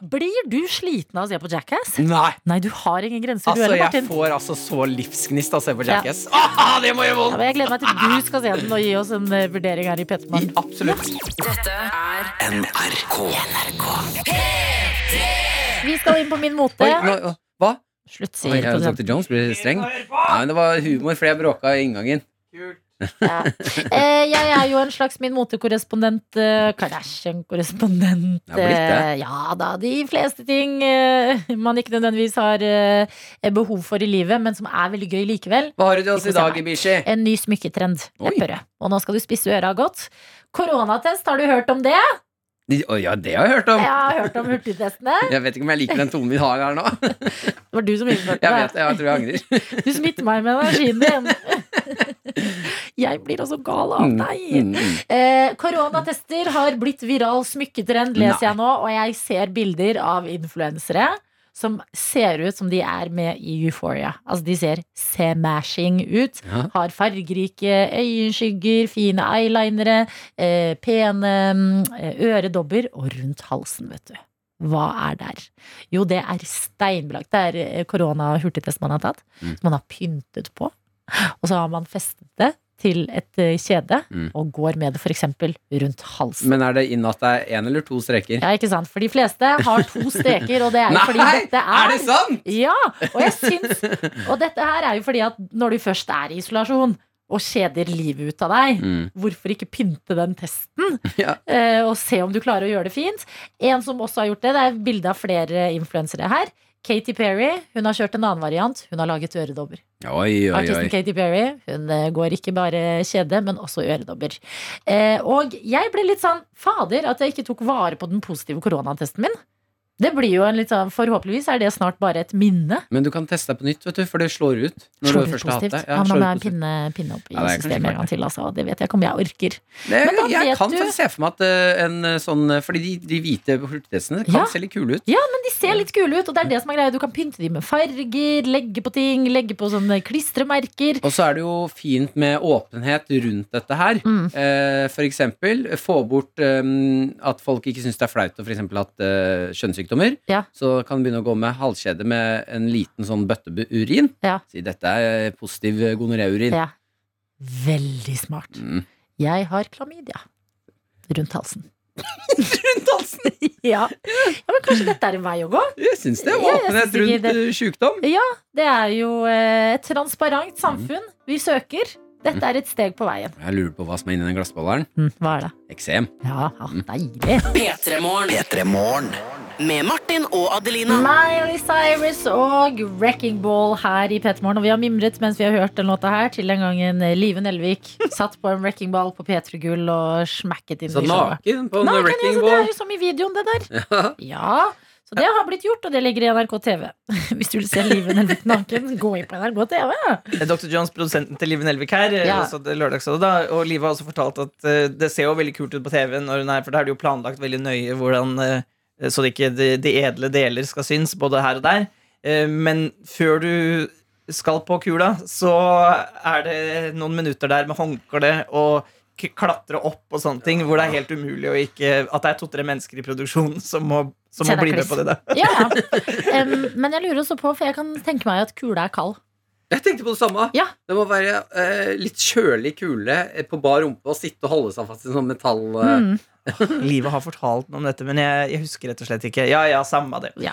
S3: Blir du sliten av å se på Jackass?
S2: Nei.
S3: du har ingen grenser, du
S2: Mm. Altså,
S3: heller,
S2: jeg
S3: Martin.
S2: får altså så livsgnist av å se på
S3: Ja.
S2: Jackass. Ah, det må gjøre
S3: Ja,
S2: vondt!
S3: men jeg gleder meg til du skal se den og gi oss en eh, vurdering her i Petermann.
S2: Absolutt.
S8: Dette er
S4: NRK.
S3: Vi skal inn på min mote.
S2: Oi, nå, å, hva?
S3: Slutt,
S2: Oi,
S3: sier
S2: ja,
S3: produsenten.
S2: Dr. Jones blir streng. Nei, men det var humor, for jeg bråka i inngangen. [LAUGHS]
S3: Eh, jeg er jo en slags min motekorrespondent. eh, Kardashian-korrespondent.
S5: Det er blitt det.
S3: eh, ja da, de fleste ting eh, man ikke nødvendigvis har eh, behov for i livet, men som er veldig gøy likevel.
S2: Hva har du til oss
S3: Ikke
S2: i dag,
S3: se meg.
S2: Ibishi?
S3: En ny smykketrend.
S2: Oi.
S3: Lepperød. Og nå skal du spisse øra godt. Koronatest, har du hørt om det?
S2: De- Å ja, det har jeg hørt om.
S3: Jeg har hørt om hurtigtestene.
S2: Jeg vet ikke om jeg liker den tonen vi har her nå.
S3: Det var du som innførte
S2: Jeg
S3: det.
S2: vet det, jeg tror jeg angrer.
S3: Du smitter meg med energien
S2: [LAUGHS]
S3: din. Jeg blir også gal av
S5: Mm, mm,
S3: deg.
S5: mm.
S3: Eh, koronatester har blitt viral smykketrend, leser jeg nå. Og jeg ser bilder av influensere som ser ut som de er med i Euphoria. Altså de ser smashing ut.
S5: Ja.
S3: Har fargerike øyenskygger, fine eyelinere, eh, pene mm, øredobber og rundt halsen, vet du. Hva er der? Jo, det er steinbelagt. Det er eh, korona-hurtigtest man har tatt,
S5: Mm.
S3: som man har pyntet på. Og så har man festet det til et eh, kjede
S2: Mm.
S3: og går med det f.eks. rundt halsen.
S2: Men er det inn at det er én eller to streker?
S3: Ja, ikke sant? For de fleste har
S2: [LAUGHS]
S3: to streker, og det er jo
S2: Nei,
S3: fordi dette er
S2: er det sant?
S3: Ja, og jeg syns Og dette her er jo fordi at når du først er i isolasjon og kjeder livet ut av deg,
S5: Mm.
S3: hvorfor ikke pynte den testen?
S2: [LAUGHS] Ja.
S3: eh, og se om du klarer å gjøre det fint. En som også har gjort det, det er bilde av flere influensere her. Katy Perry hun har kjørt en annen variant. Hun har laget øredobber.
S2: Oi, oi,
S3: Artisten
S2: oi.
S3: Katy Perry hun eh, går ikke bare kjede, men også øredobber. Eh, og jeg ble litt sånn fader at jeg ikke tok vare på den positive koronatesten min. Det blir jo en litt sånn Forhåpentligvis er det snart bare et minne.
S2: Men du kan teste deg på nytt, vet du, for det slår ut. Når
S3: Slår
S2: du
S3: ut
S2: først har hatt
S3: positivt.
S2: det.
S3: Ja, men da må
S2: slår ut
S3: jeg
S2: positivt.
S3: pinne, pinne opp i
S2: Ja, det er kanskje
S3: systemet
S2: smart,
S3: en gang til, altså. Det vet jeg ikke om jeg orker.
S2: Nei,
S3: Men da
S2: jeg
S3: vet
S2: kan
S3: du-
S2: faktisk se for meg at eh, en eh, sånn eh, Fordi de, de hvite hurtigtestene kan
S3: Ja.
S2: se litt kule ut.
S3: Ja, men de ser litt gule ut, og det er det som er greia. Du kan pynte dem med farger, legge på ting, legge på sånne klistremerker.
S2: Og så er det jo fint med åpenhet rundt dette her.
S3: Mm.
S2: Eh, for eksempel få bort eh, at folk ikke syns det er flaut å for eksempel hatt eh, kjønnssykdommer. Så kan du begynne å gå med halskjede med en liten sånn bøtte med urin. Si dette er eh, positiv gonoréurin.
S3: Ja. Veldig smart.
S2: Mm.
S3: Jeg har klamydia rundt halsen. [LAUGHS] rundt halsen? ja. ja. Men kanskje dette er en vei å gå?
S2: Jeg syns det.
S3: Ja, jeg synes
S2: Åpenhet
S3: ikke
S2: rundt
S3: det-
S2: eh, sykdom.
S3: Ja, det er jo eh, et transparent samfunn vi søker. Dette er et steg på veien.
S2: Jeg lurer på hva som er inni den glassbeholderen.
S3: Mm. hva er det?
S2: Eksem.
S3: Ja, deilig.
S4: P3morgen.
S8: Med Martin og Adelina.
S3: Miley Cyrus og Wrecking Ball her i P3morgen. Og vi har mimret mens vi har hørt den låta her, til den gangen Live Nelvik satt på en wrecking ball på P3 Gull og smakket inn
S2: Så
S3: i showet.
S2: naken på en
S3: Naken,
S2: wrecking
S3: altså, Det
S2: ball.
S3: er jo som i videoen, det der.
S2: Ja.
S3: Ja, så det har blitt gjort, og det ligger i NRK TV. [LAUGHS] Hvis du vil se Live Nelvik naken, gå inn på NRK TV.
S6: Dr. Jones, Eh, produsenten til Live Nelvik her. eh,
S3: Ja.
S6: også det lørdagsrådet da, og Live har også fortalt at eh, det ser jo veldig kult ut på TV, når hun er, for da er det jo planlagt veldig nøye hvordan eh, Så det ikke de, de edle deler skal synes, både her og der. Eh, Men før du skal på kula, så er det noen minutter der med håndkle og k- klatre opp og sånne ting, hvor det er helt umulig å ikke At det er to-tre mennesker i produksjonen som må, som
S3: Se
S6: må
S3: deg
S6: bli med
S3: kliss.
S6: på det. Da.
S3: Ja, ja. Em, men jeg lurer også på, for jeg kan tenke meg at kula er kald.
S2: Jeg tenkte på det samme. Det må være eh, litt kjølig kule eh, på bar rumpe og sitte og holde seg fast i sånn metall...
S3: Mm.
S2: eh.
S6: Livet har fortalt meg om dette, men jeg, jeg husker rett og slett ikke. Ja, ja, samme det.
S3: Ja.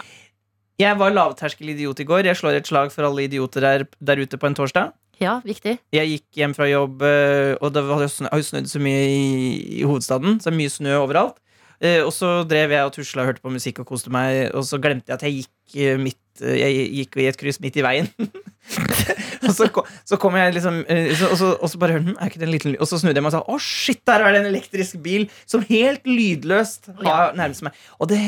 S6: Jeg var lavterskel idiot i går. Jeg slår et slag for alle idioter der, der ute på en torsdag.
S3: Ja, viktig.
S6: Jeg gikk hjem fra jobb, eh, og det var- det har jo snødd så mye i, i hovedstaden. Så det er mye snø overalt. Eh, Og så drev jeg og tusla og hørte på musikk og koste meg, og så glemte jeg at jeg gikk, eh, midt, eh, jeg gikk i et kryss midt i veien. [LAUGHS] og så kom, så kom jeg liksom eh, så, og, så, og så bare hørte den, er ikke det en liten lyd? Og så snudde jeg meg og sa å shit, der er det en elektrisk bil som helt lydløst har nærmest meg. Og det,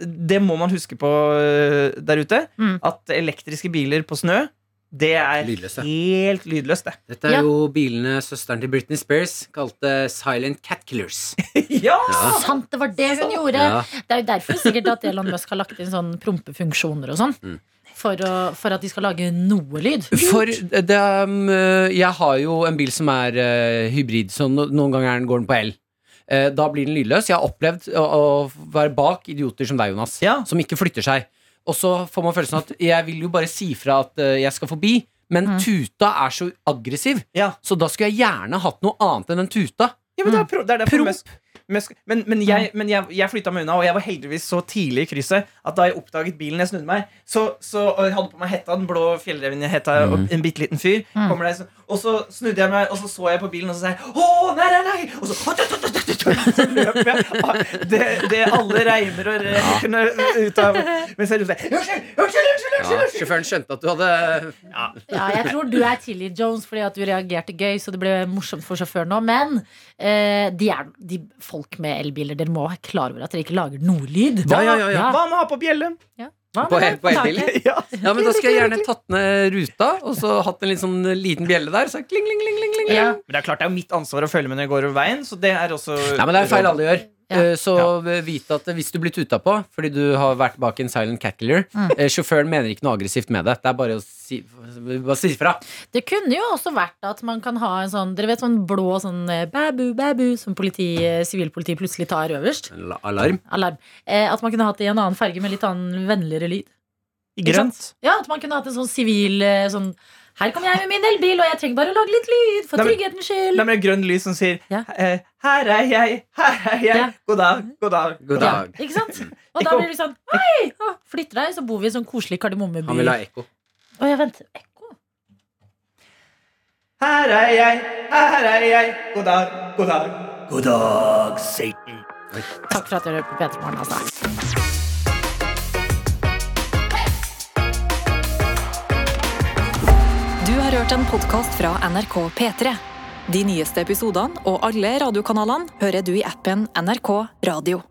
S6: det må man huske på eh, der ute, at elektriske biler på snø, det er helt lydløst, det.
S2: Dette er jo bilene søsteren til Britney Spears kalte Silent Cat Killers.
S6: ja!
S3: Sant, det var det hun gjorde!
S2: Ja.
S3: Det er jo derfor sikkert at Elon Musk har lagt inn sånn prompefunksjoner og sånn.
S2: Mm.
S3: For, å, for at de skal lage noe lyd.
S2: For det, um, jeg har jo en bil som er eh, hybrid, så no, noen ganger er den- går den på el. Eh, da blir den lydløs. Jeg har opplevd å, å være bak idioter som deg, Jonas, som ikke flytter seg. Og så får man følelsen at jeg vil jo bare si fra at eh, jeg skal forbi, men tuta er så aggressiv, så da skulle jeg gjerne hatt noe annet enn en tuta.
S6: Ja, men det er, pro det er derfor Musk- Musk- Men, men, jeg, men jeg, jeg flytta meg unna, og jeg var heldigvis så tidlig i krysset at da jeg oppdaget bilen jeg snudde meg, så, så og jeg hadde på meg hetta, den blå fjellrevenhetta,
S2: Mm.
S6: og en bitte liten fyr. Kommer der, sånn- og så snudde jeg meg, og så så jeg på bilen, og så sa jeg Å, nei, nei, nei! Og så, så løp jeg. Ah, Det, det alle reimer og rekene ut av Mens jeg ropte Unnskyld! Unnskyld! Unnskyld!
S2: Ja, sjåføren skjønte at du hadde
S3: Ja, jeg tror du er tilgitt Jones fordi at du reagerte gøy, så det ble morsomt for sjåføren òg. Men eh, de er, de, folk med elbiler, dere må være klar over at dere ikke lager noe lyd.
S2: Ja, ja, ja, ja.
S6: Hva med å ha på bjelle?
S3: Hva
S2: På,
S3: med
S2: he-
S3: det?
S2: på elbilen.
S3: Taket?
S2: Ja. men da skulle jeg gjerne tatt ned ruta, og så hatt en litt sånn liten bjelle der. Så kling, kling, kling, kling, kling.
S6: Men det er klart det er jo mitt ansvar å følge med når jeg går over veien, så det er også
S2: Nei, men det er feil alle gjør. Eh, Så vite at hvis du blir tuta på fordi du har vært bak en silent cat killer
S3: Mm.
S2: eh, Sjåføren mener ikke noe aggressivt med det. Det er bare å si, bare si fra.
S3: Det kunne jo også vært at man kan ha en sånn Dere vet sånn blå sånn eh, bæbu, bæbu, som politi, eh, sivilpolitiet plutselig tar øverst.
S2: La- Alarm.
S3: Alarm. Eh, at man kunne hatt det i en annen farge med litt annen vennligere lyd. Ikke
S2: Grønt.
S3: sant? Ja, at man kunne hatt en sånn sivil eh, sånn Her kommer jeg med min elbil, og jeg trenger bare å lage litt lyd for
S6: Nei, men-
S3: trygghetens skyld.
S6: Det er med grønn lys som sier eh, Her er jeg, her er jeg. God dag, god dag.
S2: God dag.
S3: Ikke sant?
S6: [LAUGHS]
S3: Og
S6: Ikke
S3: da
S6: om-
S3: blir du sånn Hei! Å, Flytter deg, så bor vi i en sånn koselig kardemommeby.
S2: Han vil ha ekko.
S3: Å, ja, vent.
S6: Her er jeg, her er jeg. God dag, god dag. God dag, Satan.
S3: Takk for at dere hører på P3 Morgen, altså.
S1: Du har hørt en podkast fra NRK P3. De nyeste episodene og alle radiokanalene hører du i appen NRK Radio.